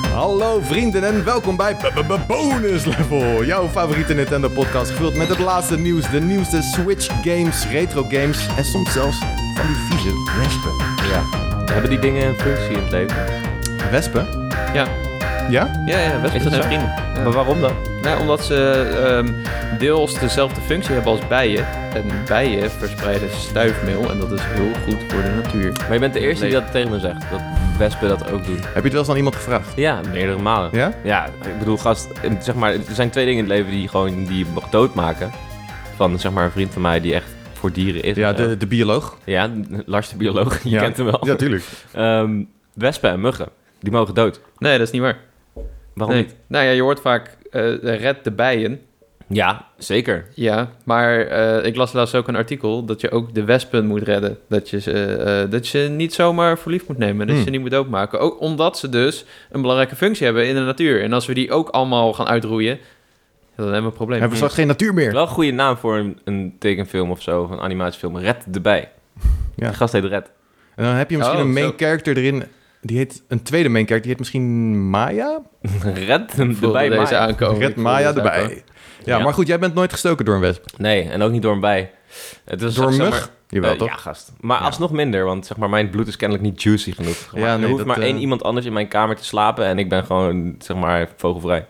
Hallo vrienden en welkom bij B- B- B- Bonus Level. Jouw favoriete Nintendo podcast gevuld met het laatste nieuws, de nieuwste Switch games, retro games en soms zelfs van die vieze wespen. Ja. Hebben die dingen een functie in het leven? Wespen? Ja. Ja? Ja, ja, Is dat zo? Maar waarom dan? Nou, omdat ze ehm, deels dezelfde functie hebben als bijen. En bijen verspreiden stuifmeel en dat is heel goed voor de natuur. Maar je bent de eerste die Nee. dat tegen me zegt. Dat wespen dat ook doen. Heb je het wel eens aan iemand gevraagd? Ja, meerdere malen. Ja? Ja, ik bedoel, gast, eh, zeg maar, er zijn twee dingen in het leven die gewoon die je mag doodmaken. Van zeg maar een vriend van mij die echt voor dieren is. Ja, of zo. de, de bioloog. ja, Lars de bioloog, je Ja. kent hem wel. Ja, tuurlijk. Ehm, wespen en muggen, die mogen dood. Nee, dat is niet waar. Waarom Nee. niet? Nou ja, je hoort vaak eh, red de bijen. Ja, zeker. Ja, maar eh, ik las laatst ook een artikel dat je ook de wespen moet redden. Dat je ze, eh, dat je ze niet zomaar voor lief moet nemen. Dat je Hmm. ze niet moet doodmaken. Ook omdat ze dus een belangrijke functie hebben in de natuur. En als we die ook allemaal gaan uitroeien, dan hebben we een probleem. Hebben we straks geen natuur meer? Wel een goede naam voor een, een tekenfilm of zo, of een animatiefilm. Red de bij. Ja. Die gast heet Red. En dan heb je misschien Oh, een main zo. character erin. Die heet een tweede main character. Die heet misschien Maya? Red Ik de voelde bij deze Maya. aankomen. Ik Red voelde Maya deze aankomen. erbij. Ja, Ja. maar goed, jij bent nooit gestoken door een wesp. Nee, en ook niet door een bij. Het is Door een zeg maar- mug? Jawel, Eh, toch? Ja, gast. Maar alsnog minder, want zeg maar, mijn bloed is kennelijk niet juicy genoeg. Zeg maar, Ja, nee, er hoeft dat, maar één eh, iemand anders in mijn kamer te slapen en ik ben gewoon, zeg maar, vogelvrij.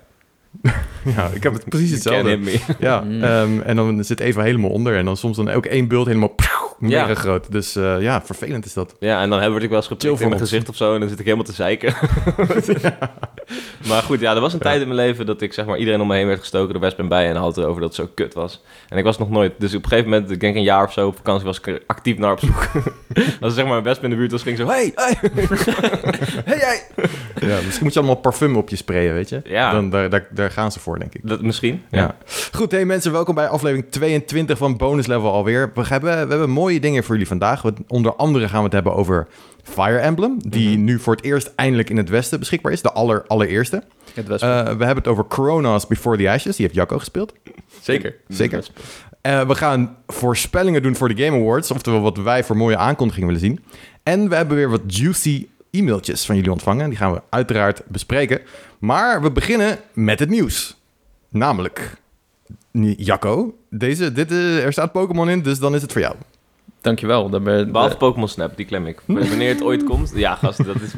Ja, ik heb het precies You can't hetzelfde. hit me. Ja, Mm. ehm, en dan zit Eva helemaal onder. En dan soms dan ook één bult helemaal pjoe, mega Ja. groot. Dus eh, ja, vervelend is dat. ja, en dan word ik wel eens Chill geprikt voor in mijn ons. gezicht of zo en dan zit ik helemaal te zeiken. Maar goed, ja, er was een tijd in mijn leven dat ik, zeg maar, iedereen om me heen werd gestoken door wespen en bijen en had het erover dat het zo kut was. En ik was nog nooit, dus op een gegeven moment, ik denk een jaar of zo op vakantie, was ik er actief naar op zoek. Als er, zeg maar een wesp in de buurt was, ging ik zo, hey, hey, hey, hey. Ja, misschien moet je allemaal parfum op je sprayen, weet je? Ja. Dan, daar, daar, daar gaan ze voor, denk ik. Dat, misschien. Ja. Goed, hey mensen, welkom bij aflevering 22 van Bonus Level alweer. We hebben, we hebben mooie dingen voor jullie vandaag. We- onder andere gaan we het hebben over Fire Emblem, die Mhm. nu voor het eerst eindelijk in het Westen beschikbaar is. De aller, allereerste. Het wespen. Eh, we hebben het over Chronos Before the Ashes, die heeft Jacco gespeeld. Zeker. Zeker. Eh, we gaan voorspellingen doen voor de Game Awards. Oftewel wat wij voor mooie aankondigingen willen zien. En we hebben weer wat juicy e-mailtjes van jullie ontvangen. Die gaan we uiteraard bespreken. Maar we beginnen met het nieuws. Namelijk, N- Jacco, deze, dit, eh, er staat Pokémon in, dus dan is het voor jou. Dankjewel. Dan ben, Behalve Pokémon Snap, die klem ik. Wanneer het ooit komt. Ja, gast, dat is,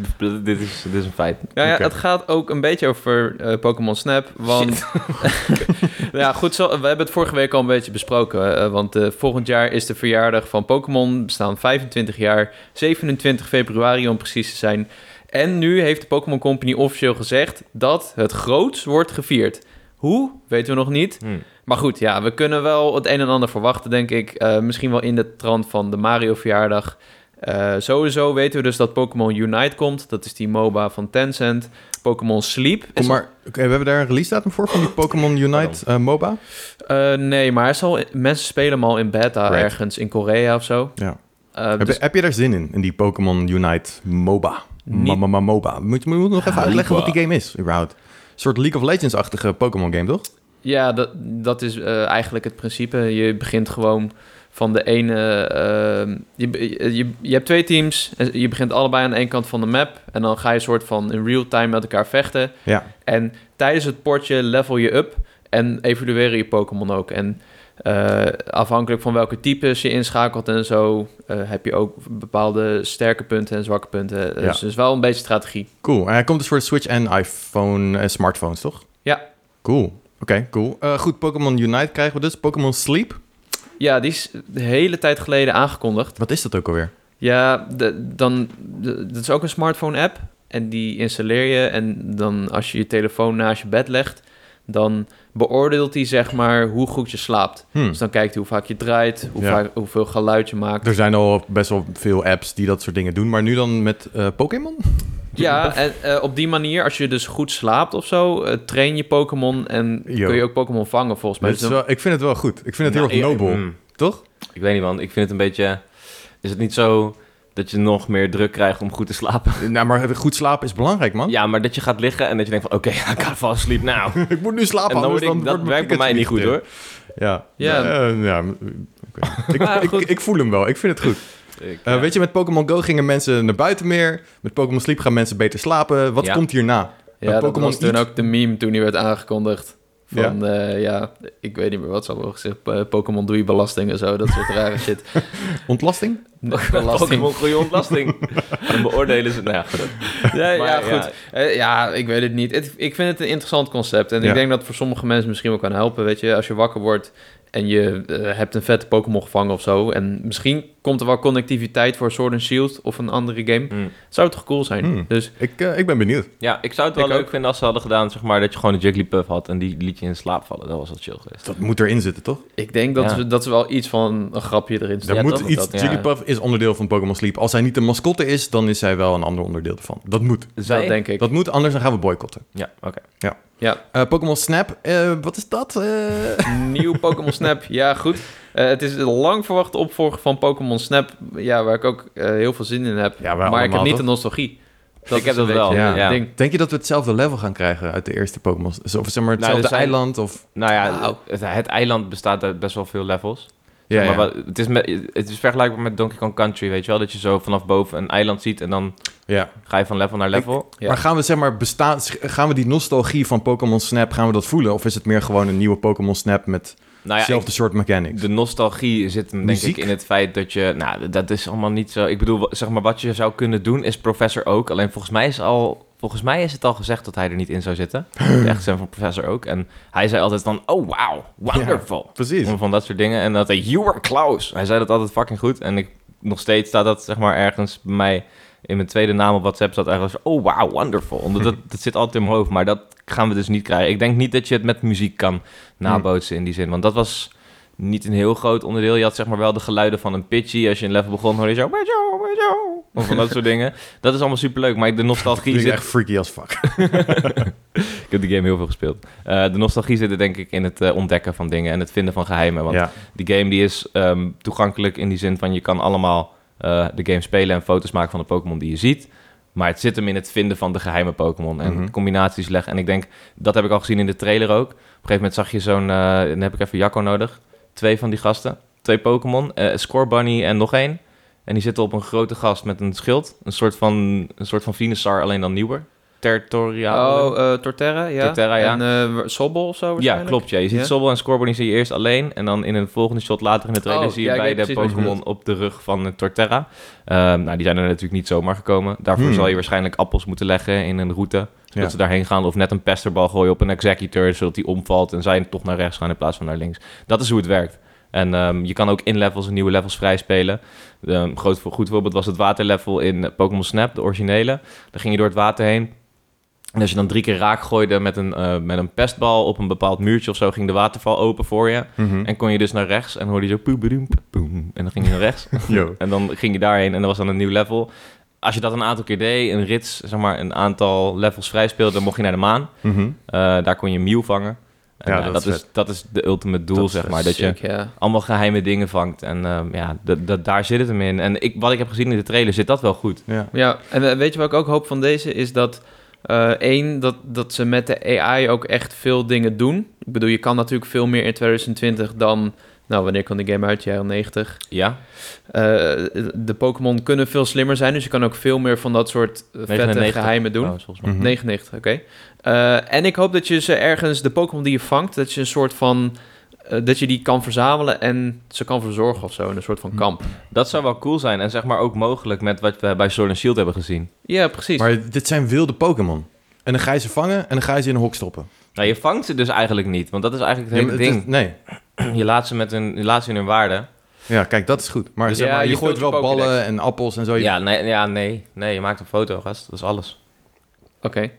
dit, is, dit is een feit. Nou ja, Oké. het gaat ook een beetje over eh, Pokémon Snap. Want. ja, goed, zo, we hebben het vorige week al een beetje besproken. eh, want eh, volgend jaar is de verjaardag van Pokémon. Bestaan 25 jaar. 27 februari om precies te zijn. En nu heeft de Pokémon Company officieel gezegd dat het groots wordt gevierd. Hoe? Weten we nog niet. Hmm. Maar goed, ja, we kunnen wel het een en ander verwachten, denk ik. Eh, misschien wel in de trant van de Mario-verjaardag. Eh, sowieso weten we dus dat Pokémon Unite komt. Dat is die MOBA van Tencent. Pokémon Sleep. Kom is maar, oké, we hebben daar een release datum voor van die Pokémon Unite eh, MOBA. al- eh, nee, maar hij is al, mensen spelen hem al in beta Right. ergens in Korea of zo. Ja. Eh, Heb, dus je, heb je daar zin in, in die Pokémon Unite MOBA? Niet- Mama ma, MOBA. Moet je moet je nog even uitleggen wat MOBA. die game is, überhaupt. Een soort League of Legends-achtige Pokémon game, toch? ja, dat, dat is eh, eigenlijk het principe. Je begint gewoon van de ene... eh, je, be- je, je hebt twee teams. En Je begint allebei aan één kant van de map. En dan ga je soort van in real time met elkaar vechten. Ja. En tijdens het potje level je up en evolueren je Pokémon ook. En eh, afhankelijk van welke types je inschakelt en zo, eh, heb je ook bepaalde sterke punten en zwakke punten. Dus Ja. het is wel een beetje strategie. Cool. En hij komt dus voor de Switch en iPhone en smartphones, toch? Ja. Cool. Oké, cool. Eh, goed, Pokémon Unite krijgen we dus. Pokémon Sleep. Ja, die is de hele tijd geleden aangekondigd. Wat is dat ook alweer? Ja, de- dan, de- dat is ook een smartphone-app. En die installeer je. En dan als je je telefoon naast je bed legt, dan beoordeelt hij zeg maar hoe goed je slaapt. Hmm. Dus dan kijkt hij hoe vaak je draait, hoe Ja. vaak, hoeveel geluid je maakt. Er zijn al best wel veel apps die dat soort dingen doen, maar nu dan met eh, Pokémon? Ja, en eh, op die manier, als je dus goed slaapt of zo, eh, train je Pokémon en Yo. kun je ook Pokémon vangen volgens mij. Dat is Dus dan- wel- Ik vind het wel goed. Ik vind het Nou, heel erg ik- nobel, mm, toch? ik weet niet, man. Ik vind het een beetje... Is het niet zo dat je nog meer druk krijgt om goed te slapen? Nou, maar goed slapen is belangrijk, man. Ja, maar dat je gaat liggen en dat je denkt van... Oké, ik ga vast sleep now. En Ik moet nu slapen, dan anders word ik, dan dat wordt mijn werkt bij mij Pikachu niet goed, geteerd. hoor. Ja. Ja. Eh, ja, m- oké. ik, Maar ik, goed. ik voel hem wel. Ik vind het goed. Ik, Eh, ja. Weet je, met Pokémon Go gingen mensen naar buiten meer. Met Pokémon Sleep gaan mensen beter slapen. Wat Ja. komt hierna? Ja, dat Pokémon was toen iets- ook de meme toen die werd aangekondigd. Ja. Van, ja, ja ik weet niet meer wat ze hadden gezegd. Eh, Pokémon doe je belasting en zo, dat soort rare shit. Ontlasting? belasting. Pokémon goede ontlasting. Dan beoordelen ze... Nou ja, goed. Ja, Maar ja, ja. goed. Eh, ja, ik weet het niet. Het- ik vind het een interessant concept. En Ja. ik denk dat het voor sommige mensen misschien wel kan helpen. Weet je, als je wakker wordt en je eh, hebt een vette Pokémon gevangen of zo. En misschien komt er wel connectiviteit voor Sword and Shield of een andere game. Hm. Zou het toch cool zijn? Hmm. Dus Ik, eh, ik ben benieuwd. Ja, ik zou het wel Ik leuk ook. vinden als ze hadden gedaan, zeg maar, dat je gewoon een Jigglypuff had en die liet je in slaap vallen. Dat was wel chill geweest. Dat moet erin zitten, toch? ik denk dat, Ja. ze, dat ze wel iets van een grapje erin Er zetten. moet toch? iets. Dat- ja. Jigglypuff is onderdeel van Pokémon Sleep. Als hij niet de mascotte is, dan is hij wel een ander onderdeel ervan. Dat moet. Dat denk ik. Dat moet, anders dan gaan we boycotten. Ja, oké. Ja, Eh, Pokémon Snap, eh, wat is dat? Eh, Nieuw Pokémon Snap. Ja, goed. Eh, het is een lang verwachte opvolger van Pokémon Snap. Ja, waar ik ook eh, heel veel zin in heb. Ja, wij maar ik allemaal, heb niet toch? de nostalgie. Ik is heb een dat wel, beetje ja. het Ja. ding. Denk je dat we hetzelfde level gaan krijgen uit de eerste Pokémon? Zo- Of zeg maar hetzelfde Nou, er zijn- eiland? Of... Nou ja, Wauw. het, het eiland bestaat uit best wel veel levels. Ja, maar ja. wat- het, is met, het is vergelijkbaar met Donkey Kong Country, weet je wel? Dat je zo vanaf boven een eiland ziet en dan ja. ga je van level naar level. Ja. Maar gaan we zeg maar bestaan, gaan we die nostalgie van Pokémon Snap, gaan we dat voelen? Of is het meer gewoon een nieuwe Pokémon Snap met nou ja, hetzelfde soort mechanics? De nostalgie zit hem denk Muziek? ik in het feit dat je... Nou, dat is allemaal niet zo... Ik bedoel, wa- zeg maar, wat je zou kunnen doen is Professor Oak. Alleen volgens mij is, al, volgens mij is het al gezegd dat hij er niet in zou zitten. De echte stem van Professor Oak. En hij zei altijd van, oh wow, wonderful. Precies. Om Van dat soort dingen. En dat hij, you are Klaus. Hij zei dat altijd fucking goed. En ik, nog steeds staat dat zeg maar ergens bij mij... In mijn tweede naam op WhatsApp staat ergens, oh wow, wonderful. Omdat dat, dat zit altijd in mijn hoofd, maar dat gaan we dus niet krijgen. Ik denk niet dat je het met muziek kan nabootsen in die zin. Want dat was niet een heel groot onderdeel. Je had zeg maar wel de geluiden van een pitchy. Als je een level begon, hoorde je zo... "Wajo, wajo", Of van dat soort dingen. Dat is allemaal superleuk. Maar de nostalgie Klinkt zit... echt freaky as fuck. Ik heb die game heel veel gespeeld. Eh, de nostalgie zit er denk ik in het eh, ontdekken van dingen en het vinden van geheimen. Want ja. die game die is ehm, toegankelijk in die zin van je kan allemaal eh, de game spelen en foto's maken van de Pokémon die je ziet. Maar het zit hem in het vinden van de geheime Pokémon en Mhm. combinaties leggen. En ik denk, dat heb ik al gezien in de trailer ook. Op een gegeven moment zag je zo'n, eh, dan heb ik even Jacco nodig. Twee van die gasten, twee Pokémon, eh, Score Bunny en nog één. En die zitten op een grote gast met een schild. Een soort van, een soort van Venusaur, alleen dan nieuwer. Territoriaal. oh, eh, Torterra, ja. Torterra, ja. En eh, Sobble of zo Ja, waarschijnlijk? klopt. Ja. Je ziet Ja. Sobble en Scorbunny zie je eerst alleen. En dan in een volgende shot later in de trailer Oh, zie je ja, ik weet beide precies wat je Pokémon op de rug van eh, Torterra. Ehm, nou, die zijn er natuurlijk niet zomaar gekomen. Daarvoor Hmm. zal je waarschijnlijk appels moeten leggen in een route. Zodat Ja. ze daarheen gaan. Of net een pesterbal gooien op een executor, zodat die omvalt. En zij toch naar rechts gaan in plaats van naar links. Dat is hoe het werkt. En ehm, je kan ook in levels en nieuwe levels vrij spelen. Een groot, voor- goed voorbeeld was het waterlevel in eh, Pokémon Snap, de originele. Daar ging je door het water heen. En als je dan drie keer raak gooide met een, eh, met een pestbal op een bepaald muurtje of zo, ging de waterval open voor je. Mhm. En kon je dus naar rechts en hoorde je zo poe, bedoem, boem. En dan ging je naar rechts. Yo. en dan ging je daarheen en dat was dan een nieuw level. Als je dat een aantal keer deed, een rits, zeg maar, een aantal levels vrij speelde, dan mocht je naar de maan. Mhm. Eh, daar kon je Mew vangen. En, Ja, eh, dat dat, is is, dat is de ultimate doel, Dat is zeg vet. maar. Dat je Sick, ja. allemaal geheime dingen vangt. En ehm, ja, dat- dat- daar zit het hem in. En ik, wat ik heb gezien in de trailer, zit dat wel goed. Ja. Ja, en eh, weet je wat ik ook hoop van deze? Is dat eh, één, dat, dat ze met de AI ook echt veel dingen doen. Ik bedoel, je kan natuurlijk veel meer in 2020 dan... Nou, wanneer kwam die game uit? Jaren 90. Ja, Eh, de Pokémon kunnen veel slimmer zijn, dus je kan ook veel meer van dat soort eh, vette 99 geheimen doen. trouwens, Oh, volgens mij. Mhm. 99, oké. Eh, en ik hoop dat je ze ergens, de Pokémon die je vangt, dat je een soort van, eh, dat je die kan verzamelen en ze kan verzorgen of zo, in een soort Mhm. van kamp. Dat zou wel cool zijn. En zeg maar ook mogelijk met wat we bij Sword and Shield hebben gezien. Ja, precies. Maar dit zijn wilde Pokémon. En dan ga je ze vangen en dan ga je ze in een hok stoppen. Nou, je vangt ze dus eigenlijk niet. Want dat is eigenlijk Ja, het maar hele het ding. is- nee. Je, laat ze met hun, je laat ze in hun waarde. Ja, kijk, dat is goed. Maar, Dus zeg ja, maar je, je gooit wel vult je Pokédex. ballen en appels en zo. Je- Ja, nee, ja nee, nee. Je maakt een foto, gast. Dat is alles. Oké.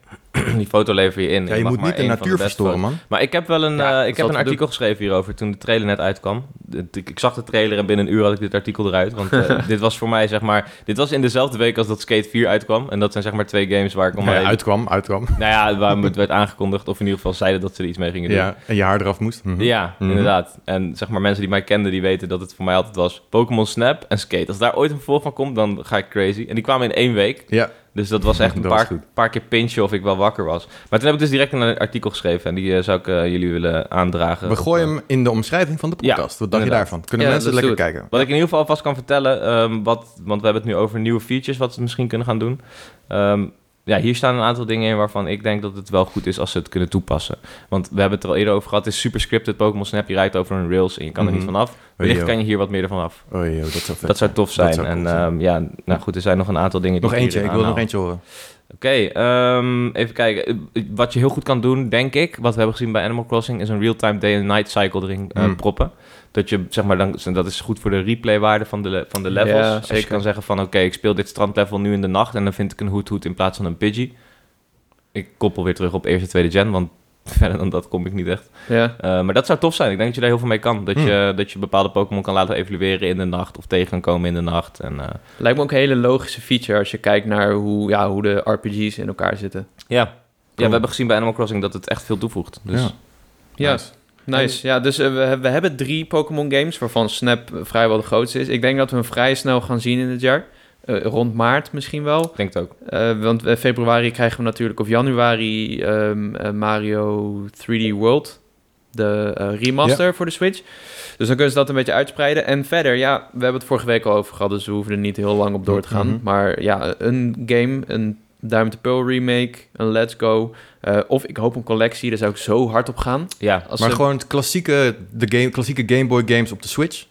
Die foto lever je in. Ja, je mag moet maar niet de één van natuur beste verstoren, man. Maar ik heb wel een, Ja, eh, ik dat zal heb een het artikel geschreven hierover toen de trailer net uitkwam. Dit- Ik, ik zag de trailer en binnen een uur had ik dit artikel eruit. Want eh, dit was voor mij, zeg maar... Dit was in dezelfde week als dat Skate 4 uitkwam. En dat zijn zeg maar twee games waar ik om... Nou ja, heen- uitkwam, uitkwam. Nou ja, waar het werd aangekondigd. Of in ieder geval zeiden dat ze er iets mee gingen doen. Ja, en je haar eraf moest. Mhm. Ja, Mhm. inderdaad. En zeg maar, mensen die mij kenden, die weten dat het voor mij altijd was Pokémon Snap en Skate. Als daar ooit een vervolg van komt, dan ga ik crazy. En die kwamen in één week. Ja, Dus dat was echt een Dat was paar, goed. paar keer pinchen of ik wel wakker was. Maar toen heb ik dus direct een artikel geschreven. En die eh, zou ik eh, jullie willen aandragen. we Op, gooien eh, hem in de omschrijving van de Ja, podcast. Wat dacht je inderdaad. daarvan? Kunnen Ja, mensen let's lekker kijken? Wat ik in ieder geval alvast kan vertellen, ehm, wat, want we hebben het nu over nieuwe features, wat ze misschien kunnen gaan doen. Ehm, ja, hier staan een aantal dingen in waarvan ik denk dat het wel goed is als ze het kunnen toepassen. Want we hebben het er al eerder over gehad. Het is super scripted Pokémon Snap. Je rijdt over een rails en je kan er Mhm. niet vanaf. Wellicht joh. kan je hier wat meer ervan af. Oh, joh, dat zou vet Dat zou tof zijn. Dat zou cool en zijn. ehm, ja, nou goed, er zijn nog een aantal dingen die Nog ik eentje, ik hierin wil nog aanhaal. eentje horen. Oké, ehm, even kijken. Eh, Wat je heel goed kan doen, denk ik, wat we hebben gezien bij Animal Crossing, is een real-time day and night cycle erin eh, Hmm. proppen. Dat je, zeg maar, dan, dat is goed voor de replay-waarde van de, le- van de Ja, levels. Als je zeker. kan zeggen van, oké, ik speel dit strandlevel nu in de nacht en dan vind ik een hoed-hoed in plaats van een Pidgey. Ik koppel weer terug op eerste, tweede gen, want verder dan dat kom ik niet echt. Ja. Eh, maar dat zou tof zijn. Ik denk dat je daar heel veel mee kan. Dat, Hmm. je, dat je bepaalde Pokémon kan laten evolueren in de nacht of tegen kan komen in de nacht. En, eh, Lijkt me ook een hele logische feature als je kijkt naar hoe, ja, hoe de RPG's in elkaar zitten. ja. ja, Cool. we hebben gezien bij Animal Crossing dat het echt veel toevoegt. Dus... Ja. Ja, Nice. nice. Ja, dus eh, we, hebben- we hebben drie Pokémon games, waarvan Snap eh, vrijwel de grootste is. Ik denk dat we hem vrij snel gaan zien in het jaar. Eh, rond maart misschien wel. Ik denk het ook. Eh, want eh, februari krijgen we natuurlijk, of januari, ehm, eh, Mario 3D World. De eh, remaster voor de Switch. Dus dan kunnen ze dat een beetje uitspreiden. En verder, ja, we hebben het vorige week al over gehad, dus we hoeven er niet heel lang op door te gaan. Mhm. Maar ja, een game, een Diamond and Pearl remake, een Let's Go. eh, of ik hoop een collectie, daar zou ik zo hard op gaan. Ja, Als maar ze- gewoon het klassieke, de game, klassieke Game Boy games op de Switch.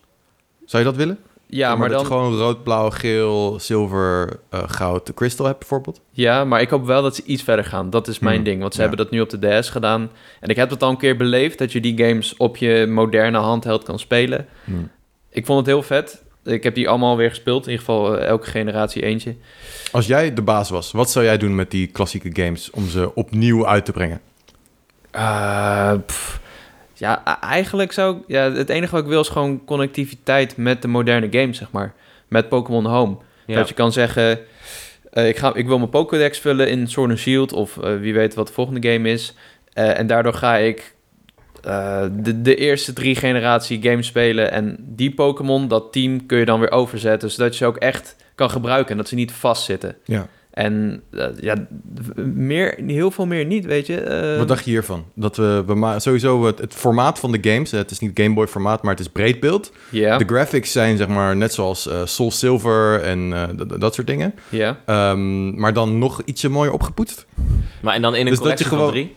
Zou je dat willen? Ja, maar, dat je dan, gewoon rood, blauw, geel, zilver, eh, goud, crystal hebt bijvoorbeeld. ja, maar ik hoop wel dat ze iets verder gaan. Dat is mijn Hmm, ding, want ze ja. hebben dat nu op de DS gedaan. En ik heb dat al een keer beleefd, dat je die games op je moderne handheld kan spelen. Hmm. Ik vond het heel vet. Ik heb die allemaal weer gespeeld, in ieder geval eh, elke generatie eentje. Als jij de baas was, wat zou jij doen met die klassieke games om ze opnieuw uit te brengen? Eh, pff. ja, e- eigenlijk zou ik... Ja, het enige wat ik wil is gewoon connectiviteit met de moderne games, zeg maar. Met Pokémon Home. Ja. Dat je kan zeggen, eh, ik, ga, ik wil mijn Pokédex vullen in Sword and Shield... of eh, wie weet wat de volgende game is. Eh, en daardoor ga ik eh, de, de eerste drie generatie games spelen... en die Pokémon, dat team, kun je dan weer overzetten... zodat je ze ook echt kan gebruiken en dat ze niet vastzitten. Ja. En eh, ja, d- meer, heel veel meer niet, weet je. Eh, Wat dacht je hiervan? Dat we bij ma- sowieso het, het formaat van de games, eh, het is niet Game Boy formaat, maar het is breedbeeld. Ja, De graphics zijn zeg maar net zoals eh, Soul Silver en eh, d- d- dat soort dingen. ja. Ehm, maar dan nog ietsje mooier opgepoetst. Maar en dan in een Dus dat collectie je gewoon- van drie?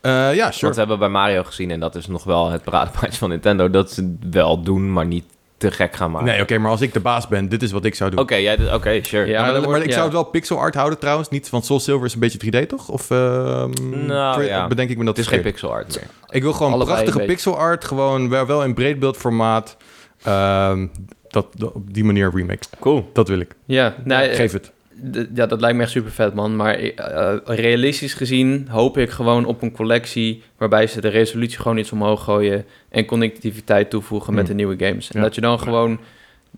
Eh, ja, Want sure. we hebben bij Mario gezien, en dat is nog wel het paradepaardje van Nintendo, dat ze het wel doen, maar niet te gek gaan maken. Nee, oké, maar als ik de baas ben, dit is wat ik zou doen. Oké, jij dit- oké, sure. Ja, maar, maar dan maar wordt- ik ja. zou het wel pixel art houden trouwens. Niet, want Soul Silver is een beetje 3D, toch? Of ehm, Nou, tri- ja. bedenk ik me dat Het is verkeerd? geen pixel art meer. Ik wil gewoon Allebei prachtige een beetje. pixel art. Gewoon wel, wel in breedbeeldformaat. Ehm dat, dat- op die manier remake. Cool. Dat wil ik. Ja, nou, Geef het. d- ja, dat lijkt me echt super vet, man. Maar eh, realistisch gezien hoop ik gewoon op een collectie waarbij ze de resolutie gewoon iets omhoog gooien en connectiviteit toevoegen met Hmm. de nieuwe games. En Ja. dat je dan gewoon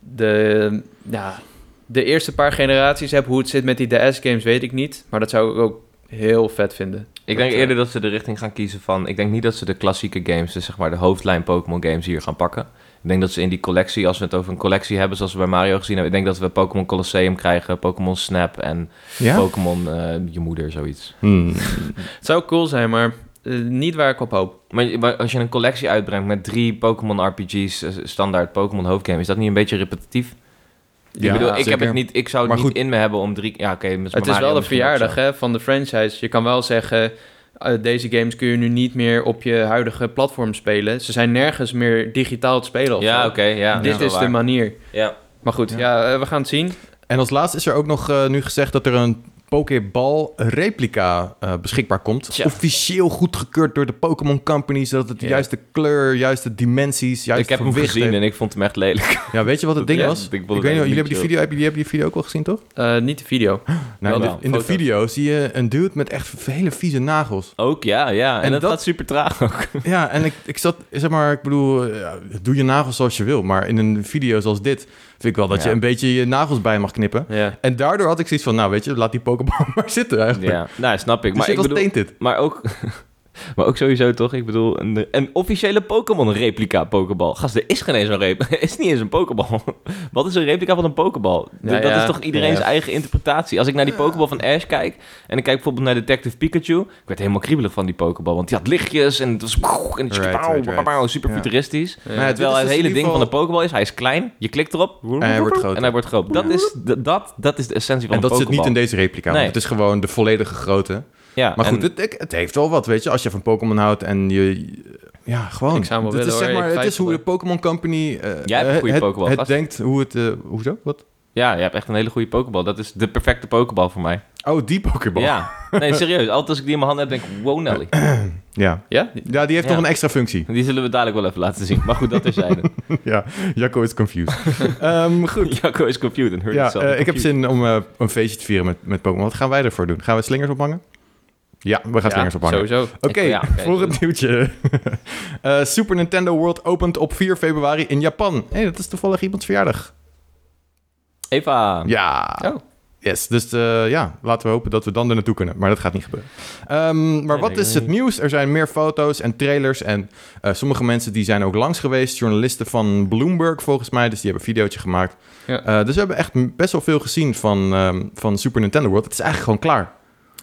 de, ja, de eerste paar generaties hebt. Hoe het zit met die DS-games weet ik niet, maar dat zou ik ook heel vet vinden. Ik denk eh, eerder dat ze de richting gaan kiezen van... Ik denk niet dat ze de klassieke games, dus zeg maar de hoofdlijn Pokémon games hier gaan pakken. Ik denk dat ze in die collectie, als we het over een collectie hebben, zoals we bij Mario gezien hebben... Ik denk dat we Pokémon Colosseum krijgen, Pokémon Snap en Ja? Pokémon eh, Je Moeder, zoiets. Hmm. Het zou cool zijn, maar eh, niet waar ik op hoop. Maar, maar als je een collectie uitbrengt met drie Pokémon RPG's, eh, standaard Pokémon hoofdgame, is dat niet een beetje repetitief? Ja, ik bedoel, ik, heb zeker. het niet, ik zou het Maar niet goed. in me hebben om drie... Ja, oké, met Het is Dus Mario wel de misschien ook zo. verjaardag hè, van de franchise. Je kan wel zeggen, eh, deze games kun je nu niet meer op je huidige platform spelen. Ze zijn nergens meer digitaal te spelen. of Ja, zo. oké, ja. dat Dit wel is de waar. manier. Ja. Maar goed, Ja. ja. eh, we gaan het zien. En als laatste is er ook nog eh, nu gezegd dat er een Pokéball replica eh, beschikbaar komt. Tja. Officieel goedgekeurd door de Pokémon Company, zodat het de Ja. juiste kleur, juiste dimensies, juist ik heb hem gewicht gezien heeft. en ik vond hem echt lelijk. Ja, weet je wat het ding Ja, was? ik Ik, vond het weet niet, echt jullie niet hebben die chill. video, heb je, die, heb je die video ook al gezien, toch? Eh, niet de video. Nou, in Wel, de, wel, in de foto's. video zie je een dude met echt hele vieze nagels. Ook, ja, ja. En, En dat, dat- gaat super traag ook. ja, en ik, ik zat, zeg maar, ik bedoel, eh, ja, doe je nagels zoals je wil. Maar in een video zoals dit vind ik wel dat Ja. je een beetje je nagels bij mag knippen. ja. En daardoor had ik zoiets van, nou weet je, laat die Pokéball maar zitten eigenlijk. Ja, nou, snap ik. Dus dit Maar ik was bedoel... tainted. Maar ook... Maar ook sowieso toch, ik bedoel, een, een officiële Pokémon-replica Pokéball. Gast, er is geen eens een replica. is niet eens een Pokéball. Wat is een replica van een Pokéball? D- Ja, dat ja. is toch iedereen's Ja. eigen interpretatie. Als ik naar die Pokéball van Ash kijk, en ik kijk bijvoorbeeld naar Detective Pikachu, ik werd helemaal kriebelig van die Pokéball, want die had lichtjes en het was... En het Right, right, right. super Ja. futuristisch. Nou ja, dit Terwijl is het dus in hele ieder ding van geval- de Pokéball is, hij is klein, je klikt erop En hij wordt groter. en hij wordt groot. Dat is, d- dat, dat is de essentie van En een dat zit niet in deze replica, want Nee. het is gewoon de volledige grootte. Ja, Maar en- goed, het, ik- het heeft wel wat, weet je. Als je van Pokémon houdt en je... Ja, gewoon. Ik zou hem wel Dit willen, is, zeg hoor. maar, Ik Het is twijfel hoe de er. Pokémon Company... eh, Jij hebt een goede het- Pokémon, Het gast. denkt hoe het... eh, hoezo? Wat? Ja, je hebt echt een hele goede Pokéball. Dat is de perfecte Pokéball voor mij. Oh, die Pokéball. Ja. Nee, serieus. Altijd als ik die in mijn handen heb, denk ik, wow Nelly. ja. Ja? Ja, die heeft Ja. nog een extra functie. Die zullen we dadelijk wel even laten zien. Maar goed, dat is zij. ja, Jacco is confused. Ehm, goed. Jacco is confused and hurt Ja, himself. eh, ik heb zin om eh, een feestje te vieren met, met Pokémon. Wat gaan wij ervoor doen? Gaan we slingers ophangen? Ja, we gaan slingers ophangen. sowieso. Oké, Ik- ja, oké, volgend nieuwtje. Eh, Super Nintendo World opent op 4 februari in Japan. Hé, hey, dat is toevallig iemands verjaardag. Eva. Ja. Oh. Yes, dus eh, ja, laten we hopen dat we dan er naartoe kunnen. Maar dat gaat niet gebeuren. Ehm, maar Nee, wat nee, is nee. het nieuws? Er zijn meer foto's en trailers. En eh, sommige mensen die zijn ook langs geweest. Journalisten van Bloomberg volgens mij. Dus die hebben een videootje gemaakt. Ja. Eh, dus we hebben echt m- best wel veel gezien van, ehm, van Super Nintendo World. Het is eigenlijk gewoon klaar.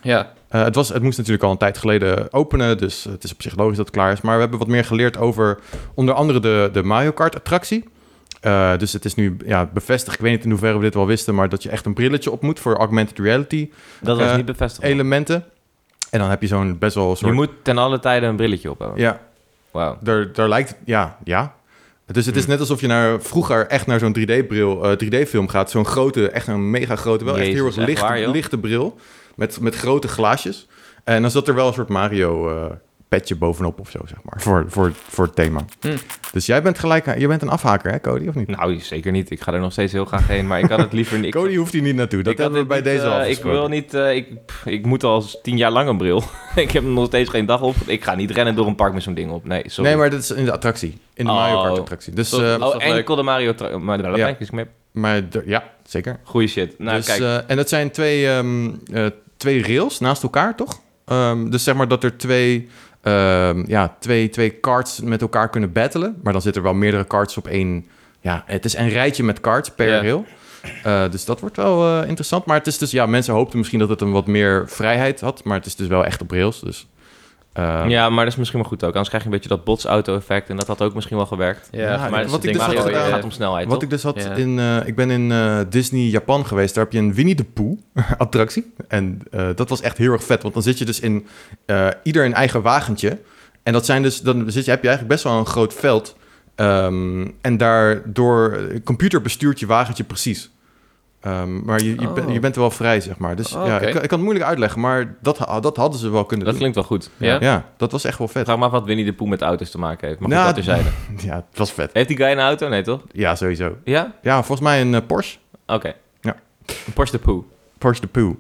Ja, Eh, het, was, het moest natuurlijk al een tijd geleden openen, dus het is op zich logisch dat het klaar is. Maar we hebben wat meer geleerd over onder andere de, de Mario Kart-attractie. Eh, dus het is nu ja, bevestigd, ik weet niet in hoeverre we dit wel wisten, maar dat je echt een brilletje op moet voor augmented reality Dat was Eh, niet bevestigd. elementen. En dan heb je zo'n best wel een Je soort... moet ten alle tijde een brilletje op hebben. Ja, Wauw. daar, daar lijkt het... Ja, ja. Dus Hmm. het is net alsof je naar, vroeger echt naar zo'n 3D-bril, 3D-film gaat. Zo'n grote, echt een mega grote, wel echt Jezus, heel erg echt lichte, waar, joh. lichte bril. Met, met grote glaasjes. En dan zat er wel een soort Mario eh, petje bovenop of zo, zeg maar. Voor, voor, voor het thema. Hmm. Hm. Dus jij bent gelijk, je bent een afhaker hè, Cody, of niet? Nou, zeker niet. Ik ga er nog steeds heel graag heen, maar ik had het liever niet. Cody hoeft hier niet naartoe, dat Ik had hebben we bij dit niet, deze eh, al Ik wil niet... eh, ik, pff, ik moet al s- tien jaar lang een bril. ik heb nog steeds geen dag op. Ik ga niet rennen door een park met zo'n ding op. Nee, sorry. Nee, maar dat is in de attractie. In de Oh. Mario Kart attractie. Dus, Tot- eh, dat is Oh, toch leuk. enkel de Mario... tra- Maar daar Ja. ben ik eens mee. maar er- ja, zeker. Goeie shit. Nou, dus, kijk. eh, en dat zijn twee, ehm, eh, twee rails naast elkaar, toch? Ehm, dus zeg maar dat er twee, ehm, ja, twee, twee karts met elkaar kunnen battelen. Maar dan zitten er wel meerdere karts op één. Ja, het is een rijtje met karts per Ja. rail. Eh, dus dat wordt wel eh, interessant. Maar het is dus, ja, mensen hoopten misschien dat het een wat meer vrijheid had. Maar het is dus wel echt op rails. Dus, ehm, ja, maar dat is misschien wel goed ook. Anders krijg je een beetje dat botsauto-effect. En dat had ook misschien wel gewerkt. ja. Ja, maar maar wat wat ik ik dus denk had Mario, gedaan- het eh, gaat om snelheid, Wat toch? ik dus had Ja. in... eh, ik ben in eh, Disney Japan geweest. Daar heb je een Winnie de Pooh attractie. En eh, dat was echt heel erg vet. Want dan zit je dus in eh, ieder een eigen wagentje. En dat zijn dus... Dan zit je, heb je eigenlijk best wel een groot veld. Ehm, en daardoor... Een computer bestuurt je wagentje precies. Ehm, maar je, je, Oh. bent- je bent er wel vrij, zeg maar. Dus Oh, ja, oké. ik, ik kan het moeilijk uitleggen. Maar dat, ha- dat hadden ze wel kunnen Dat doen. klinkt wel goed. Ja? Ja, dat was echt wel Ik vet. vraag me af wat Winnie de Pooh met auto's te maken heeft. Maar goed, Nou, dat terzijde. Ja, het was vet. Heeft die guy een auto? Nee, toch? Ja, sowieso. Ja? Ja, volgens mij een eh, Porsche. Oké. Ja. Een Porsche de Pooh. Porsche de Pooh.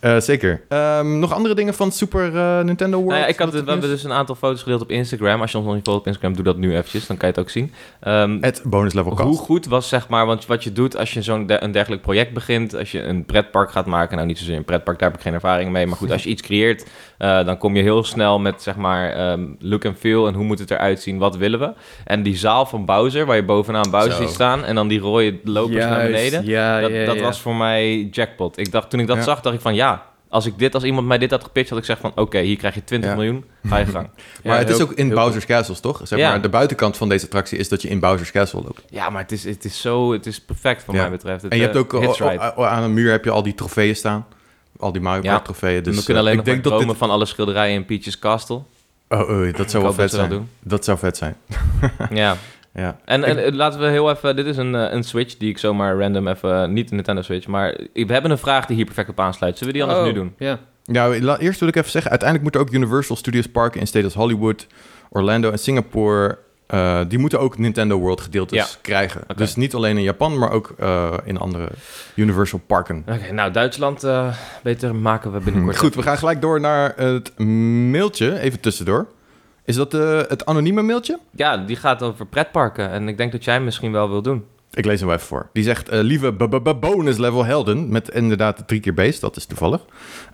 Eh, zeker. Ehm, nog andere dingen van Super eh, Nintendo World? Nou ja, ik had, Wat we het hebben nieuws? dus een aantal foto's gedeeld op Instagram. Als je ons nog niet volgt op Instagram, doe dat nu eventjes. Dan kan je het ook zien. Ehm, Het bonus level Hoe cast. goed was zeg maar, want wat je doet als je zo'n de- een dergelijk project begint, als je een pretpark gaat maken, nou niet zozeer een pretpark, daar heb ik geen ervaring mee, maar goed, als je iets creëert, eh, dan kom je heel snel met zeg maar ehm, look and feel en hoe moet het eruit zien, wat willen we? En die zaal van Bowser, waar je bovenaan Bowser Zo. ziet staan en dan die rode lopers naar beneden, Ja, dat, ja, dat ja. was voor mij jackpot. Ik dacht, toen ik dat Ja. zag, dacht ik van ja, als ik dit, als iemand mij dit had gepitcht, had ik gezegd van oké, hier krijg je 20 Ja. miljoen, ga je gang. Maar Ja, het is heel- ook in heel Bowser's Castles, toch? Zeg Ja. maar, de buitenkant van deze attractie is dat je in Bowser's Castle loopt. ja, maar het is, het is zo, het is perfect wat Ja. mij betreft. Het, en je eh, hebt ook hits o- o- right. o- aan een muur heb je al die trofeeën staan. Al die Mario Ja. Kart trofeeën. Dus we kunnen eh, alleen ik nog denk maar dromen dat dit- van alle schilderijen in Peach's Castle. Oh, oh, dat zou wel hoop vet dat ze dat zijn. Dat zou vet zijn. ja. Ja. En, en eh, laten we heel even... Dit is een, eh, een Switch die ik zomaar random even... eh, Niet een Nintendo Switch, maar we hebben een vraag die hier perfect op aansluit. Zullen we die anders Oh, nu doen? Ja. Nou, la- eerst wil ik even zeggen, uiteindelijk moeten ook Universal Studios parken in steden als Hollywood, Orlando en Singapore, eh, die moeten ook Nintendo World gedeeltes Ja. krijgen. Oké. Dus niet alleen in Japan, maar ook eh, in andere Universal parken. Mhm. Oké, nou Duitsland eh, beter maken we binnenkort. Goed, we gaan gelijk door naar het mailtje, even tussendoor. Is dat eh, het anonieme mailtje? Ja, die gaat over pretparken. En ik denk dat jij hem misschien wel wil doen. Ik lees hem wel even voor. Die zegt, eh, lieve b- b- b- bonus level helden, met inderdaad de drie keer base, dat is toevallig.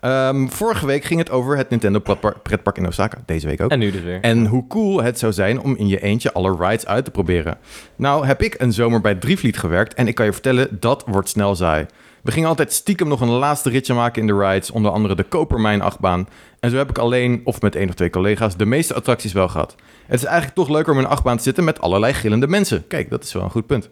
Ehm, vorige week ging het over het Nintendo pretpark, pretpark in Osaka, deze week ook. En nu dus weer. En hoe cool het zou zijn om in je eentje alle rides uit te proberen. Nou heb ik een zomer bij Drievliet gewerkt en ik kan je vertellen, dat wordt snel saai. We gingen altijd stiekem nog een laatste ritje maken in de rides, onder andere de Kopermijn achtbaan. En zo heb ik alleen, of met één of twee collega's, de meeste attracties wel gehad. Het is eigenlijk toch leuker om in een achtbaan te zitten met allerlei gillende mensen. Kijk, dat is wel een goed punt.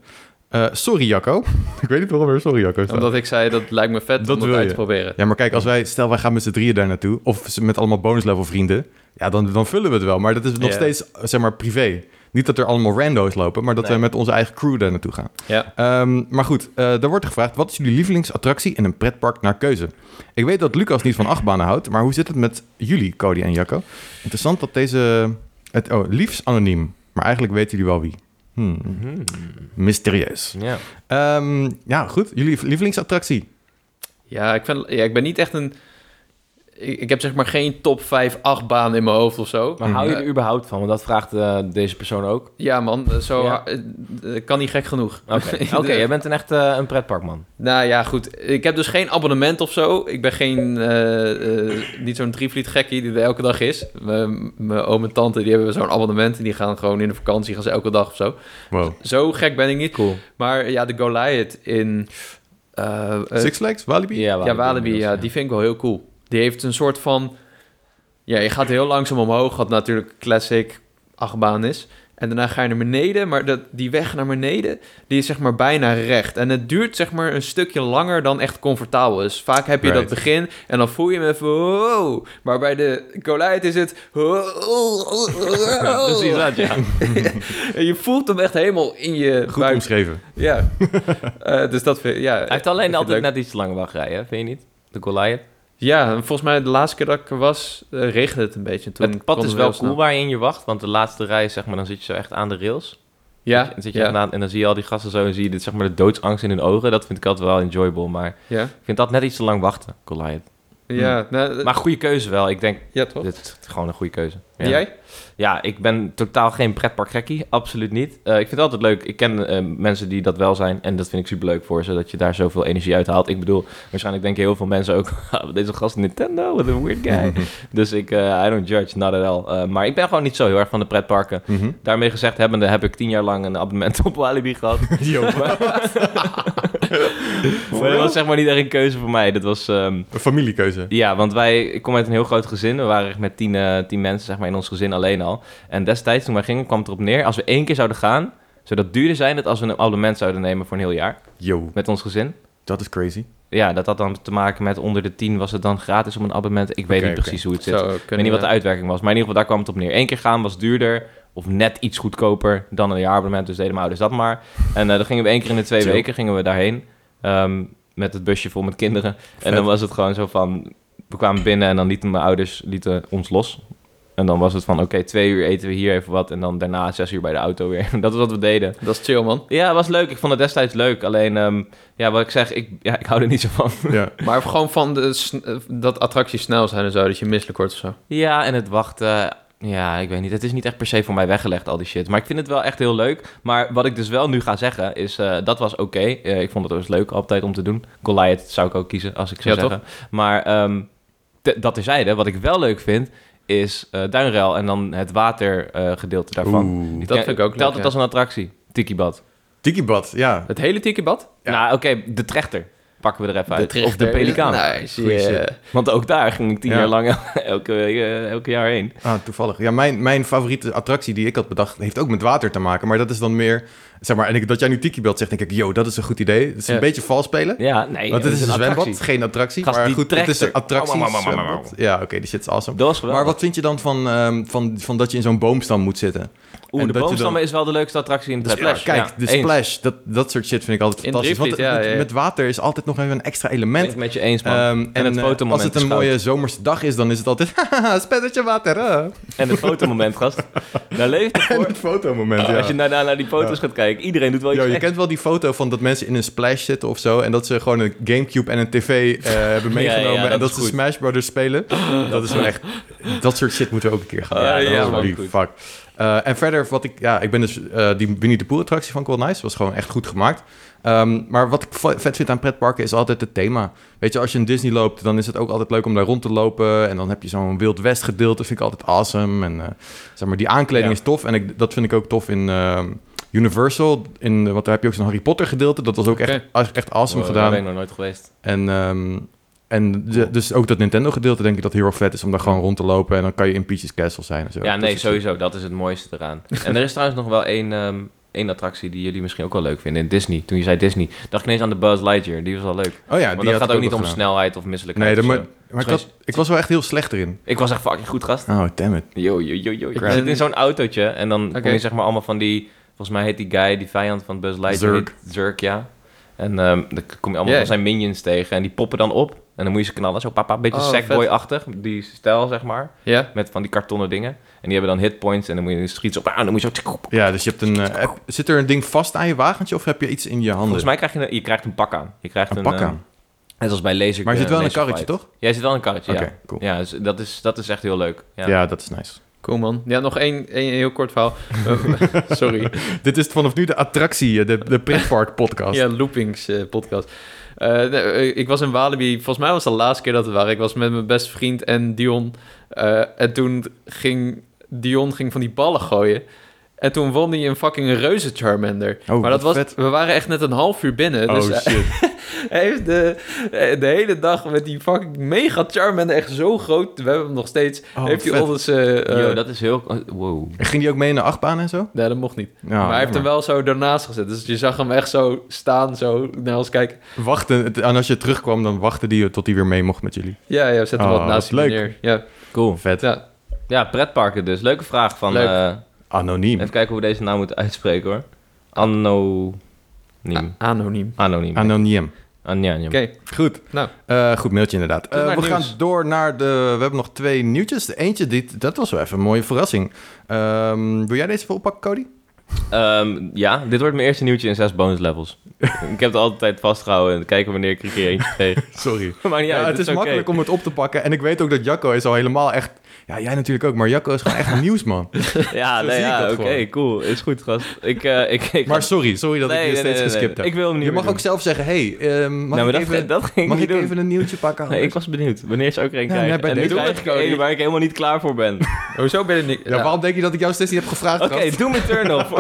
Eh, sorry Jacco. ik weet niet waarom er sorry Jacco staat. Omdat ik zei, dat lijkt me vet Dat om dat wil uit je. te proberen. Ja, maar kijk, als wij, stel wij gaan met z'n drieën daar naartoe, of ze- met allemaal bonuslevel vrienden, ja, dan, dan vullen we het wel. Maar dat is nog Ja. steeds, zeg maar, privé. Niet dat er allemaal rando's lopen, maar dat Nee. wij met onze eigen crew daar naartoe gaan. Ja. Ehm, maar goed, eh er wordt gevraagd, wat is jullie lievelingsattractie in een pretpark naar keuze? Ik weet dat Lucas niet van achtbanen houdt, maar hoe zit het met jullie, Cody en Jacco? Interessant dat deze, het, oh, liefst anoniem, maar eigenlijk weten jullie wel wie. Hmm, mysterieus. Mhm. Ja. Ehm, ja, goed. Jullie lievelingsattractie? Ja, ik, vind, ja, ik ben niet echt een... Ik, ik heb zeg maar geen top 5 achtbaan in mijn hoofd of zo. Maar eh, hou je er überhaupt van? Want dat vraagt eh, deze persoon ook. Ja man, eh, zo Ja. eh, eh, kan niet gek genoeg. Oké, Oké, jij bent een echt eh, een pretparkman. Nou ja, goed. Ik heb dus geen abonnement of zo. Ik ben geen, eh, eh, niet zo'n drievliet gekkie die er elke dag is. Mijn mijn oom en tante die hebben zo'n abonnement en die gaan gewoon in de vakantie gaan ze elke dag of zo. Wow. Zo gek ben ik niet. Cool. Maar ja, de Goliath in eh, eh, Six Flags? Walibi? ja, Walibi, ja, die vind ik wel heel cool. Die heeft een soort van... Ja, je gaat heel langzaam omhoog, wat natuurlijk classic achtbaan is. En daarna ga je naar beneden, maar dat, die weg naar beneden, die is zeg maar bijna recht. En het duurt zeg maar een stukje langer dan echt comfortabel is. Vaak heb je Right. dat begin en dan voel je hem even... Wow. Maar bij de Goliath is het... "Oh, Precies dat, ja. En oh, je voelt hem echt helemaal in je Goed buik. omschreven. Ja. Eh, dus dat vind ja. Hij heeft alleen vind altijd het leuk. net iets te lang wachtrijen, hè? vind je niet? De Goliath. Ja, en volgens mij de laatste keer dat ik er was, eh, regende het een beetje. En Toen het pad kon is het wel heel snel. cool waar je in je wacht, want de laatste rij, zeg maar, dan zit je zo echt aan de rails. Ja, Dan zit je ja, echt na- en dan zie je al die gasten zo en zie je dit, zeg maar, de doodsangst in hun ogen. Dat vind ik altijd wel enjoyable, maar ja. ik vind dat net iets te lang wachten, Goliath. Ja, nou, eh, Hmm. Maar goede keuze wel. Ik denk, ja toch? dit is gewoon een goede keuze. En jij? Ja, ik ben totaal geen pretparkgekkie. Absoluut niet. Eh, ik vind het altijd leuk. Ik ken eh, mensen die dat wel zijn. En dat vind ik superleuk voor ze. Dat je daar zoveel energie uit haalt. Ik bedoel, waarschijnlijk denken heel veel mensen ook... "Ah, Deze gast Nintendo, wat een weird guy. dus ik, eh, I don't judge, not at all. Eh, maar ik ben gewoon niet zo heel erg van de pretparken. Mhm. Daarmee gezegd hebbende heb ik tien jaar lang een abonnement op Walibi gehad. maar maar dat was zeg maar niet echt een keuze voor mij. Dat was... ehm, Een familiekeuze. ja, want wij, ik kom uit een heel groot gezin. We waren echt met tien, eh, tien mensen zeg maar, in ons gezin alleen al. En destijds toen wij gingen kwam het erop neer, als we één keer zouden gaan, zou dat duurder zijn dan als we een abonnement zouden nemen voor een heel jaar Yo, met ons gezin. dat is crazy. Ja, dat had dan te maken met onder de tien was het dan gratis om een abonnement. Ik weet Oké, niet oké. precies hoe het zit. Zo, ik weet niet wat de uitwerking was, maar in ieder geval daar kwam het op neer. Eén keer gaan was duurder of net iets goedkoper dan een jaarabonnement. Dus deden mijn ouders dat maar. En eh dan gingen we één keer in de twee Chill. weken gingen we daarheen ehm, met het busje vol met kinderen. En dan was het gewoon zo van... We kwamen binnen en dan lieten mijn ouders lieten ons los. En dan was het van, oké, twee uur eten we hier even wat. En dan daarna zes uur bij de auto weer. Dat is wat we deden. Dat is chill, man. Ja, het was leuk. Ik vond het destijds leuk. Alleen, ehm, ja, wat ik zeg, ik, ja, ik hou er niet zo van. Ja. Maar gewoon van de, sn- eh, dat attracties snel zijn en zo, dat je misselijk wordt of zo. Ja, en het wachten. Ja, ik weet niet. Het is niet echt per se voor mij weggelegd, al die shit. Maar ik vind het wel echt heel leuk. Maar wat ik dus wel nu ga zeggen, is eh, dat was oké. Eh, ik vond het dus leuk altijd om te doen. Goliath zou ik ook kiezen, als ik zou Ja, toch? zeggen. Maar ehm, te- dat terzijde, wat ik wel leuk vind, is eh Duinruil en dan het watergedeelte daarvan. Oeh. Dat vind ik ook leuk, Telt het ja. als een attractie, Tikibad. Tikibad, ja. Het hele tikkenbad? Ja. Nou, oké, de trechter pakken we er even uit. of de trichter. pelikaan. Nice, Goeie yeah. shit. Want ook daar ging ik tien Ja. jaar lang elke, eh, elke jaar heen. Ah, toevallig. Ja, mijn, mijn favoriete attractie die ik had bedacht, heeft ook met water te maken. Maar dat is dan meer, zeg maar, en ik, dat jij nu Tikibad zegt, denk ik, yo, dat is een goed idee. Het is een Ja. beetje vals spelen. Ja, nee. Want het is een zwembad, attractie. geen attractie. Gast, maar die goed, het is een trechter. attractie. Oh, maar, maar, maar, maar, maar. zwembad. Ja, oké, die shit is awesome. Dat was geweldig. Maar wat vind je dan van, ehm, van, van dat je in zo'n boomstam moet zitten? Oeh, En de dat je boomstammen dan- is wel de leukste attractie in de Ja, Splash. kijk, Ja, de eens. splash, dat, dat soort shit vind ik altijd In fantastisch. Want Driftlied, het- ja, ja, ja. met water is altijd nog even een extra Ben element. ik met je eens, man. Ehm, en het eh, fotomoment Als het is een goud. mooie zomerse dag is, dan is het altijd... haha, Spettertje water, hè? En het fotomoment, gast. Daar leeft het En voor. het fotomoment, ja. Oh, Als je daarna naar die foto's gaat kijken, iedereen doet wel iets Yo, je geks. kent wel die foto van dat mensen in een splash zitten of zo... en dat ze gewoon een Gamecube en een tv eh, hebben Ja, ja, meegenomen... ja, en dat dat is ze goed. Smash Brothers spelen. dat is wel echt... Dat soort shit moeten we ook een keer gaan doen. Ja, ja, Dat is wel Ah, man, lief, goed. fuck. Eh, en verder, wat ik, ja, ik ben dus eh, die Winnie de Pooh attractie van Cool Nice, was gewoon echt goed gemaakt. Ehm, maar wat ik v- vet vind aan pretparken is altijd het thema. Weet je, als je in Disney loopt, dan is het ook altijd leuk om daar rond te lopen. En dan heb je zo'n Wild West gedeelte, vind ik altijd awesome. En eh, zeg maar, die aankleding Ja. is tof. En ik, dat vind ik ook tof in ehm, Universal. In, eh, want daar heb je ook zo'n Harry Potter gedeelte. Dat was ook echt, echt, echt awesome Oh, Daar gedaan. ben ik nog nooit geweest. En, ehm, en de- dus ook dat Nintendo-gedeelte denk ik dat heel erg vet is om daar gewoon rond te lopen. En dan kan je in Peach's Castle zijn en zo. Ja, Dat nee, is- sowieso. Dat is het mooiste eraan. En er is trouwens nog wel één, ehm, één attractie die jullie misschien ook wel leuk vinden in Disney. Toen je zei Disney, dacht ik ineens aan de Buzz Lightyear. Die was wel leuk. Oh ja, maar die dat had gaat ik ook niet wel om gedaan. snelheid of misselijkheid. Nee, dat of maar, zo. maar ik, had- ik was wel echt heel slecht erin. Ik was echt fucking goed, gast. Oh, damn it. Yo, yo, yo, yo. Ik Crap. zit in zo'n autootje en dan Oké. kom je zeg maar allemaal van die... Volgens mij heet die guy, die vijand van Buzz Lightyear... Zurg. heet Zurg, ja. En ehm, dan kom je allemaal Ja. van zijn minions tegen en die poppen dan op. En dan moet je ze knallen, zo papa, een beetje Oh, Sackboy-achtig. Die stijl, zeg maar, Ja? met van die kartonnen dingen. En die hebben dan hitpoints en dan moet je schieten op... Ah, dan moet je zo... Ja, dus je hebt een... eh, heb- zit er een ding vast aan je wagentje of heb je iets in je handen? Volgens mij krijg je een, je krijgt een pak aan. Je krijgt een, een pak eh, aan. net als bij laser. Maar je zit wel in een eh, laser karretje, fight. toch? Ja, je zit wel in een karretje, Oké, ja. cool. Ja, dus dat is, dat is echt heel leuk. Ja. Ja. dat is nice. Cool man. Ja, nog één, één heel kort verhaal. Eh, Sorry. Dit is vanaf nu de attractie, eh, de, de pretpark podcast. Ja, loopings eh, podcast. Eh, nee, eh, ik was in Walibi. Volgens mij was het de laatste keer dat we waren. Ik was met mijn beste vriend en Dion. Eh, en toen ging Dion ging van die ballen gooien. En toen won hij een fucking reuze Charmander. Oh, maar dat was, wat vet. we waren echt net een half uur binnen. Oh dus hij- shit. hij heeft de, eh, de hele dag met die fucking mega Charmander echt zo groot. We hebben hem nog steeds. Oh, heeft hij vet. onder zijn... eh, Yo, dat is heel... oh, Wow. Ging die ook mee in de achtbaan en zo? Nee, dat mocht niet. Ja, maar hij heeft jammer. hem wel zo daarnaast gezet. Dus je zag hem echt zo staan, zo naar ons kijken. Wachten, het- en als je terugkwam, dan wachtte die tot hij weer mee mocht met jullie. Ja, ja, zet hem Oh, Ah, wat naast wat je leuk. neer. Ja, Cool. Vet. ja. Ja, pretparken dus. Leuke vraag van... Leuk. eh, Anoniem. even kijken hoe we deze naam moeten uitspreken, hoor. Anoniem. A- anoniem. Anoniem. Anoniem. Anoniem. Oké, Goed. nou, Eh, goed mailtje inderdaad. Tot Eh, naar we het gaan nieuws. door naar de... We hebben nog twee nieuwtjes. De eentje, dit, dat was wel even een mooie verrassing. Ehm, wil jij deze even oppakken, Cody? Ehm, ja, dit wordt mijn eerste nieuwtje in zes bonus levels. ik heb het altijd vastgehouden en kijken wanneer ik er een keer eentje kreeg. Sorry. maar Ja, het is makkelijk om het op te pakken. En ik weet ook dat Jacco is al helemaal echt... Ja, jij natuurlijk ook, maar Jacco is gewoon echt een nieuwsman. Ja, Zo nee, zie ik ja, dat oké, gewoon. cool. Is goed, gast. Ik, eh, ik, ik Maar sorry, sorry dat ik Nee, je nee, steeds nee, nee, geskipt nee. heb. Ik wil hem niet je meer mag doen. ook zelf zeggen, hey, ehm, mag nou, maar ik dat, even, dat ging mag ik ik niet doen. even een nieuwtje pakken? Nee, ik anders? was benieuwd wanneer ze ook er een Ja, krijgen. nee, bij en nu deze krijg ik eigenlijk er ook één waar ik helemaal niet klaar voor ben. Oké, hoezo ben je niet... Nou. ja, waarom denk je dat ik jou steeds niet heb gevraagd? gast? doe mijn turn-off.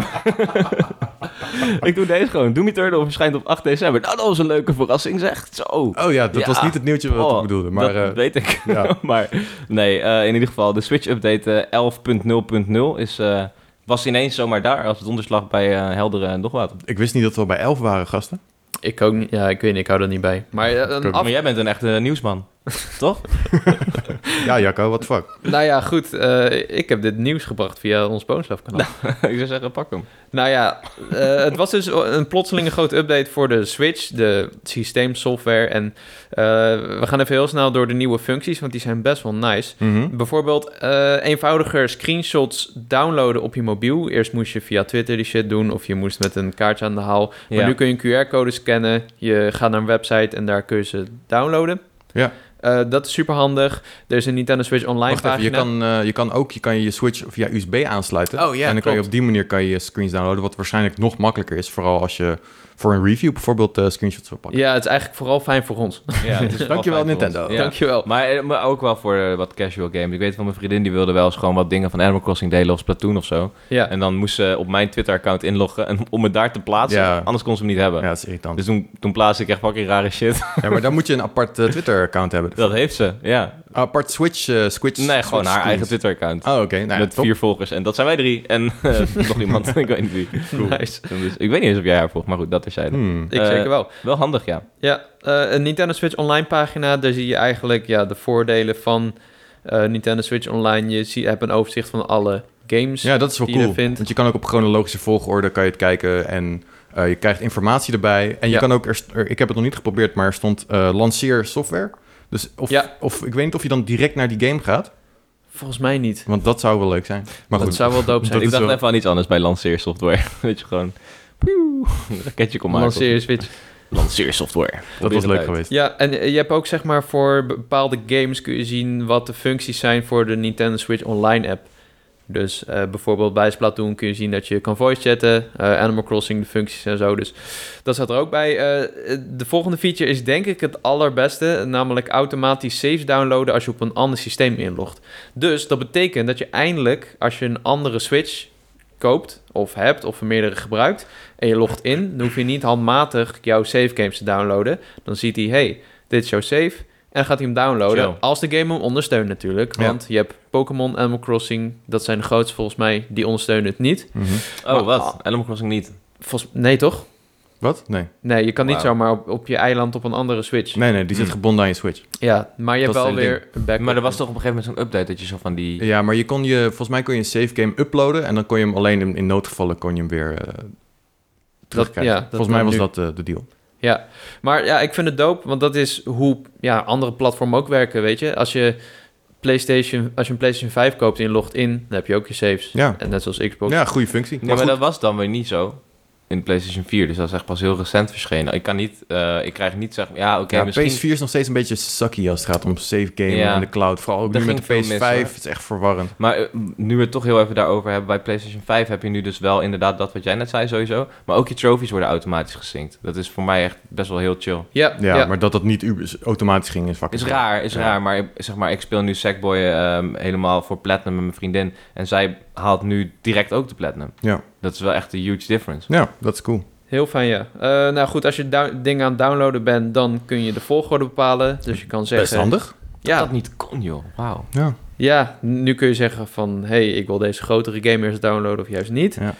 ik doe deze gewoon. Doe mijn turn-off verschijnt op 8 december. Nou, dat was een leuke verrassing, zeg. Zo. Oh ja, dat Ja. was niet het nieuwtje wat Oh, ik bedoelde. Maar dat eh, weet ik. ja. maar nee, eh, in ieder geval, de Switch-update eh, 11.0.0 is... eh, was ineens zomaar daar als donderslag bij eh, heldere en dogwater. ik wist niet dat we al bij 11 waren, gasten. Ik ook niet. Ja, ik weet niet, ik hou er niet bij. Maar eh, ook een niet. af... Maar jij bent een echte nieuwsman, toch? Ja, Jacco, what the fuck? Nou ja, goed. eh, ik heb dit nieuws gebracht via ons Boonslafkanaal. ik zou zeggen, pak hem. Nou ja, eh, het was dus een plotselinge grote update voor de Switch, de systeemsoftware. En eh, we gaan even heel snel door de nieuwe functies, want die zijn best wel nice. Mhm. Bijvoorbeeld eh, eenvoudiger screenshots downloaden op je mobiel. Eerst moest je via Twitter die shit doen of je moest met een kaartje aan de haal. Maar Ja. nu kun je een QR-code scannen. Je gaat naar een website en daar kun je ze downloaden. Ja. Eh, dat is super handig. Er is een Nintendo Switch online Wacht even, je pagina. kan, eh, je kan ook je, kan je Switch via USB aansluiten. Oh, ja, En dan kan je klopt. op die manier kan je je screens downloaden, wat waarschijnlijk nog makkelijker is. Vooral als je voor een review bijvoorbeeld eh, screenshots wil pakken. Ja, het is eigenlijk vooral fijn voor ons. Ja, het is wel Dankjewel, fijn voor ons. Nintendo. Ja. Dankjewel. Maar, eh, maar ook wel voor eh, wat casual games. Ik weet van mijn vriendin, die wilde wel eens gewoon wat dingen van Animal Crossing delen of Splatoon of zo. Ja. En dan moest ze op mijn Twitter-account inloggen en, om het daar te plaatsen. Ja. Anders kon ze hem niet hebben. Ja, dat is irritant. Dus toen, toen plaatste ik echt fucking rare shit. Ja, maar dan moet je een apart eh, Twitter-account hebben. Dat heeft ze, ja. Een apart Switch... eh switch Nee, switch gewoon haar screens. eigen Twitter-account. Oh, oké. Nou, ja, Met top. vier volgers. En dat zijn wij drie. En eh, nog iemand, ik weet niet wie. Nice. Dus ik weet niet eens of jij haar volgt, maar goed, dat is jij. Hmm. Ik Eh, zeker wel. Wel handig, ja. Ja, eh, een Nintendo Switch Online pagina. Daar zie je eigenlijk ja, de voordelen van eh, Nintendo Switch Online. Je zie, hebt een overzicht van alle games. Ja, dat is wel die je cool. vindt. Want je kan ook op chronologische volgorde kan je het kijken en eh, je krijgt informatie erbij. En je Ja. kan ook, er, st- er- ik heb het nog niet geprobeerd, maar er stond eh, lanceer software. Dus of, Ja. of ik weet niet of je dan direct naar die game gaat, Volgens mij niet. want dat zou wel leuk zijn. Maar dat goed, zou wel dope zijn. Dat ik is dacht wel- even aan iets anders bij lanceersoftware. weet je, gewoon... pieuw, een raketje kon maken. Lanceer je Switch. Lanceersoftware. dat Probeer was het leuk uit. geweest. Ja, en eh, je hebt ook zeg maar voor bepaalde games kun je zien wat de functies zijn voor de Nintendo Switch Online app. Dus eh, bijvoorbeeld bij Splatoon kun je zien dat je kan voice chatten, eh, Animal Crossing, de functies en zo. Dus dat staat er ook bij. Eh, de volgende feature is denk ik het allerbeste, namelijk automatisch saves downloaden als je op een ander systeem inlogt. Dus dat betekent dat je eindelijk, als je een andere Switch koopt of hebt of meerdere gebruikt en je logt in, dan hoef je niet handmatig jouw save games te downloaden. Dan ziet hij, hey, dit is jouw save. En dan gaat hij hem downloaden. Chill. Als de game hem ondersteunt natuurlijk. Ja. Want je hebt Pokémon, Animal Crossing. Dat zijn de grootste volgens mij. Die ondersteunen het niet. Mhm. Oh, Maar- wat? Animal Crossing niet. Volgens, nee toch? Wat? Nee. Nee, je kan niet Wauw. zomaar op, op je eiland op een andere Switch. Nee, nee, die zit Hm. gebonden aan je Switch. Ja, maar je hebt Dat is wel het hele weer... een backup. Maar er was toch op een gegeven moment zo'n update dat je zo van die... Ja, maar je kon je, volgens mij kon je een save game uploaden en dan kon je hem alleen in, in noodgevallen kon je hem weer eh, terugkrijgen. ja, dat volgens mij dan was nu. dat eh, de deal. Ja, maar ja, ik vind het dope, want dat is hoe ja, andere platformen ook werken, weet je. Als je, PlayStation, als je een PlayStation 5 koopt en je logt in, dan heb je ook je saves. Ja, En net zoals Xbox. ja goede functie. Nee, Maar maar, goed, dat was dan weer niet zo in de PlayStation 4. Dus dat is echt pas heel recent verschenen. Ik kan niet... eh, ik krijg niet zeg... Ja, oké, ja, misschien... PS4 is nog steeds een beetje sucky als het gaat om save game Ja. en de cloud. Vooral ook Daar nu met de ging veel mis, PS5. hoor. het is echt verwarrend. Maar eh, nu we het toch heel even daarover hebben, bij PlayStation 5 heb je nu dus wel inderdaad dat wat jij net zei sowieso. Maar ook je trophies worden automatisch gesynct. Dat is voor mij echt best wel heel chill. Ja, Ja, ja, maar dat dat niet u- automatisch ging is fucking Is raar, is Ja. raar. Maar ik- zeg maar, ik speel nu Sackboy ehm, helemaal voor Platinum met mijn vriendin. En zij haalt nu direct ook de Platinum. Ja. Dat is wel echt een huge difference. Ja, dat is cool. heel fijn, ja. Eh, nou goed, als je dou- dingen aan het downloaden bent, dan kun je de volgorde bepalen. Dus je kan Best zeggen... handig. Ja. Dat Ja, dat niet kon, joh. Wauw. Ja. ja, nu kun je zeggen van... hey, ik wil deze grotere game eerst downloaden of juist niet. Ja.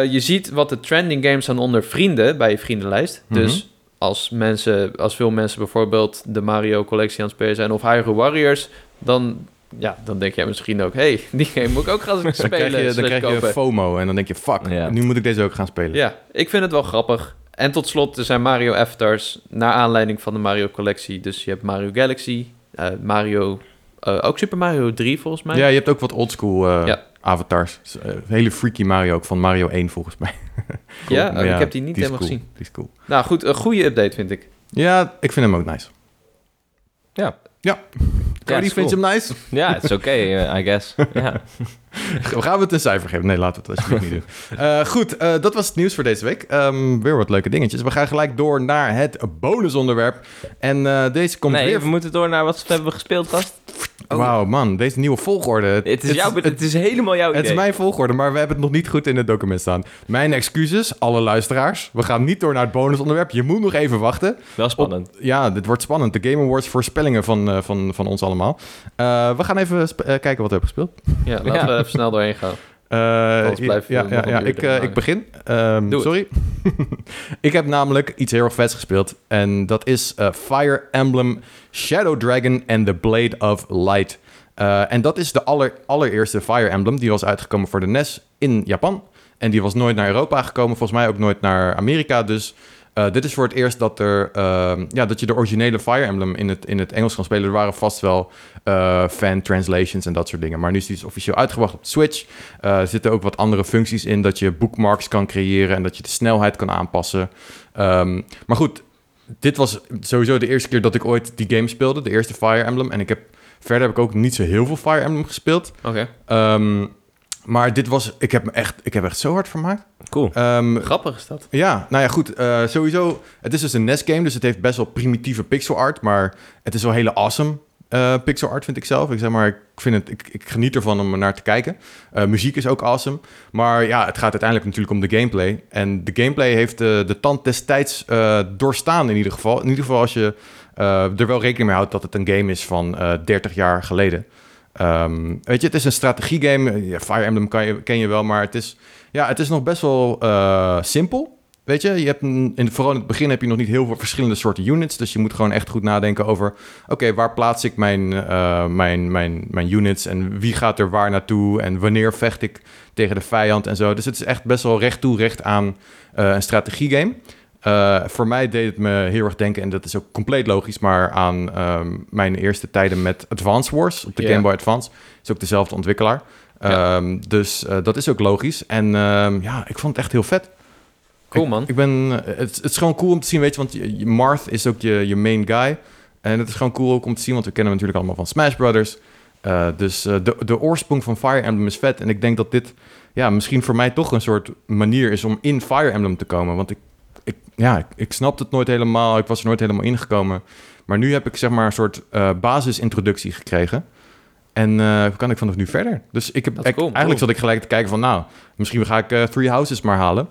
Eh, je ziet wat de trending games staan onder vrienden bij je vriendenlijst. Mhm. Dus als, mensen, als veel mensen bijvoorbeeld de Mario collectie aan het spelen zijn... of Hyrule Warriors, dan, ja, dan denk jij misschien ook... hey, die game moet ik ook gaan Dan spelen. krijg, je, dan slash krijg je kopen. FOMO en dan denk je, fuck, Ja. nu moet ik deze ook gaan spelen. Ja, ik vind het wel grappig. En tot slot, er zijn Mario avatars naar aanleiding van de Mario collectie. Dus je hebt Mario Galaxy, eh, Mario... eh, ook Super Mario 3 volgens mij. Ja, je hebt ook wat oldschool eh Ja. avatars. Dus, eh, hele freaky Mario ook, van Mario 1 volgens mij. Ja, oh, Maar ik heb die niet is helemaal cool. gezien. Die is cool. Nou goed, een goede update vind ik. Ja, ik vind hem ook nice. Ja. Ja. Ja, Cody, is vind je hem nice? Ja, het is oké, eh, I guess. Ja. Gaan we het een cijfer geven? Nee, laten we het alsjeblieft niet doen. Eh, goed, eh, dat was het nieuws voor deze week. Ehm, weer wat leuke dingetjes. We gaan gelijk door naar het bonusonderwerp. En eh, deze komt Nee, weer... we moeten door naar wat we hebben gespeeld, gast. Oh. Wauw, man. Deze nieuwe volgorde. Het is, jouw, het is helemaal jouw Het is idee. mijn volgorde, maar we hebben het nog niet goed in het document staan. Mijn excuses, alle luisteraars. We gaan niet door naar het bonusonderwerp. Je moet nog even wachten. Wel spannend. Ja, dit wordt spannend. De Game Awards voorspellingen van, eh, van, van ons allemaal. Eh, we gaan even sp- eh, kijken wat we hebben gespeeld. Ja, laten Ja. we even snel doorheen gaan. Eh, Anders ja, blijven we ja, nog ja, een ja. uur Ik, eh, erin hangen. ik begin. Ehm, Doe het. sorry. ik heb namelijk iets heel erg vets gespeeld. En dat is eh, Fire Emblem Shadow Dragon and the Blade of Light. Eh, en dat is de aller, allereerste Fire Emblem. Die was uitgekomen voor de NES in Japan. En die was nooit naar Europa gekomen. Volgens mij ook nooit naar Amerika. Dus eh, dit is voor het eerst dat, er, ehm, ja, dat je de originele Fire Emblem in het, in het Engels kan spelen. Er waren vast wel eh, fan translations en dat soort dingen. Maar nu is die dus officieel uitgebracht op de Switch. Eh, er zitten ook wat andere functies in. Dat je bookmarks kan creëren en dat je de snelheid kan aanpassen. Ehm, maar goed, dit was sowieso de eerste keer dat ik ooit die game speelde. De eerste Fire Emblem. En ik heb, verder heb ik ook niet zo heel veel Fire Emblem gespeeld. Oké, Ehm, maar dit was, ik heb me echt, ik heb echt zo hard vermaakt. Cool. Ehm, grappig is dat. ja, nou ja, goed. eh, sowieso, het is dus een NES-game, dus het heeft best wel primitieve pixel art, maar het is wel hele awesome eh, pixel art, vind ik zelf. Ik zeg maar, ik, vind het, ik, ik geniet ervan om er naar te kijken. Eh, muziek is ook awesome, maar ja, het gaat uiteindelijk natuurlijk om de gameplay. En de gameplay heeft eh, de tand destijds eh, doorstaan in ieder geval. In ieder geval als je eh, er wel rekening mee houdt dat het een game is van eh, 30 jaar geleden. Ehm, weet je, het is een strategiegame. Ja, Fire Emblem kan je, ken je wel, maar het is, ja, het is nog best wel eh, simpel. Weet je, je hebt een, in, vooral in het begin heb je nog niet heel veel verschillende soorten units. Dus je moet gewoon echt goed nadenken over... oké, waar plaats ik mijn, eh, mijn, mijn, mijn units en wie gaat er waar naartoe... en wanneer vecht ik tegen de vijand en zo. Dus het is echt best wel recht toe, recht aan eh, een strategiegame. Eh, voor mij deed het me heel erg denken, en dat is ook compleet logisch... maar aan ehm, mijn eerste tijden met Advance Wars op de Ja. Game Boy Advance. is ook dezelfde ontwikkelaar. Ja. Ehm, dus eh, dat is ook logisch. En ehm, ja, ik vond het echt heel vet. Cool man. Ik ben, eh, het, het is gewoon cool om te zien, weet je, want je- je- Marth is ook je, je main guy. En het is gewoon cool ook om te zien, want we kennen hem natuurlijk allemaal van Smash Brothers. Eh, dus eh, de, de oorsprong van Fire Emblem is vet. En ik denk dat dit ja, misschien voor mij toch een soort manier is om in Fire Emblem te komen. Want ik, ik, ja, ik, ik snapte het nooit helemaal. Ik was er nooit helemaal ingekomen. Maar nu heb ik zeg maar een soort eh, basisintroductie gekregen. En eh, kan ik vanaf nu verder? Dus ik heb, Dat is ik- cool. eigenlijk zat ik gelijk te kijken van... nou, misschien ga ik eh, Three Houses maar halen.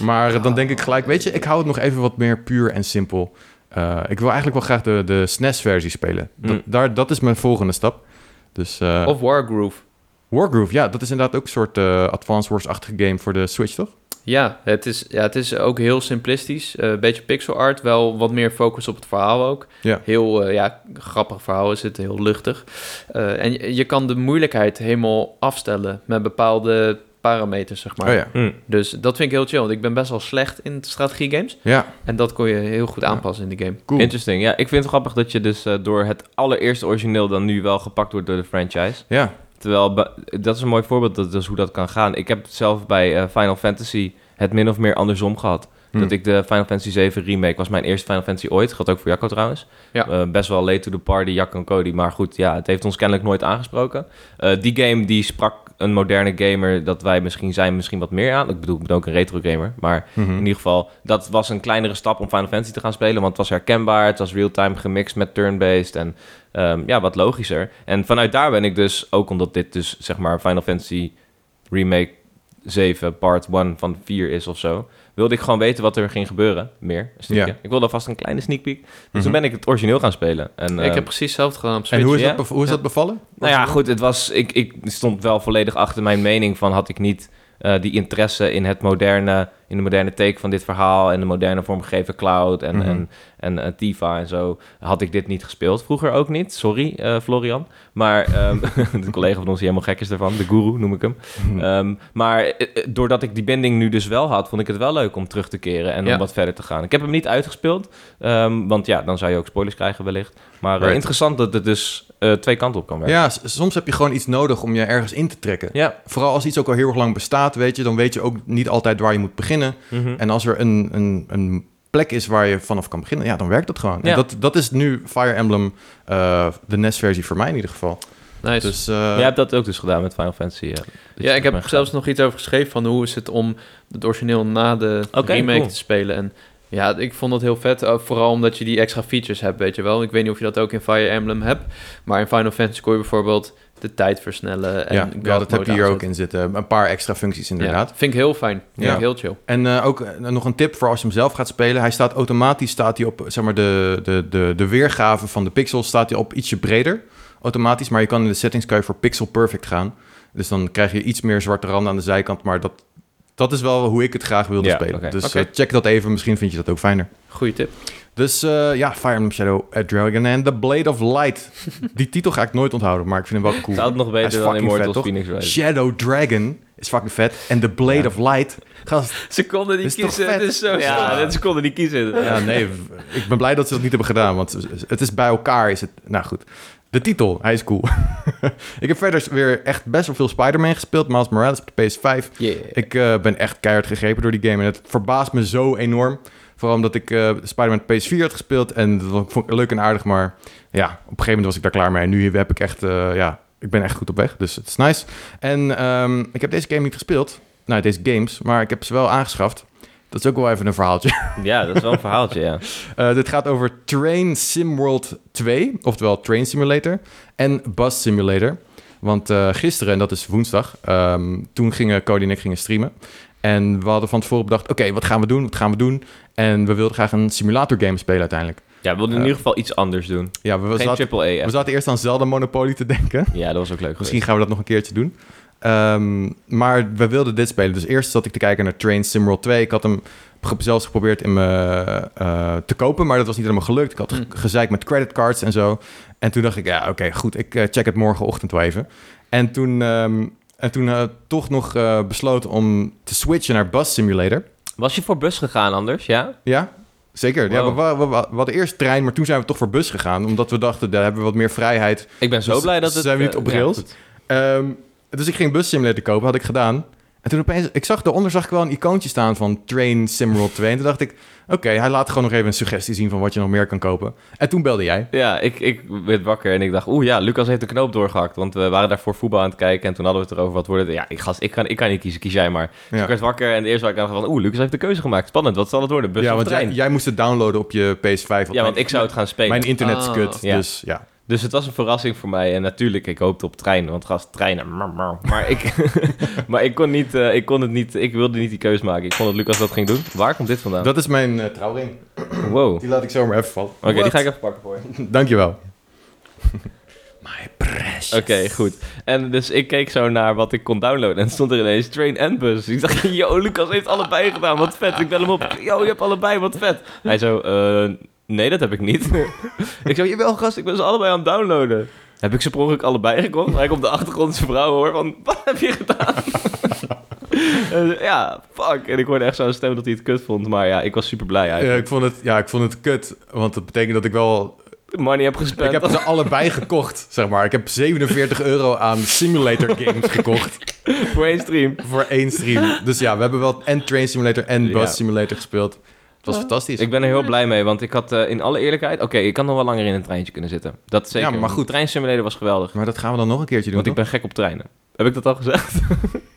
Maar eh, dan denk ik gelijk, weet je... ik hou het nog even wat meer puur en simpel. Eh, ik wil eigenlijk wel graag de, de SNES-versie spelen. Dat, Mm. daar, dat is mijn volgende stap. Dus, eh, Of Wargroove. Wargroove, ja, dat is inderdaad ook een soort eh Advance Wars-achtige game voor de Switch, toch? Ja het, is, ja, het is ook heel simplistisch. Eh, Een beetje pixel art, wel wat meer focus op het verhaal ook. Ja. Heel eh, ja, grappig verhaal is het, heel luchtig. Eh, en je, je kan de moeilijkheid helemaal afstellen met bepaalde parameters, zeg maar. Oh ja. Hm. Dus dat vind ik heel chill, want ik ben best wel slecht in strategiegames. Ja, En dat kon je heel goed aanpassen in de game. cool. Interesting. Ja, ik vind het grappig dat je dus eh, door het allereerste origineel dan nu wel gepakt wordt door de franchise. Ja, Terwijl, ba- dat is een mooi voorbeeld dat, dus hoe dat kan gaan. Ik heb het zelf bij eh, Final Fantasy het min of meer andersom gehad. Hm. Dat ik de Final Fantasy 7 remake was mijn eerste Final Fantasy ooit. Geldt ook voor Jacco trouwens. Ja. Eh, best wel late to the party, Jacco en Cody. Maar goed, ja, het heeft ons kennelijk nooit aangesproken. Eh, die game die sprak een moderne gamer dat wij misschien zijn, misschien wat meer aan. Ik bedoel, ik ben ook een retro gamer. Maar Mhm. in ieder geval, dat was een kleinere stap om Final Fantasy te gaan spelen. Want het was herkenbaar, het was real-time gemixt met turn-based en ehm, ja, wat logischer. En vanuit daar ben ik dus, ook omdat dit dus zeg maar Final Fantasy Remake 7 Part 1 van 4 is of zo, wilde ik gewoon weten wat er ging gebeuren. Meer, een stukje. Ja. Ik wilde alvast een kleine sneak peek. Dus Mhm. toen ben ik het origineel gaan spelen. En, ik ehm, heb precies hetzelfde gedaan op eh, En Switch. hoe is, ja? dat, bev- hoe is Ja. dat bevallen? nou ja, goed, het was, ik, ik stond wel volledig achter mijn mening van had ik niet eh, die interesse in het moderne, in de moderne take van dit verhaal en de moderne vormgegeven cloud en, Mhm. en, en eh, Tifa en zo, had ik dit niet gespeeld. Vroeger ook niet, sorry eh, Florian, maar ehm, de collega van ons die helemaal gek is daarvan, de guru noem ik hem. Mhm. Ehm, maar eh, eh, doordat ik die binding nu dus wel had, vond ik het wel leuk om terug te keren en Ja. om wat verder te gaan. Ik heb hem niet uitgespeeld, ehm, want ja, dan zou je ook spoilers krijgen wellicht. Maar eh, Right. interessant dat het dus eh, twee kanten op kan werken. Ja, s- soms heb je gewoon iets nodig om je ergens in te trekken. Ja. Vooral als iets ook al heel erg lang bestaat, weet je, dan weet je ook niet altijd waar je moet beginnen. Mhm. En als er een, een, een plek is waar je vanaf kan beginnen, ja, dan werkt dat gewoon. En Ja. dat, dat is nu Fire Emblem, eh, de NES-versie voor mij in ieder geval. Nice. Dus eh, Jij hebt dat ook dus gedaan met Final Fantasy. Ja, Dat je Ja, terug ik bent heb gegaan. zelfs nog iets over geschreven van hoe is het om het origineel na de Oké, remake cool. te spelen. En ja, ik vond dat heel vet, ook vooral omdat je die extra features hebt, weet je wel. Ik weet niet of je dat ook in Fire Emblem hebt, maar in Final Fantasy kon je bijvoorbeeld de tijd versnellen. En ja, God ja, dat heb mode je hier ook aanzetten. in zitten. Een paar extra functies inderdaad. Ja, vind ik heel fijn. Vind Ja. ik heel chill. En eh, ook eh, nog een tip voor als je hem zelf gaat spelen. Hij staat automatisch staat hij op zeg maar, de, de, de, de weergave van de pixels staat hij op ietsje breder. Automatisch, maar je kan in de settings kan je voor pixel perfect gaan. Dus dan krijg je iets meer zwarte randen aan de zijkant. Maar dat, dat is wel hoe ik het graag wilde Ja, spelen. oké. Dus Oké. eh, check dat even. Misschien vind je dat ook fijner. Goeie tip. Dus eh, ja, Fire Emblem Shadow eh, Dragon and the Blade of Light. Die titel ga ik nooit onthouden, maar ik vind hem wel cool. Het is altijd nog beter dan fucking vet, Immortals toch? Phoenix Rising. Shadow Dragon is fucking vet. En The Blade Ja. of Light. Gast, Ze konden niet Is toch kiezen, vet? het is zo Ja, stom. dat ze konden niet kiezen. Ja, nee, w- ik ben blij dat ze dat niet hebben gedaan, want het is bij elkaar is het... Nou goed, de titel, hij is cool. ik heb verder weer echt best wel veel Spider-Man gespeeld, Miles Morales op de PS5. Yeah. Ik eh, ben echt keihard gegrepen door die game en het verbaast me zo enorm. Vooral omdat ik eh, Spider-Man op PS4 had gespeeld en dat vond ik leuk en aardig, maar ja, op een gegeven moment was ik daar klaar mee. En nu heb ik echt, eh, ja, ik ben echt goed op weg, dus het is nice. En ehm, ik heb deze game niet gespeeld, nou deze games, maar ik heb ze wel aangeschaft. Dat is ook wel even een verhaaltje. Ja, dat is wel een verhaaltje, ja. Eh, dit gaat over Train Sim World 2, oftewel Train Simulator en Bus Simulator. Want eh, gisteren, en dat is woensdag, ehm, toen gingen Cody en ik gingen streamen. En we hadden van tevoren bedacht, oké, wat gaan we doen, wat gaan we doen? En we wilden graag een simulator game spelen uiteindelijk. Ja, we wilden in Ja. ieder geval iets anders doen. Ja, we, Geen zaten, triple A, we zaten eerst aan Zelda Monopoly te denken. Ja, dat was ook leuk Misschien gaan we dat nog een keertje doen. Ehm, maar we wilden dit spelen. Dus eerst zat ik te kijken naar Train Sim World 2. Ik had hem ge- zelfs geprobeerd in me, eh, te kopen, maar dat was niet helemaal gelukt. Ik had ge- Mm. gezeik met creditcards en zo. En toen dacht ik, ja, oké, goed. Ik eh, check het morgenochtend wel even. En toen, ehm, en toen eh, toch nog eh, besloten om te switchen naar Bus Simulator. geweest. Was je voor bus gegaan anders, ja? Ja, zeker. Ja, Wow. we, we- we- we hadden eerst trein, maar toen zijn we toch voor bus gegaan. Omdat we dachten, daar hebben we wat meer vrijheid. Ik ben zo Dus blij dat het... zijn we niet eh, op ja, rails? goed. Ehm, dus ik ging bus simulator kopen, had ik gedaan. En toen opeens, ik zag daaronder zag ik wel een icoontje staan van Train Simworld 2. En toen dacht ik, oké, hij laat gewoon nog even een suggestie zien van wat je nog meer kan kopen. En toen belde jij. Ja, ik, ik werd wakker en ik dacht, oeh ja, Lucas heeft de knoop doorgehakt. Want we waren daarvoor voetbal aan het kijken en toen hadden we het erover wat worden. Ja, ik, gast, ik, kan, ik kan niet kiezen, kies jij maar. Dus Ja. ik werd wakker en eerst was ik aan van, oeh, Lucas heeft de keuze gemaakt. Spannend, wat zal het worden? Bus ja, of want jij, trein? jij moest het downloaden op je PS5. want ja, want mijn- ik zou het gaan spelen. Mijn internet is Ah. kut, Ja. dus ja. Dus het was een verrassing voor mij. En natuurlijk, ik hoopte op trein, want gast, treinen. mrr, mrr. Maar ik, maar ik, kon, niet, eh, ik kon het niet, ik wilde niet die keus maken. Ik vond dat Lucas dat ging doen. Waar komt dit vandaan? Dat is mijn eh, trouwring. Wow. Oké, Die laat ik zomaar even vallen. die What? ga ik even pakken voor je. Dankjewel. Oké, goed. En dus ik keek zo naar wat ik kon downloaden. En stond er ineens train en bus. Ik dacht, yo, Lucas heeft allebei gedaan. Wat vet. Ik bel hem op. Yo, je hebt allebei. Wat vet. Hij zo, eh, nee, dat heb ik niet. ik zo, jawel gast, ik ben ze allebei aan het downloaden. Heb ik ze per ongeluk allebei gekocht? Hij komt de achtergrond zijn vrouw hoor. Van, wat heb je gedaan? Eh, ja, fuck. En ik hoorde echt zo'n stem dat hij het kut vond. Maar ja, ik was super blij Ja, eigenlijk. Eh, ik, vond het, ja, ik vond het kut, want dat betekent dat ik wel... Money heb Ik gespend. heb ze allebei gekocht, zeg maar. Ik heb 47 euro aan simulator games gekocht voor één stream. voor één stream. Dus ja, we hebben wel en Train Simulator en Bus Ja. Simulator gespeeld. Het was fantastisch. Ik ben er heel blij mee, want ik had eh, in alle eerlijkheid... Oké, ik had nog wel langer in een treintje kunnen zitten. Dat zeker. Ja, maar goed. Treinsimulator was geweldig. Maar dat gaan we dan nog een keertje doen, Want ik ben gek op treinen. Heb ik dat al gezegd?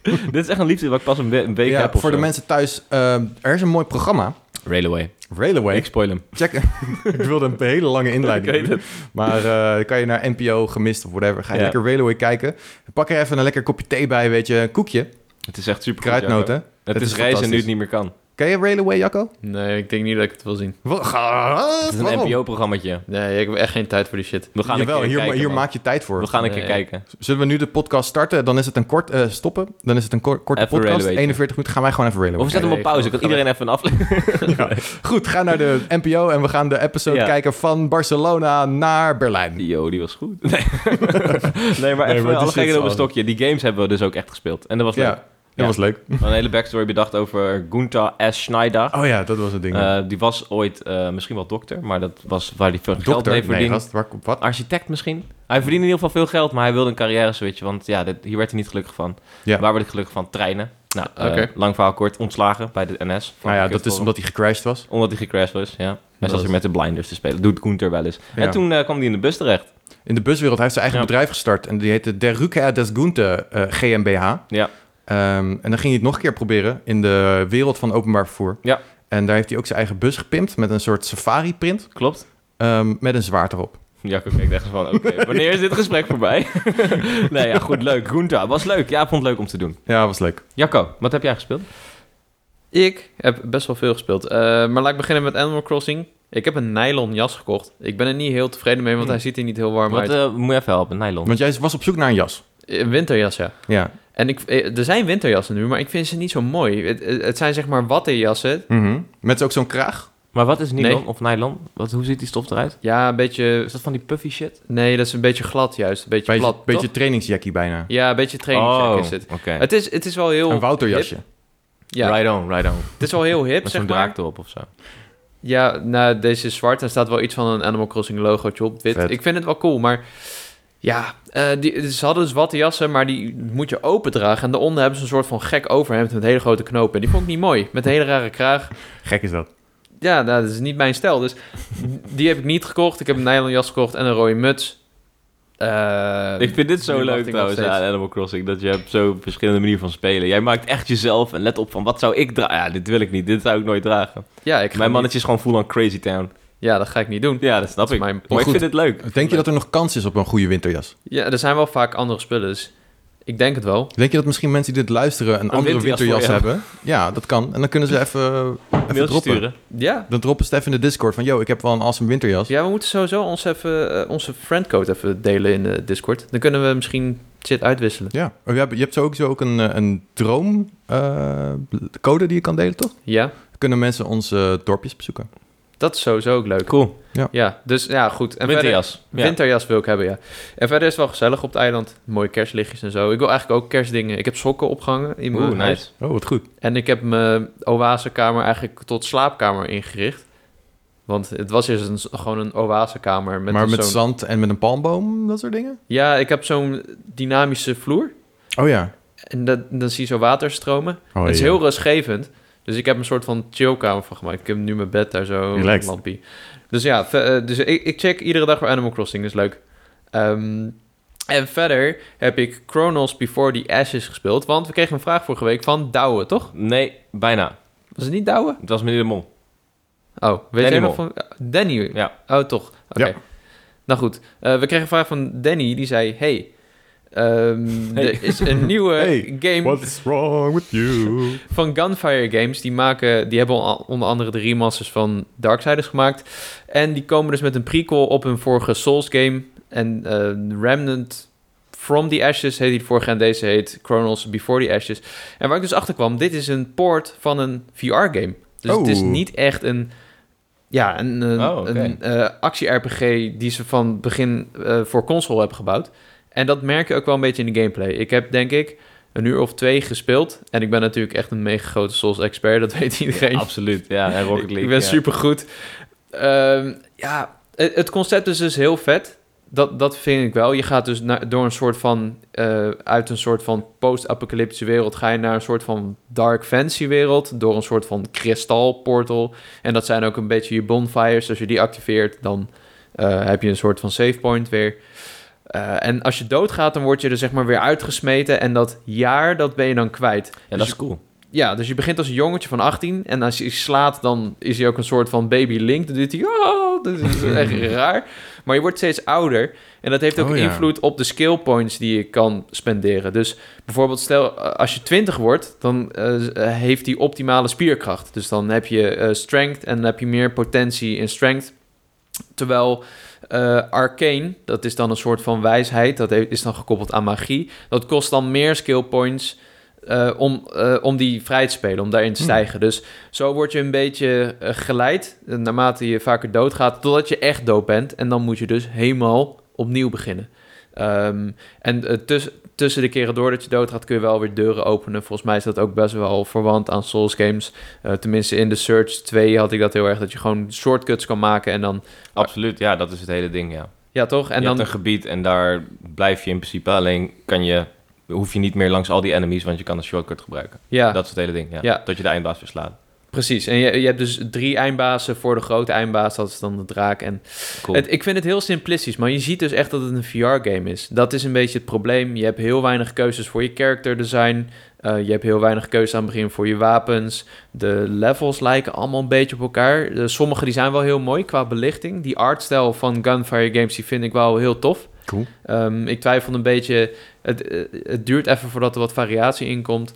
Dit is echt een liefde wat ik pas een, we- een week ja, heb of voor de zo. mensen thuis, ehm, er is een mooi programma. Railway. Railway. Ik spoil hem. Check. ik wilde een hele lange inleiding Ik weet doen. Maar eh, dan kan je naar NPO gemist of whatever. Ga je Ja. lekker Railway kijken. Pak er even een lekker kopje thee bij, weet je. Een koekje. Het is echt super Kruidnoten. Het, Het is, is reizen nu fantastisch. het niet meer kan. Ken je Railway, Jacco? Nee, ik denk niet dat ik het wil zien. Wat? Het is een Waarom? NPO-programmaatje. Nee, ik heb echt geen tijd voor die shit. We gaan Jawel, een keer hier, kijken, hier man. maak je tijd voor. We gaan een keer Nee. kijken. Zullen we nu de podcast starten? Dan is het een kort... eh, stoppen. Dan is het een kor- korte Even podcast. Railway. 41 minuten gaan wij gewoon even Railway Of we zetten hem op Nee, pauze. ik Kan ga iedereen even een aflevering... kijken. Goed, ga naar de NPO en we gaan de episode Ja. kijken van Barcelona naar Berlijn. Yo, die was goed. Nee, nee maar even maar die alle shit gekheid op is een al- stokje. Die games hebben we dus ook echt gespeeld. En dat was Ja, leuk. dat Ja. was leuk. We hadden Een hele backstory bedacht over Gunther S. Schneider. Oh ja, dat was het ding. Eh, die was ooit eh, misschien wel dokter, maar dat was waar hij veel geld Dokter? mee Nee, verdiende. gast, waar, Ah, wat? Architect misschien? Hij verdiende in ieder geval veel geld, maar hij wilde een carrière switchen, want ja, dit- hier werd hij niet gelukkig van. Ja. Waar werd ik gelukkig van? Treinen. Nou, eh, Oké. lang verhaal kort, ontslagen bij de NS. Nou ja, dat is omdat hij gecrashed was. Omdat hij gecrashed was, ja. Hij Dat zat is- weer met de blinders te spelen. Doet Gunther wel eens. Ja. En toen eh, kwam hij in de bus terecht. In de buswereld, hij heeft zijn eigen Ja. bedrijf gestart. En die heette Der Rückkehr des Gunte eh, GmbH. Ja. Ehm, en dan ging hij het nog een keer proberen in de wereld van openbaar vervoer. Ja. En daar heeft hij ook zijn eigen bus gepimpt met een soort safari-print Klopt. ehm, met een zwaard erop. Jacco kijkt echt van, oké, wanneer is dit gesprek voorbij? nee, ja, goed, leuk. Gunther, was leuk. Ja, vond het leuk om te doen. Ja, was leuk. Jacco, wat heb jij gespeeld? Ik heb best wel veel gespeeld. Eh, maar laat ik beginnen met Animal Crossing. Ik heb een nylon jas gekocht. Ik ben er niet heel tevreden mee, want Hmm. hij ziet er niet heel warm Wat, uit. eh, moet je even helpen? Nylon. Want jij was op zoek naar een jas. Een winterjas, ja. Ja. En ik, eh, er zijn winterjassen nu, maar ik vind ze niet zo mooi. Het, het het zijn zeg maar wattenjassen. Mhm. Met ook zo'n kraag. Maar wat is nylon Nee. of nylon? Wat, hoe ziet die stof eruit? Ja, een beetje... Is dat van die puffy shit? Nee, dat is een beetje glad juist. Een beetje Beetje, plat, beetje toch? trainingsjackie bijna. Ja, een beetje trainingsjack is het. Oh, oké. Het is, het is wel heel... Een Wouterjasje. Ja, Right on, right on. het is wel heel hip, Met zeg zo'n maar. draak erop of zo. Ja, nou, deze is zwart en staat wel iets van een Animal Crossing logootje op. Wit. Vet. Ik vind het wel cool, maar ja, eh, die, ze hadden dus watte jassen, maar die moet je open dragen. En daaronder hebben ze een soort van gek overhemd met hele grote knopen. Die vond ik niet mooi, met een hele rare kraag. Gek is dat. Ja, nou, dat is niet mijn stijl. Dus die heb ik niet gekocht. Ik heb een nylon jas gekocht en een rode muts. Eh, ik vind dit zo nu wacht leuk ik trouwens nog steeds. aan Animal Crossing. Dat je hebt zo'n verschillende manieren van spelen. Jij maakt echt jezelf en let op van wat zou ik dragen. Ja, dit wil ik niet. Dit zou ik nooit dragen. ja, ik ga Mijn niet- mannetje is gewoon full on Crazy Town. Ja, dat ga ik niet doen. Ja, dat snap Dat is ik. mijn- Maar Maar ik goed. vind het leuk. Denk je dat er nog kans is op een goede winterjas? Ja, er zijn wel vaak andere spullen, dus ik denk het wel. Denk je dat misschien mensen die dit luisteren een, andere winterjas winterjas voor je hebben? Ja, dat kan. En dan kunnen ze even, even Mail droppen. sturen. Ja, Dan droppen ze het even in de Discord van... yo, ik heb wel een awesome winterjas. Ja, we moeten sowieso ons even, eh, onze friendcode even delen in de Discord. Dan kunnen we misschien shit uitwisselen. Ja, Oh, je hebt, je hebt zo ook, zo ook een, eh, een droomcode die je kan delen, toch? Ja, Dan kunnen mensen onze eh, dorpjes bezoeken. dat is sowieso ook leuk. Cool. Ja, dus ja, goed. En Verder, Winterjas. Ja. winterjas wil ik hebben, ja. En verder is het wel gezellig op het eiland. Mooie kerstlichtjes en zo. Ik wil eigenlijk ook kerstdingen. Ik heb sokken opgehangen in mijn Oeh, huis. nice. Oh, wat goed. En ik heb mijn oasekamer eigenlijk tot slaapkamer ingericht. Want het was eerst een, gewoon een oasekamer. Met maar een met zo'n- zand en met een palmboom, dat soort dingen? Ja, ik heb zo'n dynamische vloer. Oh ja. En dat, dan zie je zo water stromen. Oh, het is ja. heel rustgevend. Dus ik heb een soort van chillkamer van gemaakt. Ik heb nu mijn bed daar zo, een Relaxed. lampie. Dus ja, ve- eh, dus ik, ik check iedere dag voor Animal Crossing. Dat is leuk. Ehm, en verder heb ik Chronos Before the Ashes gespeeld. Want we kregen een vraag vorige week van Douwe, toch? Nee, bijna. Was het niet Douwe? Het was meneer de Mol. Oh, weet Danny jij nog Mol. van... Danny? Ja. Oh, toch. Oké. Ja. Nou goed, Eh, we kregen een vraag van Danny. Die zei, hey, ehm, Hey. er is een nieuwe Hey, game What's wrong with you? van Gunfire Games. Die, maken, die hebben al- onder andere de remasters van Darksiders gemaakt. En die komen dus met een prequel op hun vorige Souls game. En eh, Remnant From the Ashes heet die vorige en deze heet Chronos Before the Ashes. En waar ik dus achter kwam, dit is een port van een VR-game. Dus het is Oh. niet echt een, ja, een, een, Oh, oké. een, eh, actie-RPG die ze van begin eh, voor console hebben gebouwd. En dat merk je ook wel een beetje in de gameplay. Ik heb denk ik een uur of twee gespeeld. En ik ben natuurlijk echt een mega grote Souls-expert, dat weet iedereen. Absoluut, ja. En Rocket League. Ik ben ja. super goed. ja, het het concept is dus heel vet. Dat, dat vind ik wel. Je gaat dus naar, door een soort van, eh, uit een soort van post-apocalyptische wereld, ga je naar een soort van dark fantasy wereld, door een soort van kristalportal. En dat zijn ook een beetje je bonfires. Als je die activeert, dan eh, heb je een soort van save point weer. Eh, en als je doodgaat, dan word je er zeg maar weer uitgesmeten. En dat jaar, dat ben je dan kwijt. Ja, dat is cool. Ja, dus je begint als een jongetje van 18 en als je slaat, dan is hij ook een soort van baby Link. Dan doet hij, oh, dat is echt raar. Maar je wordt steeds ouder en dat heeft ook Oh ja. invloed op de skill points die je kan spenderen. Dus bijvoorbeeld, stel eh, als je 20 wordt, dan eh, eh, heeft hij optimale spierkracht. Dus dan heb je eh, strength en dan heb je meer potentie in strength. Terwijl eh arcane, dat is dan een soort van wijsheid, dat he- is dan gekoppeld aan magie. Dat kost dan meer skill points eh, om, eh, om die vrij te spelen, om daarin te Hmm. stijgen. Dus zo word je een beetje eh, geleid, eh, naarmate je vaker doodgaat, totdat je echt dood bent. En dan moet je dus helemaal opnieuw beginnen. Ehm, en eh, tuss- tussen de keren door dat je doodgaat kun je wel weer deuren openen. Volgens mij is dat ook best wel verwant aan Souls games. Eh, tenminste in de Search 2 had ik dat heel erg, dat je gewoon shortcuts kan maken en dan... Absoluut, ja. Dat is het hele ding, ja. Ja, toch? En je dan hebt een gebied en daar blijf je in principe. Alleen kan je, hoef je niet meer langs al die enemies, want je kan een shortcut gebruiken. Ja, Dat is het hele ding, ja. Ja. Dat je de eindbaas verslaat. precies. En je, je hebt dus drie eindbazen voor de grote eindbaas. Dat is dan de draak. En Cool. het, ik vind het heel simplistisch, maar je ziet dus echt dat het een VR-game is. Dat is een beetje het probleem. Je hebt heel weinig keuzes voor je character design. Eh, je hebt heel weinig keuzes aan het begin voor je wapens. De levels lijken allemaal een beetje op elkaar. Eh, sommige die zijn wel heel mooi qua belichting. Die artstijl van Gunfire Games die vind ik wel heel tof. Cool. Ehm, ik twijfelde een beetje. Het, eh, het duurt even voordat er wat variatie in komt.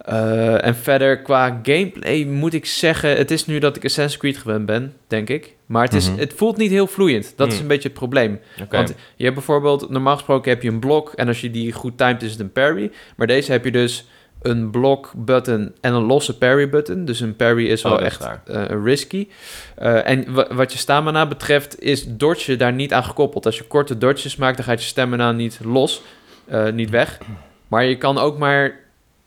Eh, en verder, qua gameplay moet ik zeggen... Het is nu dat ik Assassin's Creed gewend ben, denk ik. Maar het, is, Mhm. het voelt niet heel vloeiend. Dat is Mm. een beetje het probleem. Oké. Want je hebt bijvoorbeeld... Normaal gesproken heb je een blok... en als je die goed timed is het een parry. Maar deze heb je dus een blok button en een losse parry button. Dus een parry is Oh, dat wel is echt waar. eh, risky. Eh, en wa- wat je stamina betreft is dodge daar niet aan gekoppeld. Als je korte dodges maakt, dan gaat je stamina niet los, eh, niet weg. Maar je kan ook maar...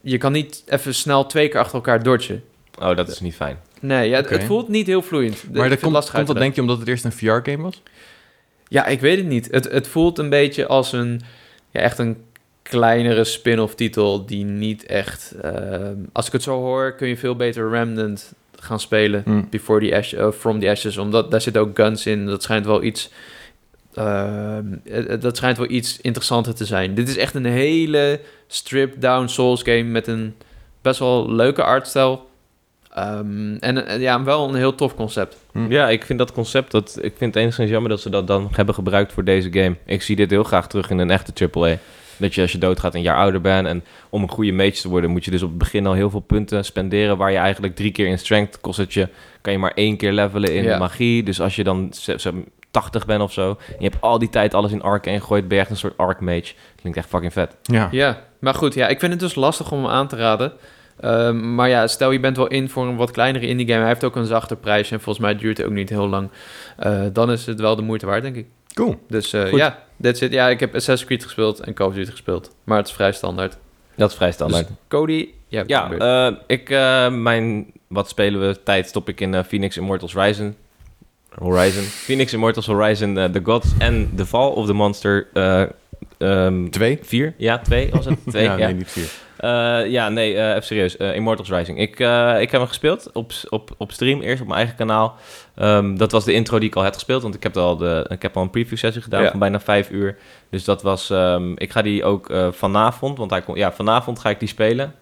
Je kan niet even snel twee keer achter elkaar dodgen. Oh, dat is niet fijn. Nee, ja, het- Oké. het voelt niet heel vloeiend. Ik Maar vind dat het komt, lastig uit komt te dat denk je omdat het eerst een VR-game was? ja, ik weet het niet. Het, het voelt een beetje als een ja, echt een kleinere spin-off titel die niet echt. ehm, als ik het zo hoor, kun je veel beter Remnant gaan spelen. Hm. Before the Ash, eh, From the Ashes, omdat daar zit ook guns in. Dat schijnt wel iets. ehm, eh, eh, dat schijnt wel iets interessanter te zijn. Dit is echt een hele stripped down Souls game met een best wel leuke artstijl. Ehm, en eh, ja, wel een heel tof concept. Hm. Ja, ik vind dat concept, dat, ik vind het enigszins jammer dat ze dat dan hebben gebruikt voor deze game. Ik zie dit heel graag terug in een echte AAA. Dat je als je doodgaat een jaar ouder bent en om een goede mage te worden moet je dus op het begin al heel veel punten spenderen waar je eigenlijk drie keer in strength kost het je, kan je maar één keer levelen in Ja. magie. Dus als je dan ze- ze- 80 bent of zo en je hebt al die tijd alles in arcane gegooid, ben je echt een soort arc mage. Klinkt echt fucking vet. Ja. Ja, maar goed, ja, ik vind het dus lastig om hem aan te raden. Ehm, maar ja, stel je bent wel in voor een wat kleinere indie game. Hij heeft ook een zachter prijs en volgens mij duurt het ook niet heel lang. Eh, dan is het wel de moeite waard, denk ik. Cool. Dus eh, Goed. ja, that's it. Ja, ik heb Assassin's Creed gespeeld en Call of Duty gespeeld. Maar het is vrij standaard. Dat is vrij standaard. Cody, ja, Ja, probeer. eh, ik, eh, mijn wat spelen we tijd stop ik in eh, Phoenix Immortals Rising. Horizon. Phoenix Immortals Horizon, eh, The Gods en The Fall of the Monster eh, ehm, Twee? vier? Ja, twee was het? Twee, ja. nee, niet vier. Eh, ja, nee, eh, even serieus. Eh, Immortals Rising. Ik, eh, ik heb hem gespeeld op, op, op stream, eerst op mijn eigen kanaal. Ehm, dat was de intro die ik al had gespeeld, want ik heb al, de, ik heb al een preview sessie gedaan Ja. van bijna vijf uur. Dus dat was... ehm, ik ga die ook eh, vanavond, want hij komt... Ja, vanavond ga ik die spelen.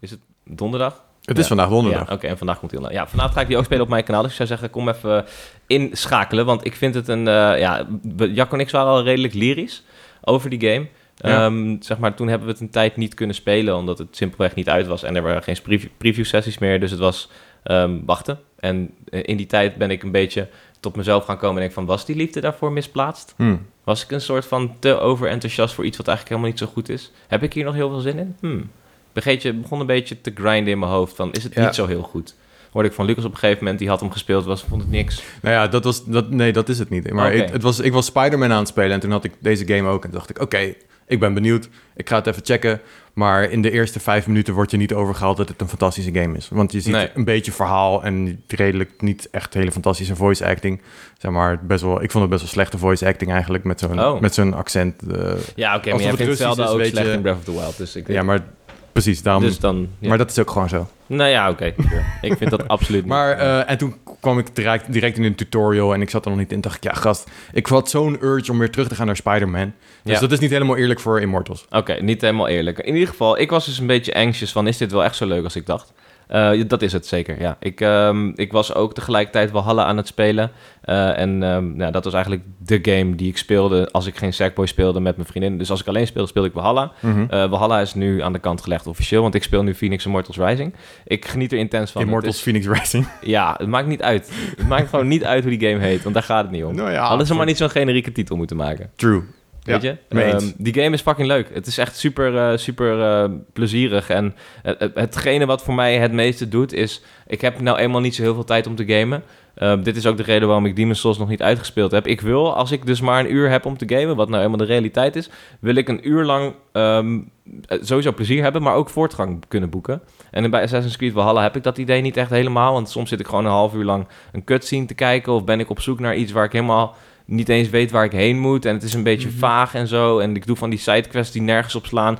Is het donderdag? Het Ja. is vandaag Ja, donderdag. Oké, en vandaag komt hij online. Ja, vanavond ga ik die ook spelen op mijn kanaal. Dus ik zou zeggen, kom even inschakelen. Want ik vind het een... eh, ja, we- Jack en ik waren al redelijk lyrisch over die game. Ja. Ehm, zeg maar, toen hebben we het een tijd niet kunnen spelen... omdat het simpelweg niet uit was. En er waren geen preview, preview sessies meer. Dus het was ehm, wachten. En eh, in die tijd ben ik een beetje tot mezelf gaan komen... en denk van, was die liefde daarvoor misplaatst? Hm. Was ik een soort van te overenthousiast voor iets wat eigenlijk helemaal niet zo goed is? Heb ik hier nog heel veel zin in? Hmm. Ik Begeet je, begon een beetje te grinden in mijn hoofd van, is het Ja. niet zo heel goed? Hoorde ik van Lucas op een gegeven moment, die had hem gespeeld, was, vond het niks. Nou ja, dat was, dat, nee, dat is het niet. Maar Oké. het, het was, ik was Spider-Man aan het spelen en toen had ik deze game ook. En toen dacht ik, oké, ik ben benieuwd. Ik ga het even checken. Maar in de eerste vijf minuten word je niet overgehaald dat het een fantastische game is. Want je ziet Nee. een beetje verhaal en redelijk niet echt hele fantastische voice acting. Zeg maar, best wel, ik vond het best wel slechte voice acting eigenlijk met zo'n Oh. met zo'n accent. eh, Ja, oké, Alsof maar jij het vindt Russisch Zelda is, ook weet slecht je. in Breath of the Wild, dus ik... ja, maar precies, daarom... dus dan... ja. Maar dat is ook gewoon zo. Nou ja, oké. ik vind dat absoluut niet. Maar, eh, en toen kwam ik direct, direct in een tutorial en ik zat er nog niet in. dacht ik, ja gast, ik had zo'n urge om weer terug te gaan naar Spider-Man. Dus Ja. dat is niet helemaal eerlijk voor Immortals. Oké, niet helemaal eerlijk. In ieder geval, ik was dus een beetje anxious van, is dit wel echt zo leuk als ik dacht? Eh, dat is het zeker, ja. Ik, ehm, ik was ook tegelijkertijd Valhalla aan het spelen. Eh, en ehm, nou, dat was eigenlijk de game die ik speelde als ik geen Sackboy speelde met mijn vriendin. Dus als ik alleen speelde, speelde ik Valhalla. Eh Valhalla is nu aan de kant gelegd officieel, want ik speel nu Phoenix Immortals Rising. Ik geniet er intens van. Immortals Het Phoenix Rising. is- ja, het maakt niet uit. Het maakt gewoon niet uit hoe die game heet, want daar gaat het niet om. Nou ja, Hadden ze maar niet zo'n generieke titel moeten maken. True. Weet Ja, je? mee eens. Ehm, die game is fucking leuk. Het is echt super, eh, super eh, plezierig. En eh, eh, hetgene wat voor mij het meeste doet is... Ik heb nou eenmaal niet zo heel veel tijd om te gamen. Ehm, dit is ook de reden waarom ik Demon's Souls nog niet uitgespeeld heb. Ik wil, als ik dus maar een uur heb om te gamen... wat nou eenmaal de realiteit is... wil ik een uur lang ehm, eh, sowieso plezier hebben... maar ook voortgang kunnen boeken. En bij Assassin's Creed Valhalla heb ik dat idee niet echt helemaal. Want soms zit ik gewoon een half uur lang een cutscene te kijken... of ben ik op zoek naar iets waar ik helemaal niet eens weet waar ik heen moet. En het is een beetje vaag en zo. En ik doe van die sidequests die nergens op slaan.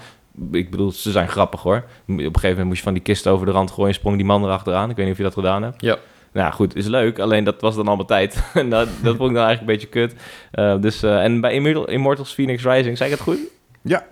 Ik bedoel, ze zijn grappig hoor. Op een gegeven moment moest je van die kist over de rand gooien en sprong die man erachteraan. Ik weet niet of je dat gedaan hebt. Ja. Nou goed, is leuk. Alleen dat was dan allemaal tijd. en dat, dat vond ik dan eigenlijk een beetje kut. Eh, dus, eh, en bij Immortal- Immortals Phoenix Rising, zei ik het goed? Ja.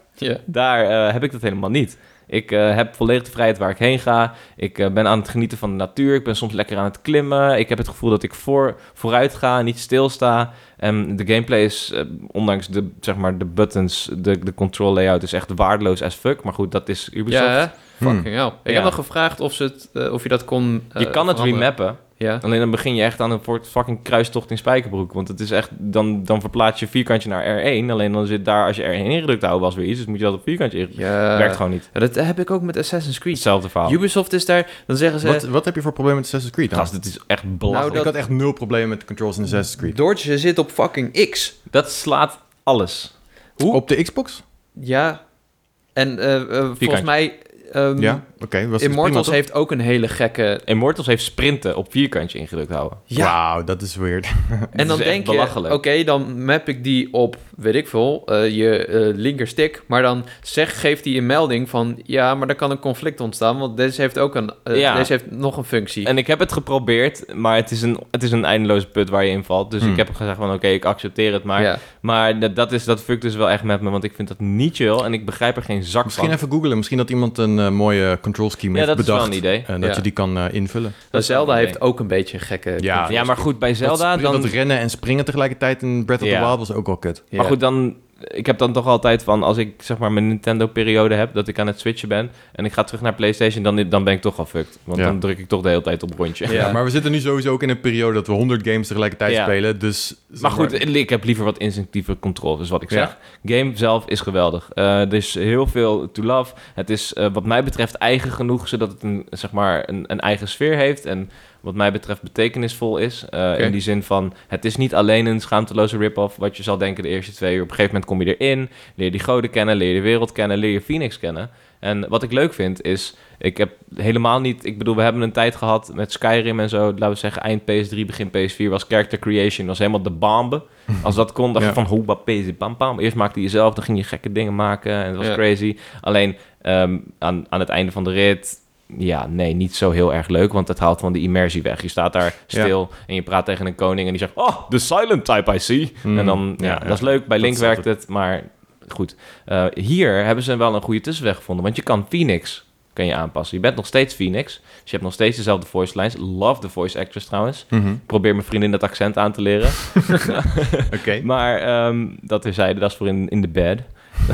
Daar eh, heb ik dat helemaal niet. Ik eh, heb volledig de vrijheid waar ik heen ga. Ik eh, ben aan het genieten van de natuur. Ik ben soms lekker aan het klimmen. Ik heb het gevoel dat ik voor, vooruit ga, niet stilsta. En de gameplay is, eh, ondanks de, zeg maar, de buttons, de, de control layout is echt waardeloos as fuck. Maar goed, dat is Ubisoft. Ja, hè? Hmm. fucking hell. Ik Ja. heb nog gevraagd of, ze het, eh, of je dat kon eh, je kan het veranderen. remappen. Ja. Alleen dan begin je echt aan een soort fucking kruistocht in Spijkerbroek. Want het is echt, dan, dan verplaats je vierkantje naar R1. Alleen dan zit daar, als je R1 ingedrukt houdt, was weer iets. Dus moet je dat op vierkantje Eh, ingedrukt. Ja. Werkt gewoon niet. Ja, Dat heb ik ook met Assassin's Creed. Hetzelfde verhaal. Ubisoft is daar, dan zeggen ze... Wat, wat heb je voor probleem met Assassin's Creed dan? Gast, het is echt Nou, belachelijk. Ik had echt nul probleem met de controls in Assassin's Creed. Dodge zit op fucking X. Nou, Dat slaat alles. Hoe- Op de Xbox? Ja. En eh, eh, volgens Vierkantje. mij... ehm ja, oké. was dus prima, Immortals toch? heeft ook een hele gekke... Immortals heeft sprinten op vierkantje ingedrukt houden. Ja, Wauw, dat is weird. en dan is echt denk je, oké, belachelijk. dan map ik die op, weet ik veel, eh, je eh, linkerstick. Maar dan zeg, geeft hij een melding van, ja, maar daar kan een conflict ontstaan, want deze heeft ook een, eh, Ja. deze heeft nog een functie. En ik heb het geprobeerd, maar het is een, het is een eindeloze put waar je in valt. Dus Hmm. ik heb gezegd van oké, ik accepteer het. Maar, ja. maar dat, dat, is, dat fuckt dus wel echt met me, want ik vind dat niet chill en ik begrijp er geen zak Misschien van. even googlen. Misschien dat iemand een eh, mooie control scheme Ja, heeft dat is wel bedacht. een idee. En dat Ja. je die kan eh, invullen. dat is Zelda wel een heeft ook een beetje een gekke... Ja. ja, maar goed, bij Zelda dat, spri- dan... dat rennen en springen tegelijkertijd in Breath of the Ja. Wild was ook wel kut. Ja. Maar goed, dan... Ik heb dan toch altijd van, als ik zeg maar mijn Nintendo-periode heb, dat ik aan het switchen ben en ik ga terug naar PlayStation, dan, dan ben ik toch al fucked. Want Ja. dan druk ik toch de hele tijd op rondje. Ja. Ja, maar we zitten nu sowieso ook in een periode dat we 100 games tegelijkertijd Ja. spelen. Dus, zeg Maar goed, ik heb liever wat instinctieve controle, is wat ik Ja. zeg. Game zelf is geweldig. Eh, er is heel veel to love. Het is eh, wat mij betreft eigen genoeg, zodat het een, zeg maar een, een eigen sfeer heeft. En wat mij betreft betekenisvol is. Eh, In die zin van, het is niet alleen een schaamteloze rip-off... wat je zal denken de eerste twee uur. Op een gegeven moment kom je erin, leer die goden kennen, leer de wereld kennen, leer je Phoenix kennen. En wat ik leuk vind is, ik heb helemaal niet... Ik bedoel, we hebben een tijd gehad met Skyrim en zo. Laten we zeggen, eind PS3, begin PS4 was character creation. was helemaal de bombe. Als dat kon, dacht je Ja. van hoeba, pezi, bam, bam. Eerst maakte je zelf, dan ging je gekke dingen maken. En het was Ja. crazy. Alleen ehm, aan, aan het einde van de rit... Ja, nee, niet zo heel erg leuk, want het haalt van die immersie weg. Je staat daar Ja. stil en je praat tegen een koning en die zegt... Oh, the silent type I see. Mm, En dan, ja, ja, dat ja. is leuk. Bij Dat Link is werkt het, maar goed. Eh, hier hebben ze wel een goede tussenweg gevonden, want je kan Phoenix kan je aanpassen. Je bent nog steeds Phoenix, dus je hebt nog steeds dezelfde voice lines. Love the voice actress trouwens. Mhm. Probeer mijn vriendin dat accent aan te leren. Oké. maar ehm dat terzijde, dat is voor in, in de bed.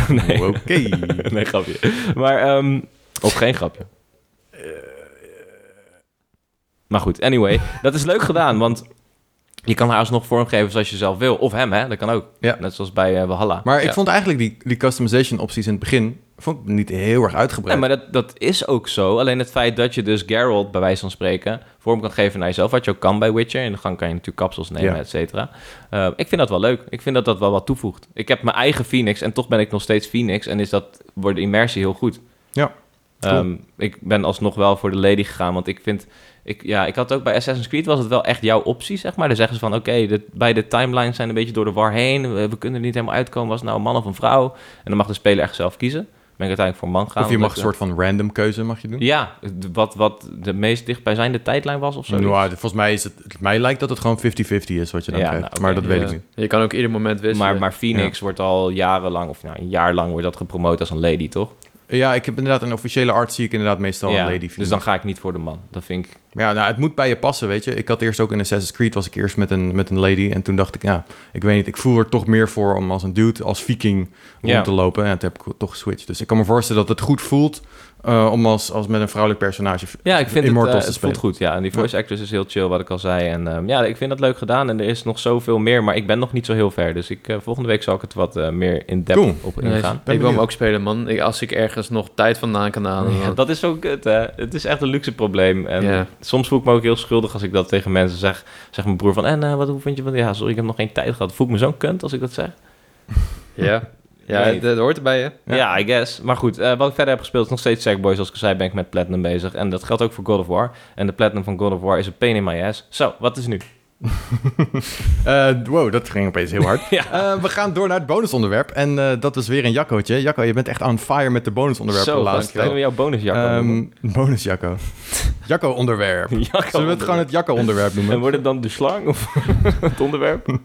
nee. Oh, Oké. nee, grapje. Maar, ehm, of geen grapje. Maar goed, anyway, dat is leuk gedaan, want je kan haar alsnog vormgeven zoals je zelf wil. Of hem, hè, dat kan ook. Ja. Net zoals bij eh, Valhalla. Maar ik Ja. vond eigenlijk die, die customization opties in het begin vond ik niet heel erg Nee, uitgebreid. maar dat, dat is ook zo. Alleen het feit dat je dus Geralt, bij wijze van spreken, vorm kan geven naar jezelf. Wat je ook kan bij Witcher. In de gang kan je natuurlijk kapsels nemen, Ja. et cetera. Eh, ik vind dat wel leuk. Ik vind dat dat wel wat toevoegt. Ik heb mijn eigen Phoenix en toch ben ik nog steeds Phoenix. En is dat, wordt de immersie heel goed. Ja, Ehm, cool. ik ben alsnog wel voor de lady gegaan, want ik vind... Ik, ja, ik had ook bij Assassin's Creed was het wel echt jouw optie, zeg maar. Dan zeggen ze van, oké, dit- beide timelines zijn een beetje door de war heen. We, we kunnen er niet helemaal uitkomen, was het nou een man of een vrouw? En dan mag de speler echt zelf kiezen. Ben ik uiteindelijk voor man gaan. of je omdat mag ik- een soort van random keuze mag je doen. ja, d- wat, wat de meest dichtbijzijnde tijdlijn was of zo. Nou, volgens mij is het, mij lijkt dat het gewoon 50-50 is wat je dan Ja, krijgt. nou, maar oké, dat weet Ja. ik niet. Je kan ook ieder moment wisselen. maar, maar Phoenix wordt al jarenlang, of nou, een jaar lang wordt dat gepromoot als een lady, toch? Ja, ik heb inderdaad een officiële art zie ik inderdaad meestal ja, een lady. dus dan ga ik niet voor de man. Dat vind ik... Maar Ja, nou, het moet bij je passen, weet je. Ik had eerst ook in Assassin's Creed was ik eerst met een, met een lady. En toen dacht ik, ja, ik weet niet, ik voel er toch meer voor om als een dude, als viking, rond Ja. te lopen. En toen heb ik toch geswitcht. Dus ik kan me voorstellen dat het goed voelt eh, om als, als met een vrouwelijk personage Ja, ik vind het, eh, Immortals te het spelen. voelt goed. Ja, en die voice actress is heel chill, wat ik al zei. En ehm, ja, ik vind dat leuk gedaan. En er is nog zoveel meer, maar ik ben nog niet zo heel ver. Dus ik, eh, volgende week zal ik het wat eh, meer in-depth Cool. op Nee, ingaan. ik wil benieuwd. hem ook spelen, man. Ik, als ik ergens nog tijd vandaan kan halen. Ja, dan- dat is zo kut, hè. Het is echt een luxe probleem. En Ja. soms voel ik me ook heel schuldig als ik dat tegen mensen zeg. Zeg mijn broer van, en eh, wat, hoe vind je van... Ja, sorry, ik heb nog geen tijd gehad. Voel ik me zo'n kunt als ik dat zeg? Ja, ja Nee. dat, dat hoort erbij, hè? Ja. Ja, I guess. Maar goed, eh, wat ik verder heb gespeeld is nog steeds Sackboy. Zoals ik al zei, ben ik met Platinum bezig. En dat geldt ook voor God of War. En de Platinum van God of War is een pain in my ass. Zo, wat is nu? Eh, wow, dat ging opeens heel hard. Ja. Eh, we gaan door naar het bonusonderwerp. En eh, dat is weer een Jaccootje. Jacco, je bent echt on fire met de bonusonderwerpen Zo, de laatste Kunnen tijd. we jouw bonus Jacco noemen? Ehm bonus Jacco. Jacco onderwerp. Jacco Zullen we het gewoon het Jacco onderwerp En noemen? wordt het dan de slang of het onderwerp?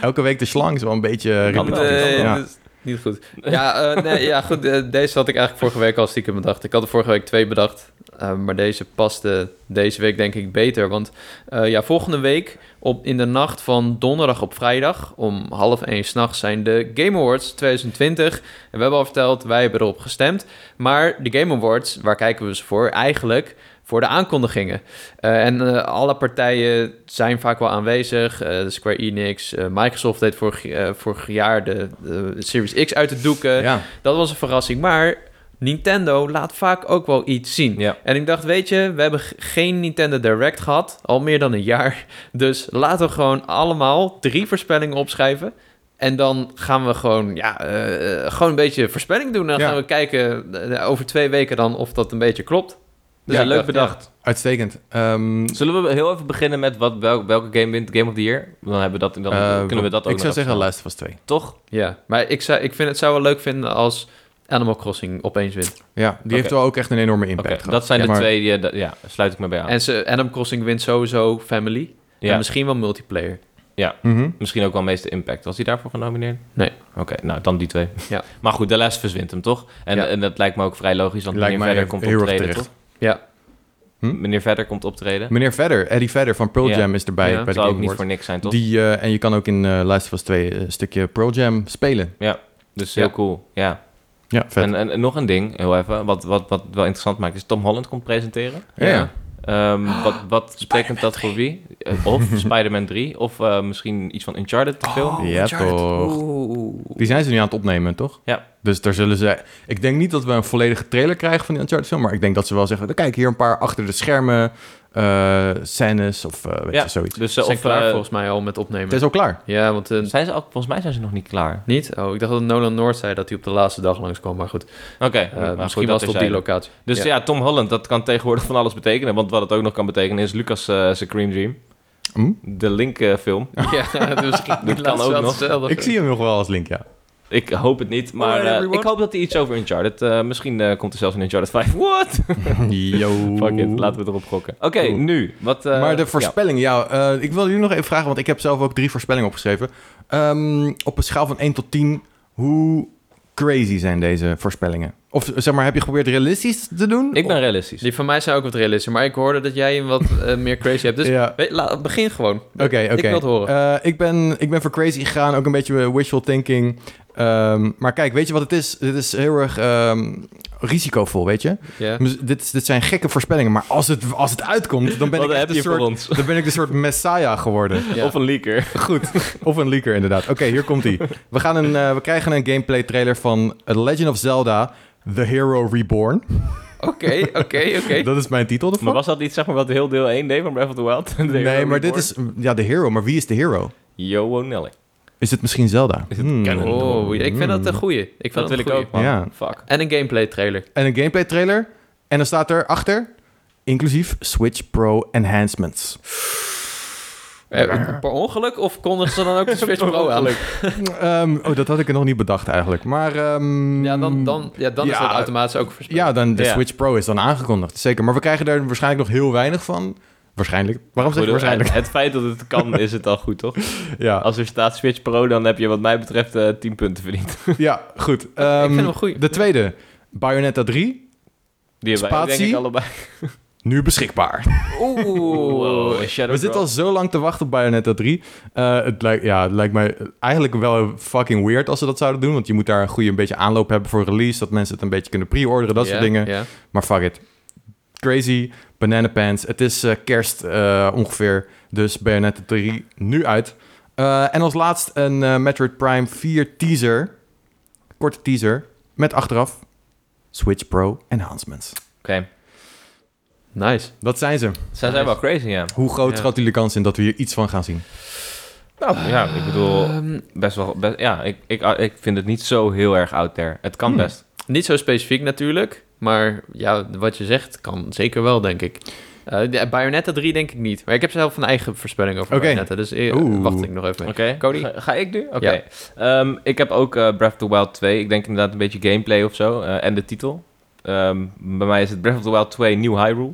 Elke week de slang is wel een beetje eh, Kan repetitief. Nee, ja. dat is dus niet goed. Ja, eh, nee, ja goed. eh, deze had ik eigenlijk vorige week al stiekem bedacht. Ik had er vorige week twee bedacht. eh, maar deze paste deze week denk ik beter. Want eh, ja, volgende week op, in de nacht van donderdag op vrijdag... om half één s'nachts zijn de Game Awards 2020. En we hebben al verteld, wij hebben erop gestemd. Maar de Game Awards, waar kijken we ze voor? Eigenlijk voor de aankondigingen. Eh, en eh, alle partijen zijn vaak wel aanwezig. Eh, Square Enix, eh, Microsoft deed vorig, eh, vorig jaar de, de Series X uit de doeken. eh, Ja. Dat was een verrassing. Maar Nintendo laat vaak ook wel iets zien. Ja. En ik dacht, weet je, we hebben g- geen Nintendo Direct gehad. Al meer dan een jaar. Dus laten we gewoon allemaal drie voorspellingen opschrijven. En dan gaan we gewoon, ja, eh, gewoon een beetje voorspelling doen. En dan Ja. gaan we kijken eh, over twee weken dan of dat een beetje klopt. Dus Ja, leuk ja. bedacht. Uitstekend. Ehm, Zullen we heel even beginnen met wat, wel- welke game wint Game of the Year? Dan, hebben we dat, dan eh, kunnen we dat ook Ik zou nog zeggen even- Last of Us 2. Toch? Ja, maar ik, zou, ik vind het zou wel leuk vinden als Animal Crossing opeens wint. Ja, die heeft wel ook echt een enorme impact Oké, gehad. dat zijn Ja, de maar- twee. die, eh, dat- ja, sluit ik me bij aan. En ze, Animal Crossing wint sowieso Family. ja. En misschien wel multiplayer. Mhm. Misschien ook wel meeste impact. Was hij daarvoor genomineerd? Nee. Oké, nou dan die twee. Ja. Maar goed, de les verzwint hem toch? En, Ja. en dat lijkt me ook vrij logisch, want Lijkt meneer mij Verder heel komt erg optreden, terecht. toch? Ja. Hm? Meneer Verder komt optreden. Meneer Vedder, Eddie Vedder van Pearl Ja. Jam is erbij Ja. bij de zou ook Game niet voor Awards. niks zijn, toch? Die, eh, en je kan ook in eh Last of Us 2 een stukje Pearl Jam spelen. Dus heel Ja. cool, ja. Ja, vet. En, en, en nog een ding, heel even, wat, wat, wat wel interessant maakt, is Tom Holland komt presenteren. ja. ja. Ehm, wat wat betekent dat voor wie? Eh, Of Spider-Man 3, of eh, misschien iets van Oh, Uncharted te film. ja, toch. Die zijn ze nu aan het opnemen, toch? Ja. Dus daar zullen ze... Ik denk niet dat we een volledige trailer krijgen van die Uncharted film, maar ik denk dat ze wel zeggen, kijk, hier een paar achter de schermen eh, scènes of eh, weet Ja. je, zoiets. Dus Ze eh, zijn of, klaar eh, volgens mij al met Het opnemen. is al klaar. Ja, want eh, zijn ze ook, volgens mij zijn ze nog niet klaar. niet? Oh, ik dacht dat Nolan Noord zei dat hij op de laatste dag langskwam. Maar goed, Oké, eh, maar goed, misschien dat was het op die terzijde. locatie. Dus ja. Tom Holland, dat kan tegenwoordig van alles betekenen. Want wat het ook nog kan betekenen is Lucas' eh, zijn Cream Dream. Hm? De eh, Link-film. Ja, dus misschien Dat laatst kan ook wel nog. hetzelfde. Ik zie hem nog wel als link, ja. Ik hoop het niet, maar Alright, eh, everyone. ik hoop dat hij iets over Uncharted... eh, misschien eh, komt er zelfs een Uncharted 5. What? Yo. Fuck it, laten we erop gokken. Oké, Cool. nu. Wat, eh, maar de ja. voorspellingen, ja. eh, ik wil jullie nog even vragen, want ik heb zelf ook drie voorspellingen opgeschreven. Ehm, op een schaal van 1 tot 10, hoe crazy zijn deze voorspellingen? Of zeg maar, heb je geprobeerd realistisch te doen? Ik ben realistisch. Die van mij zijn ook wat realistischer, maar ik hoorde dat jij hem wat eh, meer crazy hebt. Dus Ja. weet- laat- begin gewoon. Oké, oké. Ik wil het horen. Eh, ik, ben, ik ben voor crazy gegaan, ook een beetje eh, wishful thinking. Ehm, maar kijk, weet je wat het is? Dit is heel erg ehm, risicovol, weet je? Ja. Dus Dit, is- dit zijn gekke voorspellingen, maar als het, als het uitkomt, dan ben, Wat ik echt heb een je voor soort, ons? dan ben ik een soort messiah geworden. Ja. Of een leaker. Goed, of een leaker inderdaad. Oké, hier komt ie. We, gaan een, eh, we krijgen een gameplay trailer van The Legend of Zelda... The Hero Reborn. Oké, oké, oké. Dat is mijn titel ervan. Maar was dat iets zeg maar, wat heel deel 1 deed van Breath of the Wild? De nee, Hero maar dit Reborn? is... Ja, de hero. Maar wie is de hero? Yo, Nelly. Is het misschien Zelda? Is het Hmm. Ganon? Oh, ik vind dat een goeie. Ik vind Dat dat wil een ik ook, man. Ja. Fuck. En een gameplay trailer. en een gameplay trailer. En dan staat er achter, inclusief Switch Pro Enhancements. Eh, per ongeluk of kondigen ze dan ook de Switch Pro aan? Ehm, oh, dat had ik er nog niet bedacht eigenlijk. Maar ehm, Ja, Mm. dan, dan, ja, dan is Ja. dat automatisch ook voorspeld. ja, dan de Ja. Switch Pro is dan aangekondigd, zeker. Maar we krijgen daar waarschijnlijk nog heel weinig van. Waarschijnlijk. Waarom zeg ik waarschijnlijk? Het, feit dat het kan, is het al goed, toch? Ja, Als er staat Switch Pro, dan heb je wat mij betreft eh 10 punten verdiend. ja goed. ik Ehm, vind hem goed. De tweede, Bayonetta 3, Die hebben wij ook, denk Spatie? ik allebei. nu beschikbaar. Oeh, Wow, We zitten al zo lang te wachten op Bayonetta 3. Eh, het, lijkt, ja, het lijkt mij eigenlijk wel fucking weird als ze dat zouden doen. Want je moet daar een goede een beetje aanloop hebben voor release. Dat mensen het een beetje kunnen pre-orderen, dat Ja, soort dingen. Ja. Maar fuck it. Crazy, banana pants. Het is eh, kerst eh, ongeveer. Dus Bayonetta 3 nu uit. Eh, en als laatst een eh, Metroid Prime 4 teaser. Korte teaser. Met achteraf Switch Pro enhancements. Oké, Nice. Dat zijn ze. zij zijn wel crazy, ja. Hoe groot Ja. schat jullie de kans in dat we hier iets van gaan zien? Nou, ja, ik bedoel, Ehm, best wel... best- ja, ik, ik, ik vind het niet zo heel erg out there. Het kan Hmm. best. niet zo specifiek natuurlijk, maar ja, wat je zegt kan zeker wel, denk ik. Eh de- Bayonetta 3 denk ik niet, maar ik heb zelf een eigen voorspelling over Oké. Bayonetta, dus eh, Oeh. wacht ik nog even mee. Oké, Cody? Ga, ga ik nu? Oké. Ja. Ehm, ik heb ook eh, Breath of the Wild 2. Ik denk inderdaad een beetje gameplay of zo. eh, en de titel. Ehm, bij mij is het Breath of the Wild 2 Nieuw Hyrule.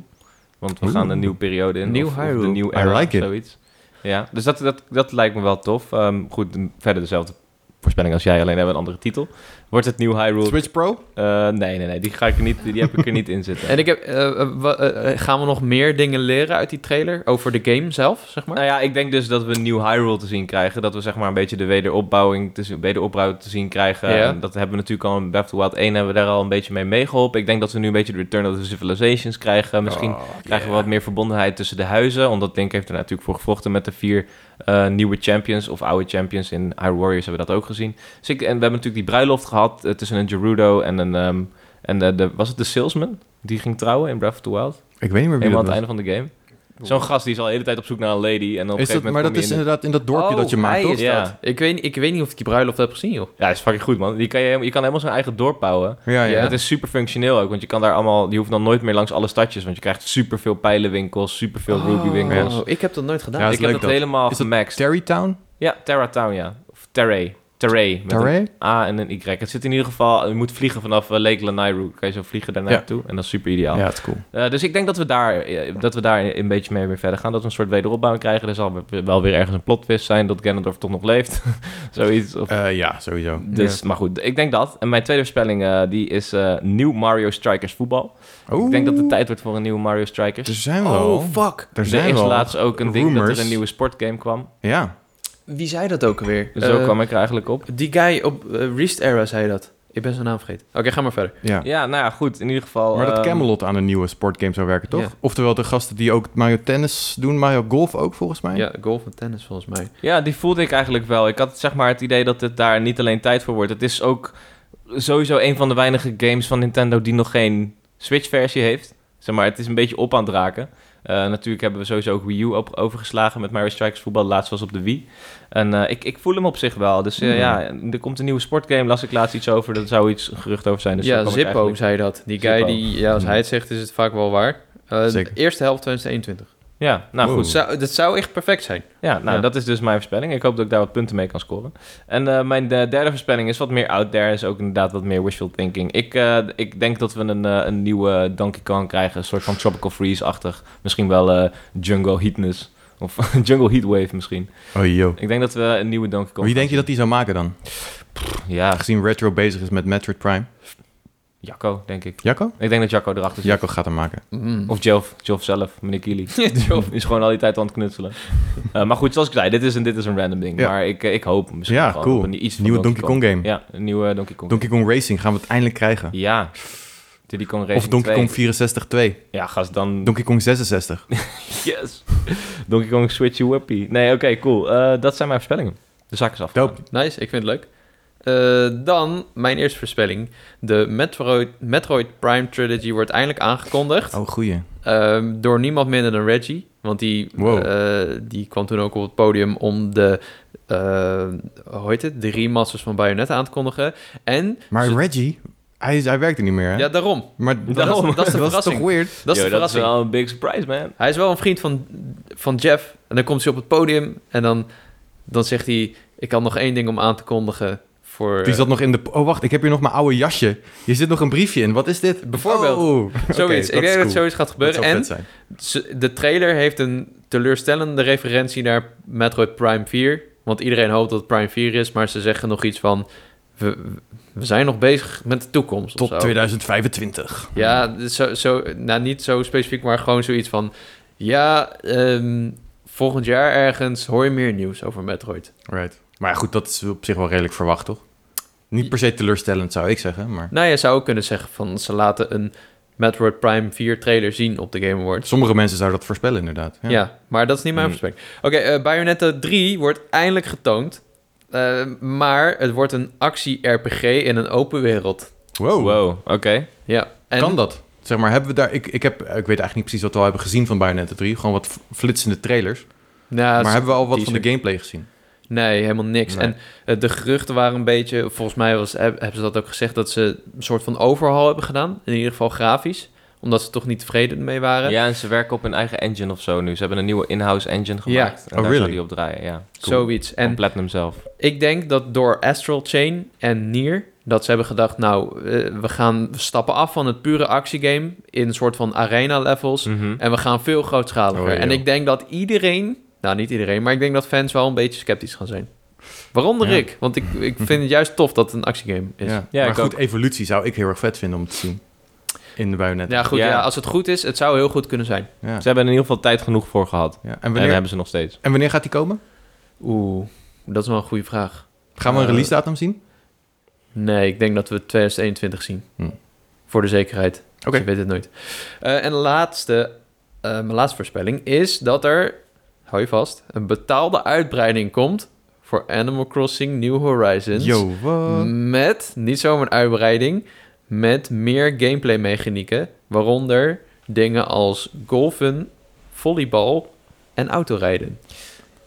Want we Oeh. gaan een nieuwe periode in. Nieuw of, of Hyrule. de nieuwe I era like of it. zoiets. Ja, dus dat, dat, dat lijkt me wel tof. Ehm, goed, m- verder dezelfde voorspelling als jij, alleen hebben we een andere titel. Wordt het Nieuw Hyrule? Switch Pro? Eh, nee, nee, nee. Die, ga ik er niet, die heb ik er niet in zitten. En ik heb, eh, eh, wa- eh, eh, gaan we nog meer dingen leren uit die trailer over de game zelf, zeg maar? Nou ja, ik denk dus dat we een nieuw Hyrule te zien krijgen. Dat we zeg maar een beetje de wederopbouwing, te zien, wederopbouw te zien krijgen. Ja. En dat hebben we natuurlijk al in Breath of the Wild 1 hebben we daar al een beetje mee meegeholpen. Ik denk dat we nu een beetje de Return of the Civilizations krijgen. Misschien Oh, krijgen we wat meer verbondenheid tussen de huizen. Omdat Link heeft er natuurlijk voor gevochten met de vier eh, nieuwe champions of oude champions. In Hyrule Warriors hebben we dat ook gezien. Dus ik, en we hebben natuurlijk die bruiloft gehad eh, tussen een Gerudo en een... ehm, en de, de- was het de salesman? Die ging trouwen in Breath of the Wild. Ik weet niet meer wie Helemaal dat aan het was. einde van de game. Zo'n gast die is al de hele tijd op zoek naar een lady. En op een Is gegeven dat, moment maar kom dat je is in de- inderdaad in dat dorpje Oh, dat je maakt, hij toch? is Ja. dat. Ik weet, ik weet niet of ik die bruiloft heb gezien, joh. Ja, dat is fucking goed, man. Die kan je, je kan helemaal zijn eigen dorp bouwen. Ja, En ja. dat is super functioneel ook, want je kan daar allemaal... Je hoeft dan nooit meer langs alle stadjes, want je krijgt super veel pijlenwinkels, super veel rubywinkels. Oh, ik heb dat nooit gedaan. Ja, dat ik is heb leuk dat, helemaal Is dat gemaxed. Terrytown? ja, Terra Town, ja. Of Terray. Terray. Met Terray? een A en een Y. Het zit in ieder geval... Je moet vliegen vanaf eh, Lake Lanairu. Kan je zo vliegen daar Ja. naartoe. En dat is super ideaal. Ja, het is cool. Eh, dus ik denk dat we daar, eh, dat we daar een beetje mee weer verder gaan. Dat we een soort wederopbouw krijgen. Er zal wel weer ergens een plot twist zijn dat Ganondorf toch nog leeft. Zoiets. Of, Eh, ja, sowieso. dus, Maar goed, ik denk dat. En mijn tweede voorspelling eh, die is eh, nieuw Mario Strikers voetbal. Ik denk dat het tijd wordt voor een nieuwe Mario Er Strikers. zijn wel. Oh, fuck. Dus er Er zijn is wel. laatst ook een ding dat rumors. er een nieuwe sportgame kwam. Ja. Wie zei dat ook alweer? Dus Zo Eh, kwam ik er eigenlijk op. Die guy op eh, Reached Era zei dat. Ik ben zijn naam vergeten. Oké, ga maar verder. ja. Ja, nou ja, goed. In ieder geval... Maar dat ehm, Camelot aan een nieuwe sportgame zou werken, toch? Ja. Oftewel de gasten die ook Mario Tennis doen, Mario Golf ook volgens mij. Ja, golf en tennis volgens mij. Ja, die voelde ik eigenlijk wel. Ik had zeg maar het idee dat het daar niet alleen tijd voor wordt. Het is ook sowieso een van de weinige games van Nintendo die nog geen Switch-versie heeft. Zeg maar, het is een beetje op aan het raken. Eh, natuurlijk hebben we sowieso ook Wii U op- overgeslagen met Mario Strikers voetbal. Laatst was op de Wii. En eh, ik, ik voel hem op zich wel. Dus eh, Hmm. Mhm. ja, er komt een nieuwe sportgame. Las ik laatst iets over. Daar zou iets een gerucht over zijn. Dus ja, dan kan ik Zippo eigenlijk- zei dat. Die guy, Zippo. die, ja, als hij het zegt, is het vaak wel waar. Eh, de Zeker. eerste helft 2021. Ja, nou Wow. goed. Dat zou, dat zou echt perfect zijn. Ja, nou, Ja. dat is dus mijn voorspelling. Ik hoop dat ik daar wat punten mee kan scoren. En eh, mijn eh, derde voorspelling is wat meer out there. Is ook inderdaad wat meer wishful thinking. Ik, eh, ik denk dat we een, eh, een nieuwe Donkey Kong krijgen. Een soort van Tropical Freeze-achtig. Misschien wel eh, Jungle Heatness. Of Jungle Heatwave misschien. Oh joh. Ik denk dat we een nieuwe Donkey Kong... Wie denk je dat die zou maken dan? Ja, Aangezien Retro bezig is met Metroid Prime. Jacco, denk ik. Jacco? Ik denk dat Jacco erachter zit. Jacco gaat hem maken. Mm. Of Jelf. Jelf zelf, meneer Kili. Joh. Is gewoon al die tijd aan het knutselen. Eh, maar goed, zoals ik zei, dit is een, dit is een random ding. Ja. Maar ik, eh, ik hoop misschien Ja, gewoon cool. op een iets van Nieuwe Donkey Kong game. Ja, een nieuwe Donkey Kong. Hm. Donkey Kong Racing gaan we het eindelijk krijgen. Ja. Diddy Kong Racing Of Donkey 2. Kong 64 2. Ja, gast, dan... Donkey Kong 66. yes. Donkey Kong Switchy Whippy. Nee, oké, cool. Eh, dat zijn mijn voorspellingen. De zak is af. Dope. Nice, ik vind het leuk. Eh, dan mijn eerste voorspelling. De Metroid, Metroid Prime Trilogy wordt eindelijk aangekondigd. Oh, goeie. Ehm, door niemand minder dan Reggie. Want die, Wow. eh, die kwam toen ook op het podium om de, eh, hoe heet het, de remasters van Bayonetta aan te kondigen. En, Maar ze- Reggie, hij, is- hij werkt er niet meer, hè? ja daarom, maar dat, Daarom. dat, Dat is de was toch verrassing. weird? dat is de Yo, dat is verrassing. wel een big surprise, man. Hij is wel een vriend van, van Jeff. En dan komt hij op het podium en dan, dan zegt hij, ik had nog één ding om aan te kondigen voor... Die zat nog in de... Oh, wacht, ik heb hier nog mijn oude jasje. Hier zit nog een briefje in. Wat is dit? Bijvoorbeeld. Oh, eh, zoiets. ik denk dat zoiets gaat gebeuren. En en... Ze- De trailer heeft een teleurstellende referentie naar Metroid Prime 4. Want iedereen hoopt dat het Prime 4 is, maar ze zeggen nog iets van... We, we zijn nog bezig met de toekomst. of Tot zo. 2025. Ja, dus zo, zo, nou niet zo specifiek, maar gewoon zoiets van... Ja, ehm, volgend jaar ergens hoor je meer nieuws over Metroid. Right. Maar ja, goed, dat is op zich wel redelijk verwacht, toch? Niet per se teleurstellend, zou ik zeggen, maar... Nou, je zou ook kunnen zeggen van... Ze laten een Metroid Prime 4 trailer zien op de Game Awards. Sommige mensen zouden dat voorspellen, inderdaad. Ja, maar dat is niet mijn Hmm. voorspelling. Oké, eh, Bayonetta 3 wordt eindelijk getoond. Eh, maar het wordt een actie-RPG in een open wereld. Wow. Wow, oké. Ja. En, Kan dat? Zeg maar, hebben we daar... Ik, ik, heb, ik weet eigenlijk niet precies wat we al hebben gezien van Bayonetta 3. Gewoon wat f- flitsende trailers. Nou, maar hebben we al wat van de teaser. gameplay gezien? Nee, helemaal niks. Nee. En eh, de geruchten waren een beetje... Volgens mij was, heb- hebben ze dat ook gezegd... dat ze een soort van overhaul hebben gedaan. In ieder geval grafisch. Omdat ze toch niet tevreden mee waren. Ja, en ze werken op hun eigen engine of zo nu. Ze hebben een nieuwe in-house engine Ja. gemaakt. En Oh, daar really? zou die op draaien, ja. Zoiets. En En Platinum zelf. Ik denk dat door Astral Chain en Nier... dat ze hebben gedacht, nou, eh, we gaan stappen af van het pure actiegame... in een soort van arena-levels. En we gaan veel grootschaliger. Mm. Oh, joh. en ik denk dat iedereen... Nou, niet iedereen, maar ik denk dat fans wel een beetje sceptisch gaan zijn. Waaronder Ja. ik. Want ik, ik vind het juist tof dat het een actiegame is. Ja. Ja. Ja, maar ik goed, evolutie zou ik heel erg vet vinden om te zien. In de Bayonetta. goed, ja. Ja. als het goed is, het zou heel goed kunnen zijn. Ja. Ze hebben er in ieder geval tijd genoeg voor gehad. Ja. En, En dat wanneer, en, hebben ze nog steeds. wanneer gaat die komen? Oeh, dat is wel een goede vraag. Gaan we een Eh, release datum zien? Nee, ik denk dat we 2021 zien. Hm. Voor de zekerheid. Dus Oké. Je weet het nooit. Eh, en de laatste, eh, mijn laatste voorspelling is dat er, hou je vast, een betaalde uitbreiding komt voor Animal Crossing New Horizons. Yo, what? Mm, Met, niet zomaar een uitbreiding, met meer gameplay mechanieken. Waaronder dingen als golfen, volleybal en autorijden.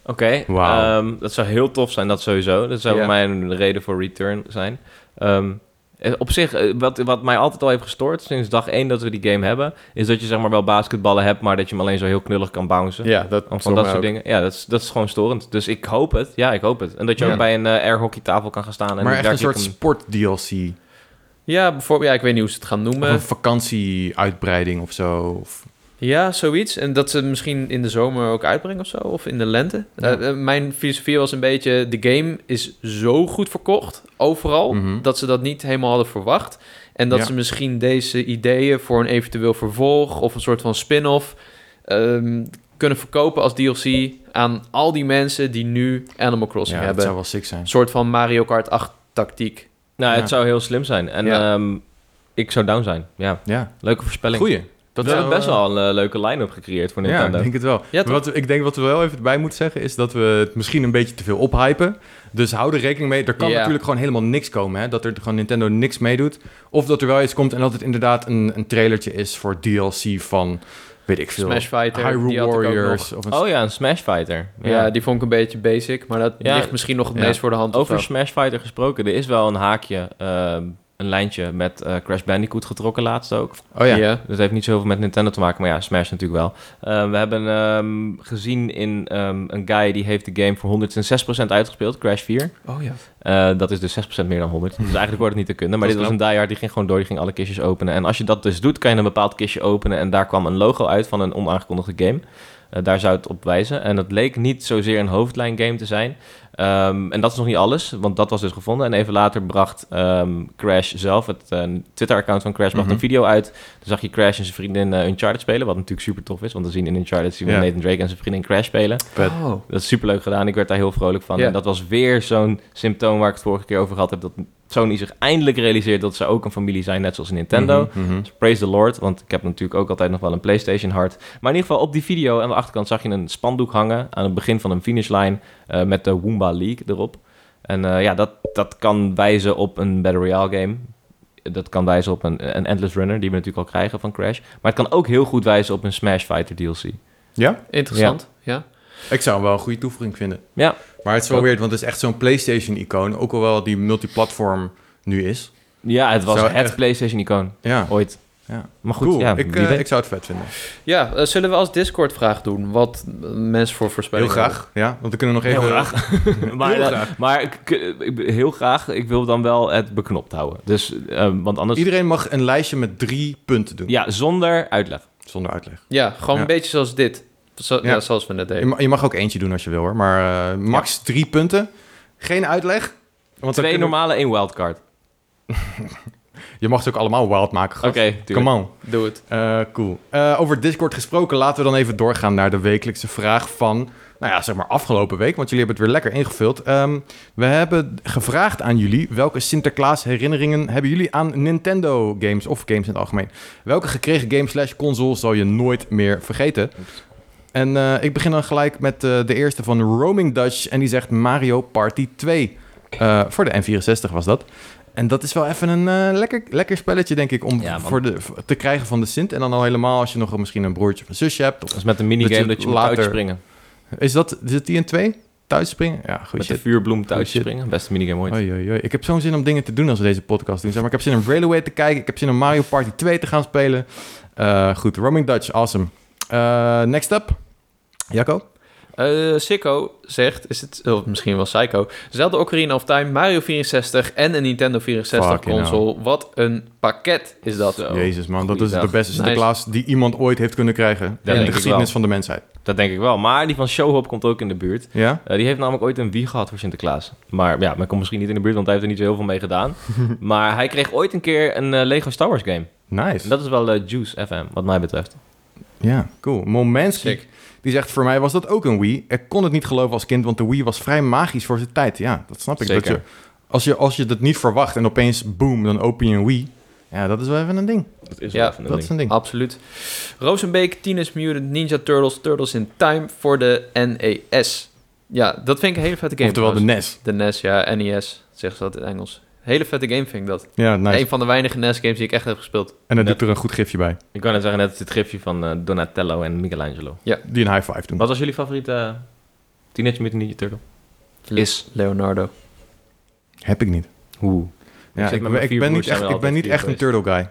Oké, Wauw. ehm, dat zou heel tof zijn, dat sowieso. Dat zou Ja. mijn reden voor return zijn. Ehm, eh, op zich, eh, wat, wat mij altijd al heeft gestoord sinds dag 1 dat we die game hebben, is dat je zeg maar wel basketballen hebt, maar dat je hem alleen zo heel knullig kan bouncen. Ja, dat Of van dat soort dingen. Ja, dat is, dat is gewoon storend. Dus ik hoop het. Ja, ik hoop het. En dat je Ja. ook bij een eh, air airhockeytafel kan gaan staan. En maar echt een werkelijk soort sport-DLC. Ja, bijvoorbeeld, ja, ik weet niet hoe ze het gaan Of noemen. een vakantie-uitbreiding of zo. Of... Ja, zoiets. En dat ze het misschien in de zomer ook uitbrengen of zo, of in de lente. Ja. Eh, eh, mijn filosofie was een beetje, de game is zo goed verkocht, overal, Mhm. dat ze dat niet helemaal hadden verwacht. En dat Ja. ze misschien deze ideeën voor een eventueel vervolg of een soort van spin-off ehm, kunnen verkopen als DLC aan al die mensen die nu Animal Crossing Ja, dat hebben. zou wel sick zijn. Een soort van Mario Kart 8 tactiek. Nou, het Ja. zou heel slim zijn. En Ja. ehm, ik zou down zijn. Ja, Ja, leuke voorspelling. goeie. Dat zou, hebben best eh, wel een eh, leuke line-up gecreëerd voor Ja, ik Nintendo. denk het wel. Ja, Maar wat, ik denk wat we wel even bij moeten zeggen is dat we het misschien een beetje te veel ophypen. Dus hou er rekening mee. Er kan Ja. natuurlijk gewoon helemaal niks komen. Hè? Dat er gewoon Nintendo niks mee doet. Of dat er wel iets komt en dat het inderdaad een, een trailertje is voor DLC van... weet ik veel. Smash Fighter. die Hyrule had ik ook Warriors. nog. Of een Oh ja, een Smash Fighter. Ja. die vond ik een beetje basic, maar dat Ja, ligt misschien nog het ja. meest voor de hand. of Over zo. Smash Fighter gesproken, er is wel een haakje, ehm, een lijntje met eh, Crash Bandicoot getrokken laatst ook. oh ja. Dat heeft niet zoveel met Nintendo te maken, maar ja, Smash natuurlijk wel. Eh, we hebben ehm, gezien in ehm, een guy die heeft de game voor 106% uitgespeeld, Crash 4. Oh ja. Eh, dat is dus 6% meer dan 100. Dus eigenlijk wordt het niet te kunnen. Maar Dat dit is was een diehard, die ging gewoon door, die ging alle kistjes openen. En als je dat dus doet, kan je een bepaald kistje openen. En daar kwam een logo uit van een onaangekondigde game. Eh, daar zou het op wijzen. En dat leek niet zozeer een hoofdlijn game te zijn. Ehm, en dat is nog niet alles, want dat was dus gevonden. En even later bracht ehm, Crash zelf, het eh, Twitter-account van Crash, bracht Mhm. een video uit. Dan zag je Crash en zijn vriendin eh, Uncharted spelen, wat natuurlijk super tof is. Want we zien in Uncharted zien we Ja. Nathan Drake en zijn vriendin Crash spelen. Vet. Oh. Dat is superleuk gedaan. Ik werd daar heel vrolijk van. Ja. En dat was weer zo'n symptoom waar ik het vorige keer over gehad heb. Dat Sony zich eindelijk realiseert dat ze ook een familie zijn, net zoals Nintendo. Mhm, mhm. Dus praise the Lord, want ik heb natuurlijk ook altijd nog wel een PlayStation hart. Maar in ieder geval op die video aan de achterkant zag je een spandoek hangen aan het begin van een finishlijn eh, met de Woomba League erop. En eh, ja, dat, dat kan wijzen op een Battle Royale game. Dat kan wijzen op een, een Endless Runner, die we natuurlijk al krijgen van Crash. Maar het kan ook heel goed wijzen op een Smash Fighter DLC. Ja, Interessant, ja. ik zou hem wel een goede toevoeging vinden. Ja. Maar het is wel weird, want het is echt zo'n PlayStation-icoon. Ook al wel die multiplatform nu is. Ja, het was Zou het echt- PlayStation-icoon. Ja, Ooit. Ja. Maar goed, cool. ja, ik, wie eh, weet. ik zou het vet vinden. Ja, eh, zullen we als Discord-vraag doen wat eh, mensen voor Heel voorspellingen graag. Ja, want we kunnen nog even... Heel graag. maar Heel eh, graag. maar ik, ik- heel graag. Ik wil dan wel het beknopt houden. Dus, eh, want anders... Iedereen mag een lijstje met drie punten doen. Ja, zonder uitleg. Zonder uitleg. Ja, gewoon Ja. een beetje zoals dit. Zo- Ja. ja. zoals we net Je deden. ma- je mag ook eentje doen als je wil hoor. Maar eh, max drie punten. Geen uitleg. Want dan Twee kunnen- normale, één wildcard. Oké, Je mag het ook allemaal wild maken. gast. tuurlijk. Come on. Doe het. Eh, cool. Eh, over Discord gesproken, laten we dan even doorgaan naar de wekelijkse vraag van, nou ja, zeg maar afgelopen week, want jullie hebben het weer lekker ingevuld. Ehm, we hebben gevraagd aan jullie, welke Sinterklaas herinneringen hebben jullie aan Nintendo games of games in het algemeen? Welke gekregen game slash console zal je nooit meer vergeten? En eh, ik begin dan gelijk met eh, de eerste van Roaming Dutch en die zegt Mario Party 2. Eh, voor de N64 was dat. En dat is wel even een eh, lekker, lekker spelletje, denk ik, om Ja, man. voor de, v- te krijgen van de Sint. En dan al helemaal als je nog misschien een broertje of een zusje hebt. Of- Dat is met een minigame Dat dat je je, moet later- uitspringen. Is dat, zit die in twee? Thuis springen? Ja, goed Met shit. de vuurbloem thuis shit. springen. Beste minigame ooit. Oei, oei, oei. Ik heb zo'n zin om dingen te doen als we deze podcast doen. Zeg maar, ik heb zin om Railway te kijken. Ik heb zin om Mario Party 2 te gaan spelen. Eh, goed, Roaming Dutch, awesome. Eh, next up, Jacco. Eh Sicko zegt, is het, of misschien wel Psycho, Zelda Ocarina of Time, Mario 64 en een Nintendo 64 Fucking console. Wat een pakket is dat. Zo. Jezus man, dat is de Goeiedag. beste Sinterklaas die iemand ooit heeft kunnen krijgen. denk in de ik geschiedenis wel. van de mensheid. Dat denk ik wel. Maar die van Showhop komt ook in de buurt. Ja? Eh, die heeft namelijk ooit een Wii gehad voor Sinterklaas. Maar ja, men komt misschien niet in de buurt, want hij heeft er niet zo heel veel mee gedaan. maar hij kreeg ooit een keer een eh, Lego Star Wars game. Nice. En dat is wel eh, Juice FM, wat mij betreft. Ja, cool. Momenski, Sick. die zegt voor mij was dat ook een Wii. Ik kon het niet geloven als kind, want de Wii was vrij magisch voor zijn tijd. Ja, dat snap ik. Dat Zeker. je, als, je, als je dat niet verwacht en opeens boom, dan open je een Wii. Ja, dat is wel even een ding. Dat is Ja, wel even dat is een ding. Absoluut. Rosenbeek, Teenage Mutant, Ninja Turtles, Turtles in Time voor de NES. Ja, dat vind ik een hele vette game. Oftewel de E trouwens. NES. de NES, ja, NES, zegt ze dat in Engels. Hele vette game vind ik dat. Ja, nice. Een van de weinige NES-games die ik echt heb gespeeld. en dan Net- doet er een goed gifje bij. Ik kan net zeggen, net het gifje van eh, Donatello en Michelangelo. Die een high five doen. Wat was jullie favoriete eh, Teenage Mutant Ninja Turtle? Is. Leonardo. Heb ik niet. Hoe? Ja, zit ik, met mijn ik vier ben broers, niet zijn echt, we ik ben altijd niet vier echt een turtle guy.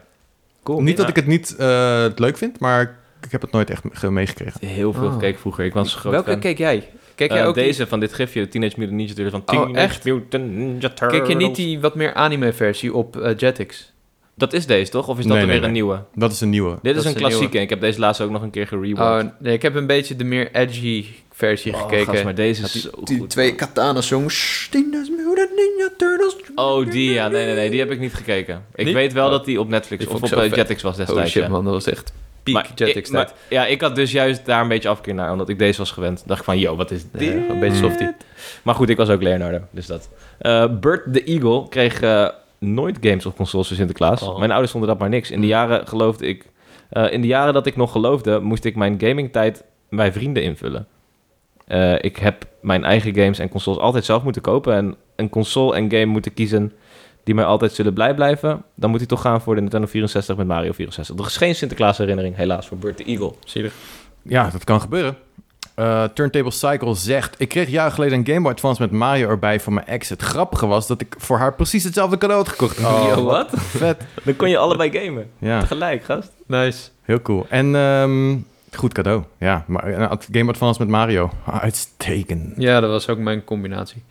Cool. Niet dat ik het niet eh, het leuk vind, maar ik- ik heb het nooit echt ge- meegekregen. heel veel Oh. gekeken vroeger. Ik was een groot Welke fan. keek jij? Keek Eh, jij ook die- deze van dit gifje, de Teenage Mutant Ninja Turtle van Oh, Teenage echt? Mutant Ninja Turtles. Kijk je niet die wat meer anime-versie op eh, Jetix? Dat is deze, toch? Of is dat Nee, er nee, weer een nee. nieuwe? Dat is een nieuwe. Dit is Dat een is een nieuwe. klassieke. en Ik heb deze laatst ook nog een keer gerewatcht. Oh, nee, ik heb een beetje de meer edgy versie Oh, gekeken. gast, maar deze is zo goed. katanas, jongens. Teenage Mutant Ninja Turtles. Oh, die ja. Nee, nee, nee. Die heb ik niet gekeken. Ik Niet? weet wel Oh. dat die op Netflix Die of vond op ik zo eh, vet. Jetix was Oh destijds. shit, ja. man. Dat was echt peak Maar Jetix ik- maar- tijd. Ja, ik had dus juist daar een beetje afkeer naar, omdat ik deze was gewend. dacht ik van, yo, wat is dit? Ja, een beetje softie. Maar goed, ik was ook Leonardo, dus dat. Eh Bert the Eagle kreeg eh, nooit games of consoles voor Sinterklaas. Oh. Mijn ouders vonden dat maar niks. In de jaren geloofde ik... eh, in de jaren dat ik nog geloofde, moest ik mijn gamingtijd bij vrienden invullen. Eh, ik heb mijn eigen games en consoles altijd zelf moeten kopen. En een console en game moeten kiezen die mij altijd zullen blij blijven, dan moet hij toch gaan voor de Nintendo 64 met Mario 64. Er is geen Sinterklaas herinnering, helaas, voor Bert de Eagle. Zielig. Ja, dat kan gebeuren. Eh, Turntable Cycle zegt... Ik kreeg jaren geleden een Game Boy Advance met Mario erbij van mijn ex. Het grappige was dat ik voor haar precies hetzelfde cadeau had gekocht. Yo, Oh, wat? vet. Dan kon je allebei gamen. Ja, Tegelijk, gast. Nice. heel cool. En ehm, goed cadeau. Ja, maar een Ad- Game Boy Advance met Mario. Ah, Uitstekend. Ja, dat was ook mijn combinatie.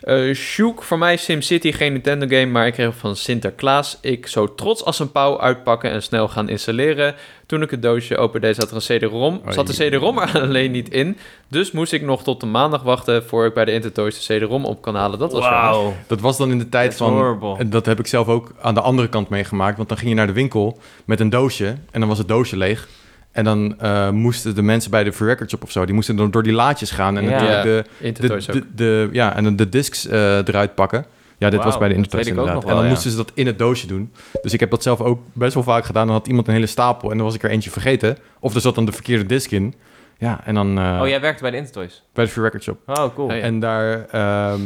Eh Sjoek, voor mij SimCity geen Nintendo game, maar ik kreeg van Sinterklaas. Ik zo trots als een pauw uitpakken en snel gaan installeren. Toen ik het doosje opende, zat er een CD-ROM. Zat de Oei. CD-ROM er alleen niet in. Dus moest ik nog tot de maandag wachten voor ik bij de Intertoys de CD-ROM op kan halen. Dat was wel. Wauw. Dat was dan in de tijd That's van... horrible. En dat heb ik zelf ook aan de andere kant meegemaakt. Want dan ging je naar de winkel met een doosje. En dan was het doosje leeg. En dan eh, moesten de mensen bij de free record shop of zo... die moesten dan door die laadjes gaan. En Ja. natuurlijk de, de, Intertoys ook. de, de- ja, en dan de discs eh, eruit pakken. Ja, dit Wauw, was bij de dat Intertoys weet ik ook inderdaad. nog wel, en dan ja. moesten ze dat in het doosje doen. Dus ik heb dat zelf ook best wel vaak gedaan. Dan had iemand een hele stapel en dan was ik er eentje vergeten. Of er zat dan de verkeerde disc in. Ja, en dan eh, Oh, jij werkte bij de Intertoys. bij de Free Record Shop. Oh, cool. Ja, ja. En daar... ehm,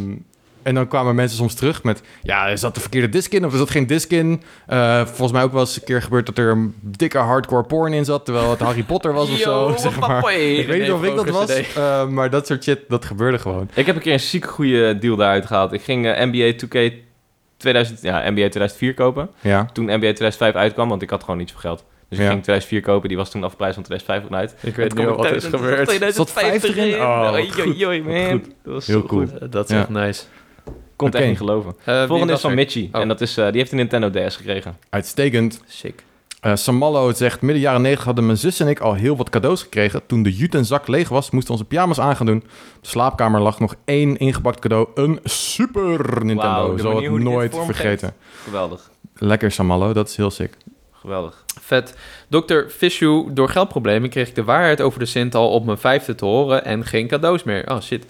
en dan kwamen mensen soms terug met... Ja, er zat de verkeerde disc in of er zat geen disc in. Eh, volgens mij ook wel eens een keer gebeurd dat er een dikke hardcore porn in zat... terwijl het Harry Potter was of zo, zeg maar. Ik weet niet of ik dat was, eh, maar dat soort shit, dat gebeurde gewoon. Ik heb een keer een ziek goede deal daaruit gehaald. Ik ging eh, NBA 2K 2000, ja, NBA 2004 kopen. Ja, Toen NBA 2005 uitkwam, want ik had gewoon niets voor geld. Dus ik Ja. ging 2004 kopen, die was toen afgeprijsd van 2005 uit. Ik weet niet wat er is gebeurd. Zat 50 in? Oh, wat goed. joi, man. Wat Dat was Heel zo cool. goed. Eh, Dat is echt nice. Kon het Oké. echt niet geloven. Eh, wie Volgende was is van er? Mitchie. Oh. En dat is, eh, die heeft een Nintendo DS gekregen. uitstekend. Sick. Eh, Samallo zegt, midden jaren 90 hadden mijn zus en ik al heel wat cadeaus gekregen. Toen de jute en zak leeg was, moesten we onze pyjama's aan gaan doen. Op de slaapkamer lag nog één ingepakt cadeau. Een Super Nintendo. de Zo manier het hoe die dit nooit vormgeeft. vergeten. Geweldig. Lekker Samallo, dat is heel sick. Geweldig. Vet. Dr. Fishu, door geldproblemen kreeg ik de waarheid over de Sint al op mijn vijfde te horen en geen cadeaus meer. Oh shit.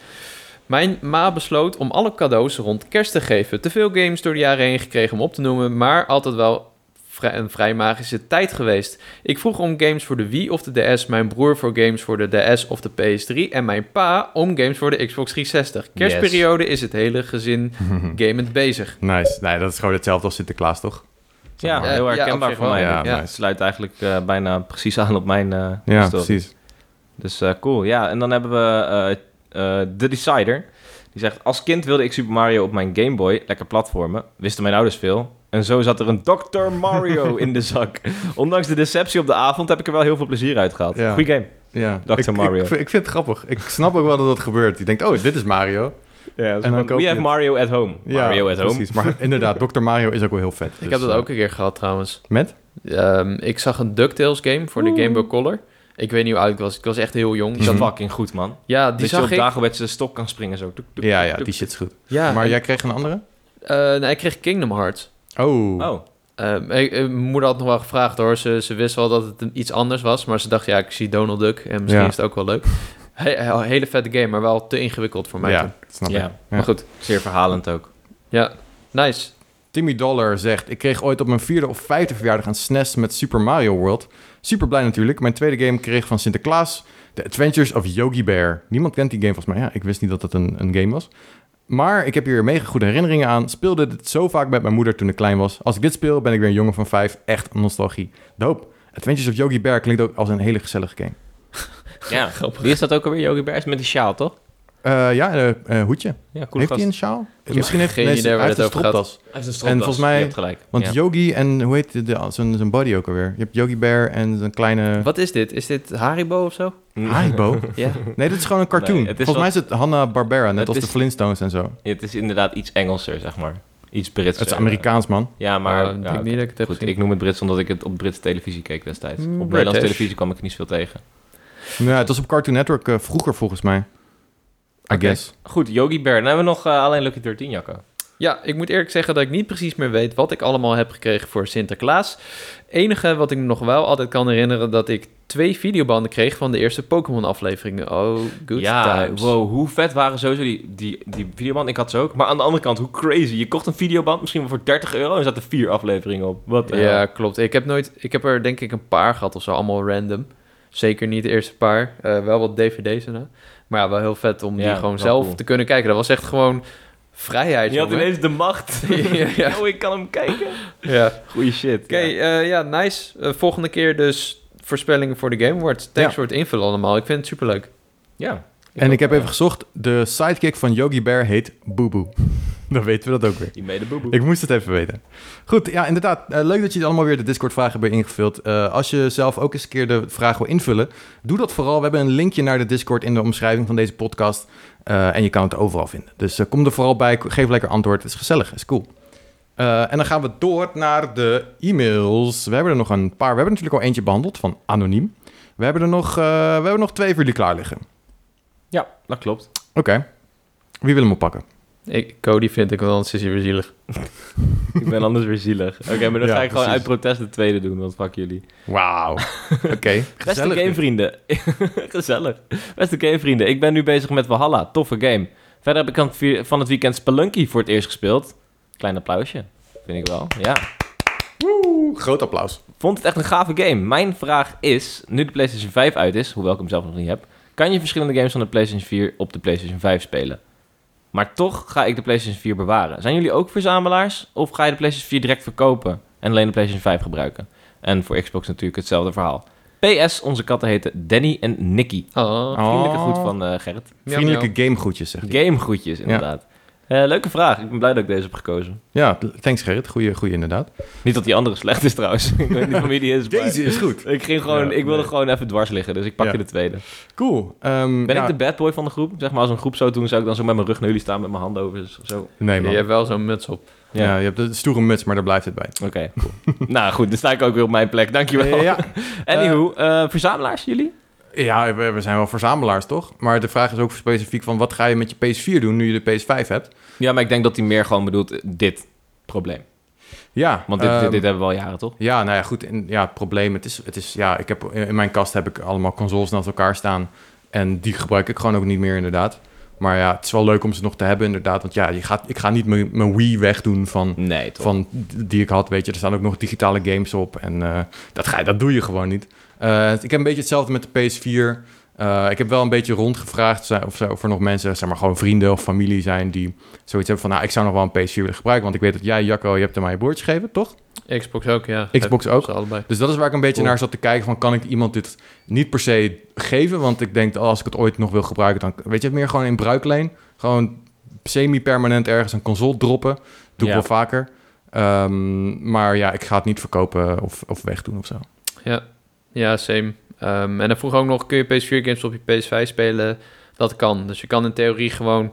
Mijn ma besloot om alle cadeaus rond kerst te geven. Te veel games door de jaren heen gekregen om op te noemen, maar altijd wel vri- een vrij magische tijd geweest. Ik vroeg om games voor de Wii of de DS, mijn broer voor games voor de DS of de PS3 en mijn pa om games voor de Xbox 360. Kerstperiode is het hele gezin gamend bezig. Nice. Nee, dat is gewoon hetzelfde als Sinterklaas, toch? Zeg Ja, maar. Eh, heel ja, herkenbaar op zich voor mij. wel, ja. Het sluit eigenlijk eh, bijna precies aan op mijn eh Ja, story. precies. Dus eh, cool, ja. En dan hebben we eh, eh, The Decider. Die zegt, als kind wilde ik Super Mario op mijn Game Boy lekker platformen. Wisten mijn ouders veel. En zo zat er een Dr. Mario in de zak. Ondanks de deceptie op de avond heb ik er wel heel veel plezier uit gehad. Ja. Goeie game. Ja. Dr. Ik- ik- Mario. Ik, vind- ik vind het grappig. Ik snap ook wel dat dat gebeurt. Je denkt, oh, dit is Mario. Ja, dan we koop je have het. Mario at home. Mario at home. precies. Maar inderdaad, Dr. Mario is ook wel heel vet. Dus, eh, Ik heb dat ook een keer gehad trouwens. Met? Ehm, ik zag een DuckTales game voor de Game Boy Color. Ik weet niet hoe oud ik was. Ik was echt heel jong. Die is Mhm. fucking goed, man. Ja, die Die dat je zag op ik. Dagobert zijn stok kan springen zo. Toek, toek, Ja, toek, ja, toek. die shit is goed. Ja, Maar en- jij kreeg een andere? eh, nee, ik kreeg Kingdom Hearts. Oh. Oh, Ehm, ik- eh, mijn moeder had nog wel gevraagd hoor. Ze, ze wist wel dat het een- iets anders was. Maar ze dacht, ja, ik zie Donald Duck. En misschien Ja. is het ook wel leuk. He- he- hele vette game, maar wel te ingewikkeld voor mij. toen. ja, snap ik. ja. Maar goed, Zeer verhalend ook. ja. Nice. Timmy Dollar zegt: Ik kreeg ooit op mijn vierde of vijfde verjaardag een SNES met Super Mario World. Super blij natuurlijk. Mijn tweede game kreeg van Sinterklaas: The Adventures of Yogi Bear. Niemand kent die game volgens mij. Ja, ik wist niet dat dat een, een game was. Maar ik heb hier mega goede herinneringen aan. Speelde dit zo vaak met mijn moeder toen ik klein was. Als ik dit speel, ben ik weer een jongen van vijf. Echt nostalgie. Doop. Adventures of Yogi Bear klinkt ook als een hele gezellige game. Ja, Grappig. Wie is dat ook alweer? Yogi Bear is met die sjaal, toch? Eh, ja, eh, eh, hoedje. Ja, cool heeft gast. hij een sjaal? Ja, Misschien heeft geen nee, idee waar hij heeft dit een over gaat. stropdas. Hij heeft een stropdas. En volgens mij- Je hebt gelijk. Want Ja. Yogi en hoe heet de- de, zijn, zijn body ook alweer? Je hebt Yogi Bear en zijn kleine Wat is dit? Is dit Haribo of zo? Haribo. Ja. Nee, dit is gewoon een cartoon. Nee, het is Volgens mij is het Hanna-Barbera, net Het als is- de Flintstones en zo. Ja, het is inderdaad iets Engelser, zeg maar. Iets Brits. Het is Amerikaans, man. Ja, maar... Oh, ja, ik denk niet dat ik het heb Goed, gezien. ik noem het Brits omdat ik het op Britse televisie keek destijds. Mm, op Nederlandse British. televisie kwam ik er niet zoveel tegen. Nou, ja, het was op Cartoon Network eh, vroeger, volgens mij. I guess. Goed, Yogi Bear. Dan hebben we nog eh, alleen Lucky 13 jakken. Ja, ik moet eerlijk zeggen dat ik niet precies meer weet wat ik allemaal heb gekregen voor Sinterklaas. Enige wat ik me nog wel altijd kan herinneren, dat ik twee videobanden kreeg van de eerste Pokémon-afleveringen. Oh, good ja, times. wow, hoe vet waren sowieso die, die, die videoband. Ik had ze ook. Maar aan de andere kant, hoe crazy. Je kocht een videoband misschien wel voor 30 euro en zaten vier afleveringen op. Wat de Ja, hel. klopt. Ik heb, nooit, ik heb er denk ik een paar gehad of zo, allemaal random. Zeker niet de eerste paar. Eh, wel wat dvd's en Maar ja, wel heel vet om Ja, die gewoon wel zelf cool. te kunnen kijken. Dat was echt gewoon vrijheid, Je had jongen. ineens de macht. Ja, ja. Oh, ik kan hem kijken. Ja. Goeie shit. Oké, eh, ja, nice. Eh, volgende keer dus voorspellingen voor de Game Awards. Thanks Ja. voor het invullen allemaal. Ik vind het superleuk. Ja. En ik heb even gezocht, de sidekick van Yogi Bear heet Boeboe. Dan weten we dat ook weer. Die mede boeboe. Ik moest het even weten. Goed, ja, inderdaad. Eh, leuk dat jullie allemaal weer de Discord-vragen hebben ingevuld. Eh, als je zelf ook eens een keer de vraag wil invullen, doe dat vooral. We hebben een linkje naar de Discord in de omschrijving van deze podcast. Eh, en je kan het overal vinden. Dus eh, kom er vooral bij, geef lekker antwoord. Het is gezellig, het is cool. Eh, en dan gaan we door naar de e-mails. We hebben er nog een paar. We hebben natuurlijk al eentje behandeld van Anoniem. We hebben er nog, eh, we hebben nog twee voor jullie klaar liggen. Ja, dat klopt. Oké. Wie wil hem oppakken? Ik, Cody vind ik wel een sissie weer zielig. Ik ben anders weer zielig. Oké, maar dan Ja, ga ik gewoon precies. uit protest de tweede doen, want fuck jullie. Wauw. Oké. Beste gezellig. gamevrienden. Gezellig. Beste gamevrienden, ik ben nu bezig met Valhalla. Toffe game. Verder heb ik aan het vier- van het weekend Spelunky voor het eerst gespeeld. Klein applausje, vind ik wel. Ja. Woe, groot applaus. Vond het echt een gave game. Mijn vraag is, nu de PlayStation 5 uit is, hoewel ik hem zelf nog niet heb, kan je verschillende games van de PlayStation 4 op de PlayStation 5 spelen? Maar toch ga ik de PlayStation 4 bewaren. Zijn jullie ook verzamelaars of ga je de PlayStation 4 direct verkopen en alleen de PlayStation 5 gebruiken? En voor Xbox natuurlijk hetzelfde verhaal. PS, onze katten heten Danny en Nicky. Oh. Vriendelijke Oh. groet van eh, Gerrit. Vriendelijke gamegroetjes, zegt hij. Gamegroetjes, inderdaad. Eh, leuke vraag. Ik ben blij dat ik deze heb gekozen. Ja, thanks Gerrit. Goeie, goeie inderdaad. Niet dat die andere slecht is trouwens. ik weet niet van wie die is. maar- is goed. Ik, ging gewoon, Ja, ik wilde nee. gewoon even dwars liggen, dus ik pakte Ja. de tweede. Cool. Ehm, Ben ja, ik de bad boy van de groep? Zeg maar, als een groep zou doen, zou ik dan zo met mijn rug naar jullie staan met mijn handen over. Zo. Nee, Je man. hebt wel zo'n muts op. ja. je hebt de stoere muts, maar daar blijft het bij. Oké, cool. nou goed, dan sta ik ook weer op mijn plek. Dankjewel. Eh, Ja, ja, Anywho, eh, verzamelaars jullie? ja. Ja, we, we zijn wel verzamelaars, toch? Maar de vraag is ook specifiek van... wat ga je met je PS4 doen nu je de PS5 hebt? Ja, maar ik denk dat hij meer gewoon bedoelt eh, dit probleem. Ja, Want dit, ehm, dit, dit hebben we al jaren, toch? Ja, nou ja, goed. In, ja, het probleem, het is, het is, ja, ik heb, in mijn kast heb ik allemaal consoles naast elkaar staan. En die gebruik ik gewoon ook niet meer, inderdaad. Maar ja, het is wel leuk om ze nog te hebben, inderdaad. Want ja, je gaat, ik ga niet mijn mijn Wii wegdoen van, Nee, toch? van die ik had, weet je. Er staan ook nog digitale games op en eh, dat, ga, je- dat doe je gewoon niet. Eh, ik heb een beetje hetzelfde met de PS4. Eh, ik heb wel een beetje rondgevraagd zijn- of, zo- of er nog mensen, zeg maar gewoon vrienden of familie zijn... die zoiets hebben van, nou, ik zou nog wel een PS4 willen gebruiken... want ik weet dat jij, Jacco, je hebt hem aan je broertje gegeven, toch? Xbox ook, ja. Xbox ook. Ze allebei. Dus dat is waar ik een beetje Cool. naar zat te kijken van kan ik iemand dit niet per se geven, want ik denk oh, als ik het ooit nog wil gebruiken dan weet je het meer gewoon in bruikleen, gewoon semi-permanent ergens een console droppen, doe Ja. ik wel vaker. Ehm, maar ja, ik ga het niet verkopen of, of wegdoen of zo. Ja, same. Ehm, en dan vroeg ook nog, kun je PS4 games op je PS5 spelen? Dat kan. Dus je kan in theorie gewoon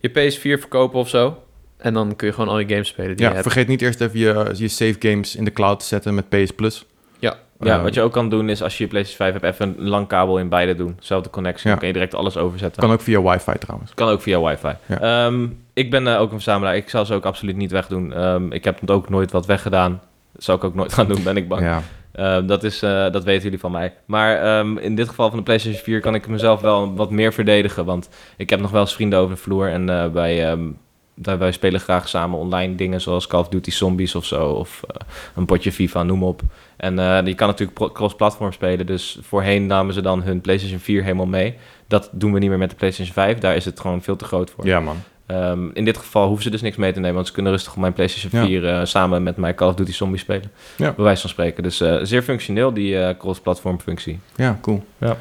je PS4 verkopen of zo. En dan kun je gewoon al je games spelen die Ja, je hebt. vergeet niet eerst even je, je save games in de cloud te zetten met PS Plus. Ja. Ja, Eh, wat je ook kan doen is als je je PlayStation 5 hebt, even een lang kabel in beide doen. Zelfde connectie, Ja. dan kan je direct alles overzetten. kan ook via wifi trouwens. Kan ook via wifi. Ja. Ehm, ik ben eh, ook een verzamelaar. Ik zal ze ook absoluut niet wegdoen. Ehm, ik heb het ook nooit wat weggedaan. Dat zal ik ook nooit gaan doen, ben ik bang. Ja. Ehm, dat, is, eh, dat weten jullie van mij. Maar ehm, in dit geval van de PlayStation 4 kan ik mezelf wel wat meer verdedigen. Want ik heb nog wel eens vrienden over de vloer. En eh, wij, ehm, wij, wij spelen graag samen online dingen zoals Call of Duty Zombies of zo. Of eh, een potje FIFA, noem op. En eh, je kan natuurlijk pro- cross-platform spelen. Dus voorheen namen ze dan hun PlayStation 4 helemaal mee. Dat doen we niet meer met de PlayStation 5. Daar is het gewoon veel te groot voor. ja man. Ehm, in dit geval hoeven ze dus niks mee te nemen, want ze kunnen rustig op mijn PlayStation Ja. 4 eh, samen met mijn Call of Duty Zombie spelen. Ja. Bij wijze van spreken. Dus eh, zeer functioneel, die eh, cross-platform functie. Ja, cool. Ja.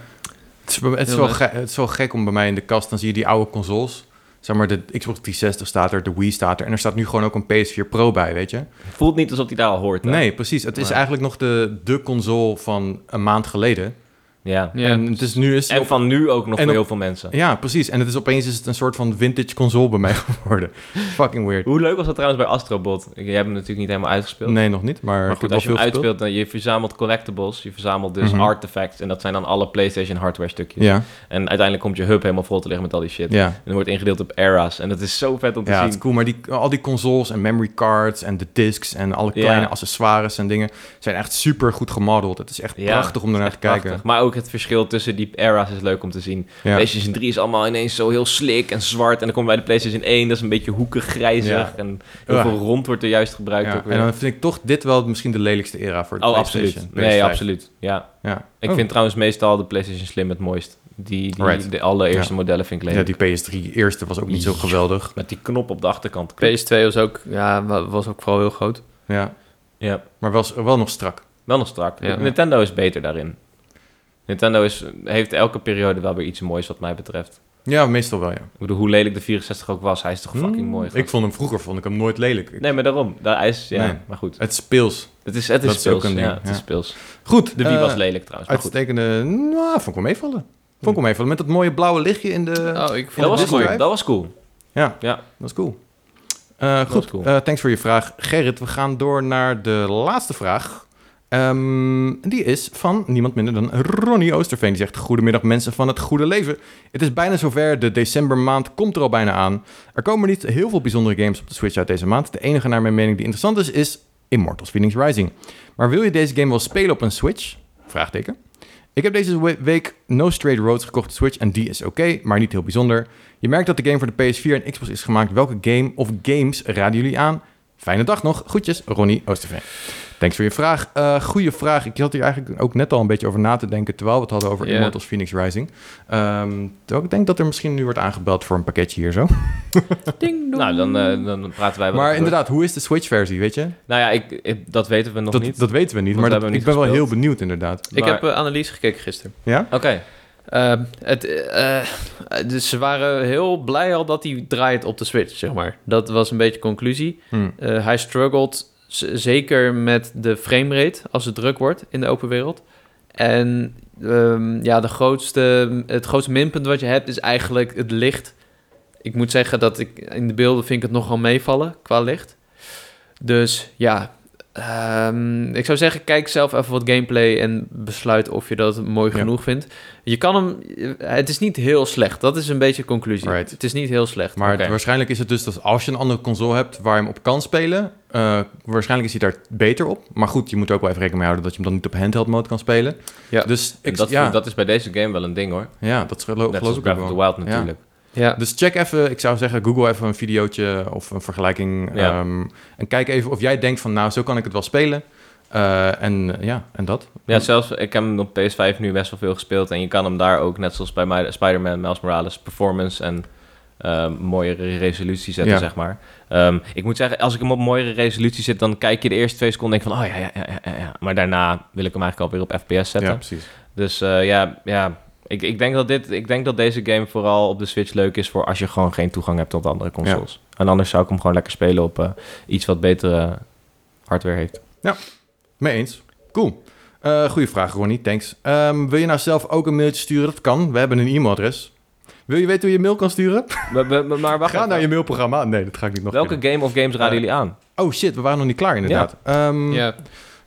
Het is, het, is Heel wel leuk. ge- het is wel gek om bij mij in de kast, dan zie je die oude consoles. Zeg maar, de Xbox 360 staat er, de Wii staat er. En er staat nu gewoon ook een PS4 Pro bij, weet je? Voelt niet alsof die daar al hoort. hè? Nee, precies. Het is Maar- eigenlijk nog de, de console van een maand geleden. Ja. Ja. En het is nu... Is het En op- van nu ook nog en voor op- heel veel mensen. Ja, precies. En het is opeens is het een soort van vintage console bij mij geworden. Fucking weird. Hoe leuk was dat trouwens bij Astrobot? Jij hebt hem natuurlijk niet helemaal uitgespeeld. Nee, nog niet, maar, Maar ik heb goed, wel als je hem veel gespeeld. uitspeelt, dan je verzamelt collectibles, je verzamelt dus Mhm. artefacts. En dat zijn dan alle PlayStation hardware stukjes. Ja, En uiteindelijk komt je hub helemaal vol te liggen met al die shit. ja. En dan wordt ingedeeld op era's. En dat is zo vet om te Ja, het zien. is cool. Maar die, al die consoles en memory cards en de discs en alle Ja. kleine accessoires en dingen zijn echt super goed gemodeld. Het is echt Ja, prachtig om ernaar te Prachtig. kijken. Maar ook het verschil tussen die era's is leuk om te zien. Ja. PlayStation 3 is allemaal ineens zo heel slik en zwart. En dan komen wij de PlayStation 1, dat is een beetje hoekig, grijzig. Ja. En heel Ja. veel rond wordt er juist gebruikt Ja, ook weer. en dan vind ik toch dit wel misschien de lelijkste era voor de oh, PlayStation. absoluut. Nee, PS5. absoluut. Ja. Ja. Ik Oh, vind trouwens meestal de PlayStation Slim het mooist. Die, die Right. de allereerste Ja. modellen vind ik lelijk. Ja, die PS3 eerste was ook niet zo geweldig. Met die knop op de achterkant. PS2 was ook, ja, wa- was ook vooral heel groot. Ja, Ja, maar was wel nog strak. wel nog strak. Ja. Nintendo is beter daarin. Nintendo is, heeft elke periode wel weer iets moois wat mij betreft. Ja, meestal wel, ja. Ik bedoel, hoe lelijk de 64 ook was, hij is toch fucking mooi. gast. Hmm, Ik vond hem vroeger vond ik hem nooit lelijk. Ik- Nee, maar daarom. Daar hij is, ja, Nee. maar goed. Het speels. Het is, het is Dat is ook speels. een ding, ja, het ja. is speels. Goed, De Wii eh, was lelijk trouwens, maar goed. Uitstekende... Nou, vond ik wel meevallen. Vond ik wel meevallen. Met dat mooie blauwe lichtje in de... Oh, ik Dat Disc was vond het cool. mooi. Drive. Dat was cool. Ja, Ja. dat is cool. Eh, goed, is cool. Eh, thanks voor je vraag. Gerrit, we gaan door naar de laatste vraag. Ehm, die is van niemand minder dan Ronnie Oosterveen. Die zegt, goedemiddag mensen van het goede leven. Het is bijna zover, de decembermaand komt er al bijna aan. Er komen niet heel veel bijzondere games op de Switch uit deze maand. De enige naar mijn mening die interessant is, is Immortals Phoenix Rising. Maar wil je deze game wel spelen op een Switch? Vraagteken. Ik heb deze we- week No Straight Roads gekocht op Switch en die is oké, maar niet heel bijzonder. Je merkt dat de game voor de PS4 en Xbox is gemaakt. Welke game of games raden jullie aan? Fijne dag nog. Groetjes, Ronnie Oosterveen. Thanks voor je vraag. Eh goeie vraag. Ik zat hier eigenlijk ook net al een beetje over na te denken... terwijl we het hadden over Ja. Immortals Phoenix Rising. Ehm, terwijl ik denk dat er misschien nu wordt aangebeld voor een pakketje hier zo. Nou, dan, eh, dan praten maar wij wel even door. inderdaad, hoe is de Switch-versie, weet je? Nou ja, ik, ik- dat weten we nog Dat, niet. dat weten we niet, Want maar we dat- hebben hem ik ben niet wel heel gespeeld. benieuwd inderdaad. Ik Maar- heb eh, analyse gekeken gisteren. Ja? Oké. Eh, het, eh, eh, dus ze waren heel blij al dat hij draait op de Switch, zeg maar. Dat was een beetje conclusie. Hmm. Hm. Eh, hij struggled z- zeker met de framerate als het druk wordt in de open wereld. En ehm, ja, de grootste, het grootste minpunt wat je hebt is eigenlijk het licht. Ik moet zeggen dat ik in de beelden vind ik het nogal meevallen qua licht. Dus ja, ehm, ik zou zeggen, kijk zelf even wat gameplay en besluit of je dat mooi Ja. genoeg vindt. Je kan hem, eh, het is niet heel slecht. Dat is een beetje de conclusie. Right. Het is niet heel slecht. Maar Oké. waarschijnlijk is het dus dat als je een andere console hebt waar je hem op kan spelen, eh, waarschijnlijk is hij daar beter op. Maar goed, je moet ook wel even rekening mee houden dat je hem dan niet op handheld mode kan spelen. Ja. Dus En ik, dat, ja, dat, dat is bij deze game wel een ding hoor. ja, dat gelo- Net geloof zoals ik Breath ook of the wel. Wild natuurlijk. ja. Dus check even, ik zou zeggen, Google even een videootje of een vergelijking. Ja. ehm, en kijk even of jij denkt van, nou, zo kan ik het wel spelen. Eh, en eh, ja, en dat. Ja, zelfs ik heb hem op PS5 nu best wel veel gespeeld. En je kan hem daar ook, net zoals bij Mi- Spider-Man, Miles Morales, performance en ehm, mooiere resolutie zetten, Ja. zeg maar. Ehm, ik moet zeggen, als ik hem op mooiere resolutie zit, dan kijk je de eerste twee seconden en denk van, oh ja, ja, ja, ja, ja. Maar daarna wil ik hem eigenlijk alweer op FPS zetten. Ja, precies. Dus eh, ja, ja. Ik, ik, denk dat dit, ik denk dat deze game vooral op de Switch leuk is voor als je gewoon geen toegang hebt tot andere consoles. En anders zou ik hem gewoon lekker spelen op eh, iets wat betere hardware heeft. Mee eens. Cool. Eh goeie vraag, Ronnie. Thanks. Ehm, wil je nou zelf ook een mailtje sturen? Dat kan. We hebben een e-mailadres. Wil je weten hoe je mail kan sturen? Maar, maar, maar wacht Ga even. naar je mailprogramma. Nee, dat ga ik niet nog Welke doen. game of games raden Eh, jullie aan? Oh shit, we waren nog niet klaar inderdaad. Ja, ja.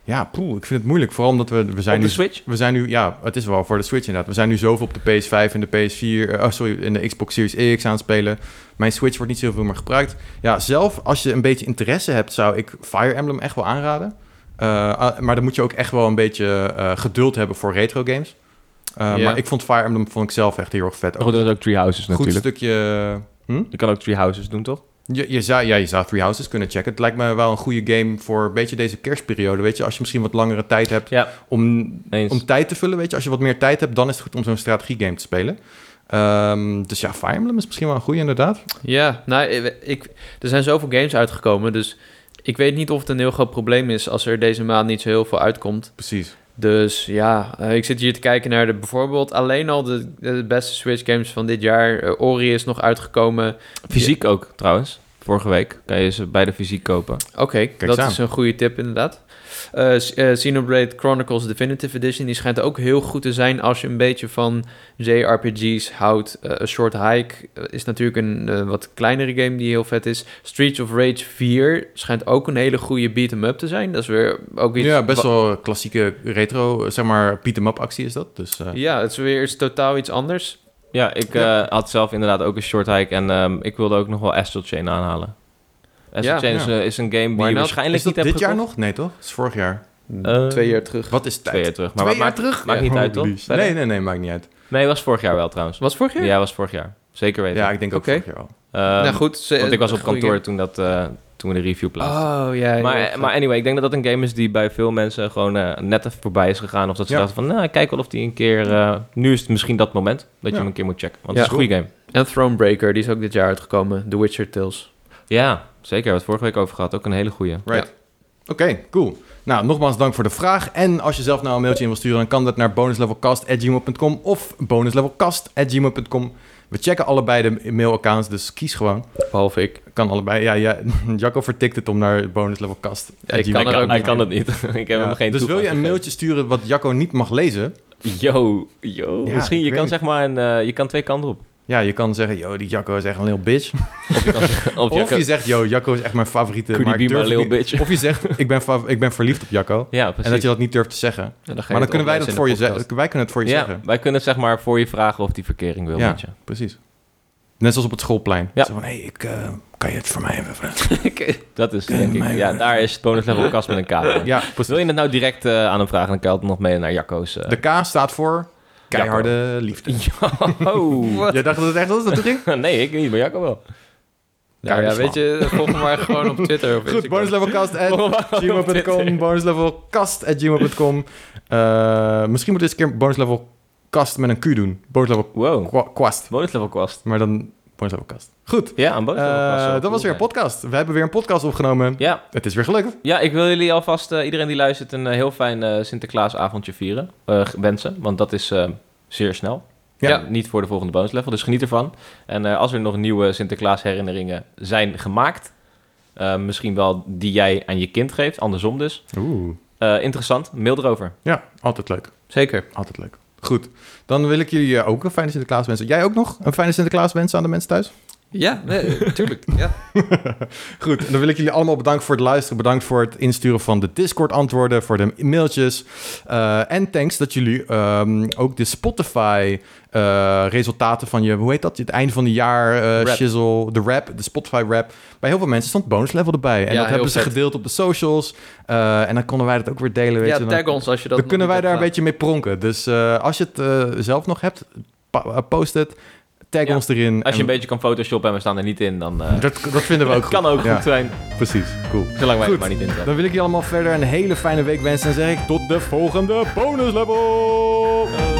ja poeh, ik vind het moeilijk. Vooral omdat we, we zijn Op de nu... Switch? We zijn nu, ja, het is wel voor de Switch inderdaad. We zijn nu zoveel op de PS5 en de PS4, eh, oh sorry, en de Xbox Series X aan het spelen. Mijn Switch wordt niet zoveel meer gebruikt. Ja, zelf, als je een beetje interesse hebt, zou ik Fire Emblem echt wel aanraden. Eh, ah, maar dan moet je ook echt wel een beetje eh, geduld hebben voor retro games. Eh, Ja. Maar ik vond Fire Emblem vond ik zelf echt heel erg vet. Ook Goed, Oh, dat is ook Three Houses een goed natuurlijk. stukje... Hm? Je kan ook Three Houses doen, toch? Je, je zou, ja, je zou Three Houses kunnen checken. Het lijkt me wel een goede game voor een beetje deze kerstperiode. Weet je, als je misschien wat langere tijd hebt Ja. om, Eens. om tijd te vullen. Weet je, als je wat meer tijd hebt, dan is het goed om zo'n strategiegame te spelen. Ehm, dus ja, Fire Emblem is misschien wel een goede inderdaad. Ja, nou, ik, ik- er zijn zoveel games uitgekomen, dus ik weet niet of het een heel groot probleem is als er deze maand niet zo heel veel uitkomt. Precies. Dus ja, eh, ik zit hier te kijken naar de, bijvoorbeeld alleen al de, de beste Switch games van dit jaar. Eh, Ori is nog uitgekomen. Fysiek ook, trouwens. Vorige week kan je ze beide fysiek kopen. Oké, dat eens aan. is een goede tip inderdaad. Eh, S- eh, Xenoblade Chronicles Definitive Edition, die schijnt ook heel goed te zijn als je een beetje van JRPG's houdt. Eh, A Short Hike eh, is natuurlijk een eh, wat kleinere game die heel vet is. Streets of Rage 4 schijnt ook een hele goede beat-em-up te zijn. Dat is weer ook iets... Ja, best wa- wel klassieke retro, zeg maar, beat 'em up actie is dat. Dus eh, Ja, het is weer iets totaal iets anders. Ja, ik Ja. eh, had zelf inderdaad ook een short hike en ehm, ik wilde ook nog wel Astral Chain aanhalen. Astral Ja. Chain is, Ja. eh, is een game die Why je not? waarschijnlijk is dat niet dit hebt jaar gekocht. nog? Nee toch? Dat is vorig jaar. Eh, Twee jaar terug. Wat is tijd? Twee jaar terug. Maar Twee jaar wat maakt, terug? maakt niet uit, toch? Holy shit. Verder? Nee, nee, nee, maakt niet uit. Nee, was vorig jaar wel trouwens. Was vorig jaar? Ja, was vorig jaar. Zeker weten. Ja, ik eh, denk ook Oké. vorig jaar al. Ehm, nou goed. ze- Want ik was op goeie kantoor game. toen dat, eh, toen we de review Ah, plaatsten. Oh, ja. Maar, maar anyway, ik denk dat dat een game is die bij veel mensen gewoon eh, net even voorbij is gegaan. Of dat ze Ja. dachten van, nou, ik kijk wel of die een keer... eh, nu is het misschien dat moment dat je Ja. hem een keer moet checken. Want Ja. het is een goede game. En Thronebreaker, die is ook dit jaar uitgekomen. The Witcher Tales. Ja, zeker. We hebben het vorige week over gehad. Ook een hele goede. Right. Oké, cool. Nou, nogmaals dank voor de vraag. En als je zelf nou een mailtje in wil sturen, dan kan dat naar bonuslevelcast.gmail.com of bonuslevelcast.gmail.com. We checken allebei de mailaccounts, dus kies gewoon. Behalve ik. Kan allebei. Ja, ja Jacco vertikt het om naar bonuslevelcast. Ja, ik kan er ook Hij niet. kan het niet. ik heb Ja, hem geen dus wil je een mailtje sturen wat Jacco niet mag lezen? Yo, yo. Ja, misschien, ik je weet het. kan zeg maar een... eh, je kan twee kanten op. Ja, je kan zeggen, yo, die Jacco is echt een lil bitch. Of, Of kan- je zegt, yo, Jacco is echt mijn favoriete. Could he Maar ik be my durf het lil niet- bitch? Of je zegt, ik ben, fav- ik ben verliefd op Jacco. Ja, precies. En dat je dat niet durft te zeggen. En ga je Maar dan het kunnen wij oplezen dat in voor je de podcast. zeggen. Wij kunnen het voor je ja, zeggen. wij kunnen zeg maar voor je vragen of die verkering wil Ja. met je. Precies. Net zoals op het schoolplein. Ja. Zo van, hey, ik, eh, kan je het voor mij even vragen? Dat is Kun je denk ik. mij- Ja, daar is bonus level kast met een K. voor. Ja, Wil precies. je het nou direct eh, aan hem vragen, dan kan je het nog mee naar Jacco's. eh, De K staat voor keiharde liefde. Oh. Jij dacht dat het echt was, dat ging? nee, ik niet, maar Jacco wel. Nou ja, weet je, volg me maar gewoon op Twitter. Of Goed, Instagram. bonuslevelcast.gmail.com, bonuslevelcast.gmail.com. Eh, misschien moet deze keer bonuslevelcast met een Q doen. Bonuslevel Wow. qua- kwast. Bonus level kwast. Maar dan bonuslevelcast. Goed, Ja, aan bonus level kwast Eh, zou dat cool was weer een zijn. podcast. We hebben weer een podcast opgenomen. Ja, Het is weer gelukt. ja, ik wil jullie alvast, eh, iedereen die luistert, een eh, heel fijn eh, Sinterklaasavondje vieren. eh, wensen, want dat is eh, zeer snel. Ja. Ja. niet voor de volgende bonus level, dus geniet ervan. En eh, als er nog nieuwe Sinterklaas herinneringen zijn gemaakt, eh, misschien wel die jij aan je kind geeft, andersom dus. Oeh. Eh, interessant, mail erover. Ja, altijd leuk. Zeker. Altijd leuk. Goed, dan wil ik jullie eh, ook een fijne Sinterklaas wensen. Jij ook nog een fijne Sinterklaas wensen aan de mensen thuis? Ja, nee, tuurlijk. Ja. Goed, en dan wil ik jullie allemaal bedanken voor het luisteren. Bedankt voor het insturen van de Discord-antwoorden, voor de mailtjes. Eh, en thanks dat jullie ehm, ook de Spotify-resultaten van je, hoe heet dat? Het einde van het jaar, eh, Rap. shizzle, de rap, de Spotify-rap. Bij heel veel mensen stond bonus level erbij. En Ja, dat hebben heel ze vet. gedeeld op de socials. Eh, en dan konden wij dat ook weer delen. Weet ja, je, dan- tag ons als je dan dat nog kunnen wij niet daar een hebt beetje mee pronken. Dus eh, als je het eh, zelf nog hebt, pa- eh, post het. Tag Ja. ons erin. Als je En een beetje kan photoshoppen en we staan er niet in, dan... eh dat, dat vinden we ook het kan goed. ook Ja, goed zijn, Precies, cool. zolang wij Goed. er maar niet in zijn. Dan wil ik jullie allemaal verder een hele fijne week wensen. En zeg ik tot de volgende bonus level.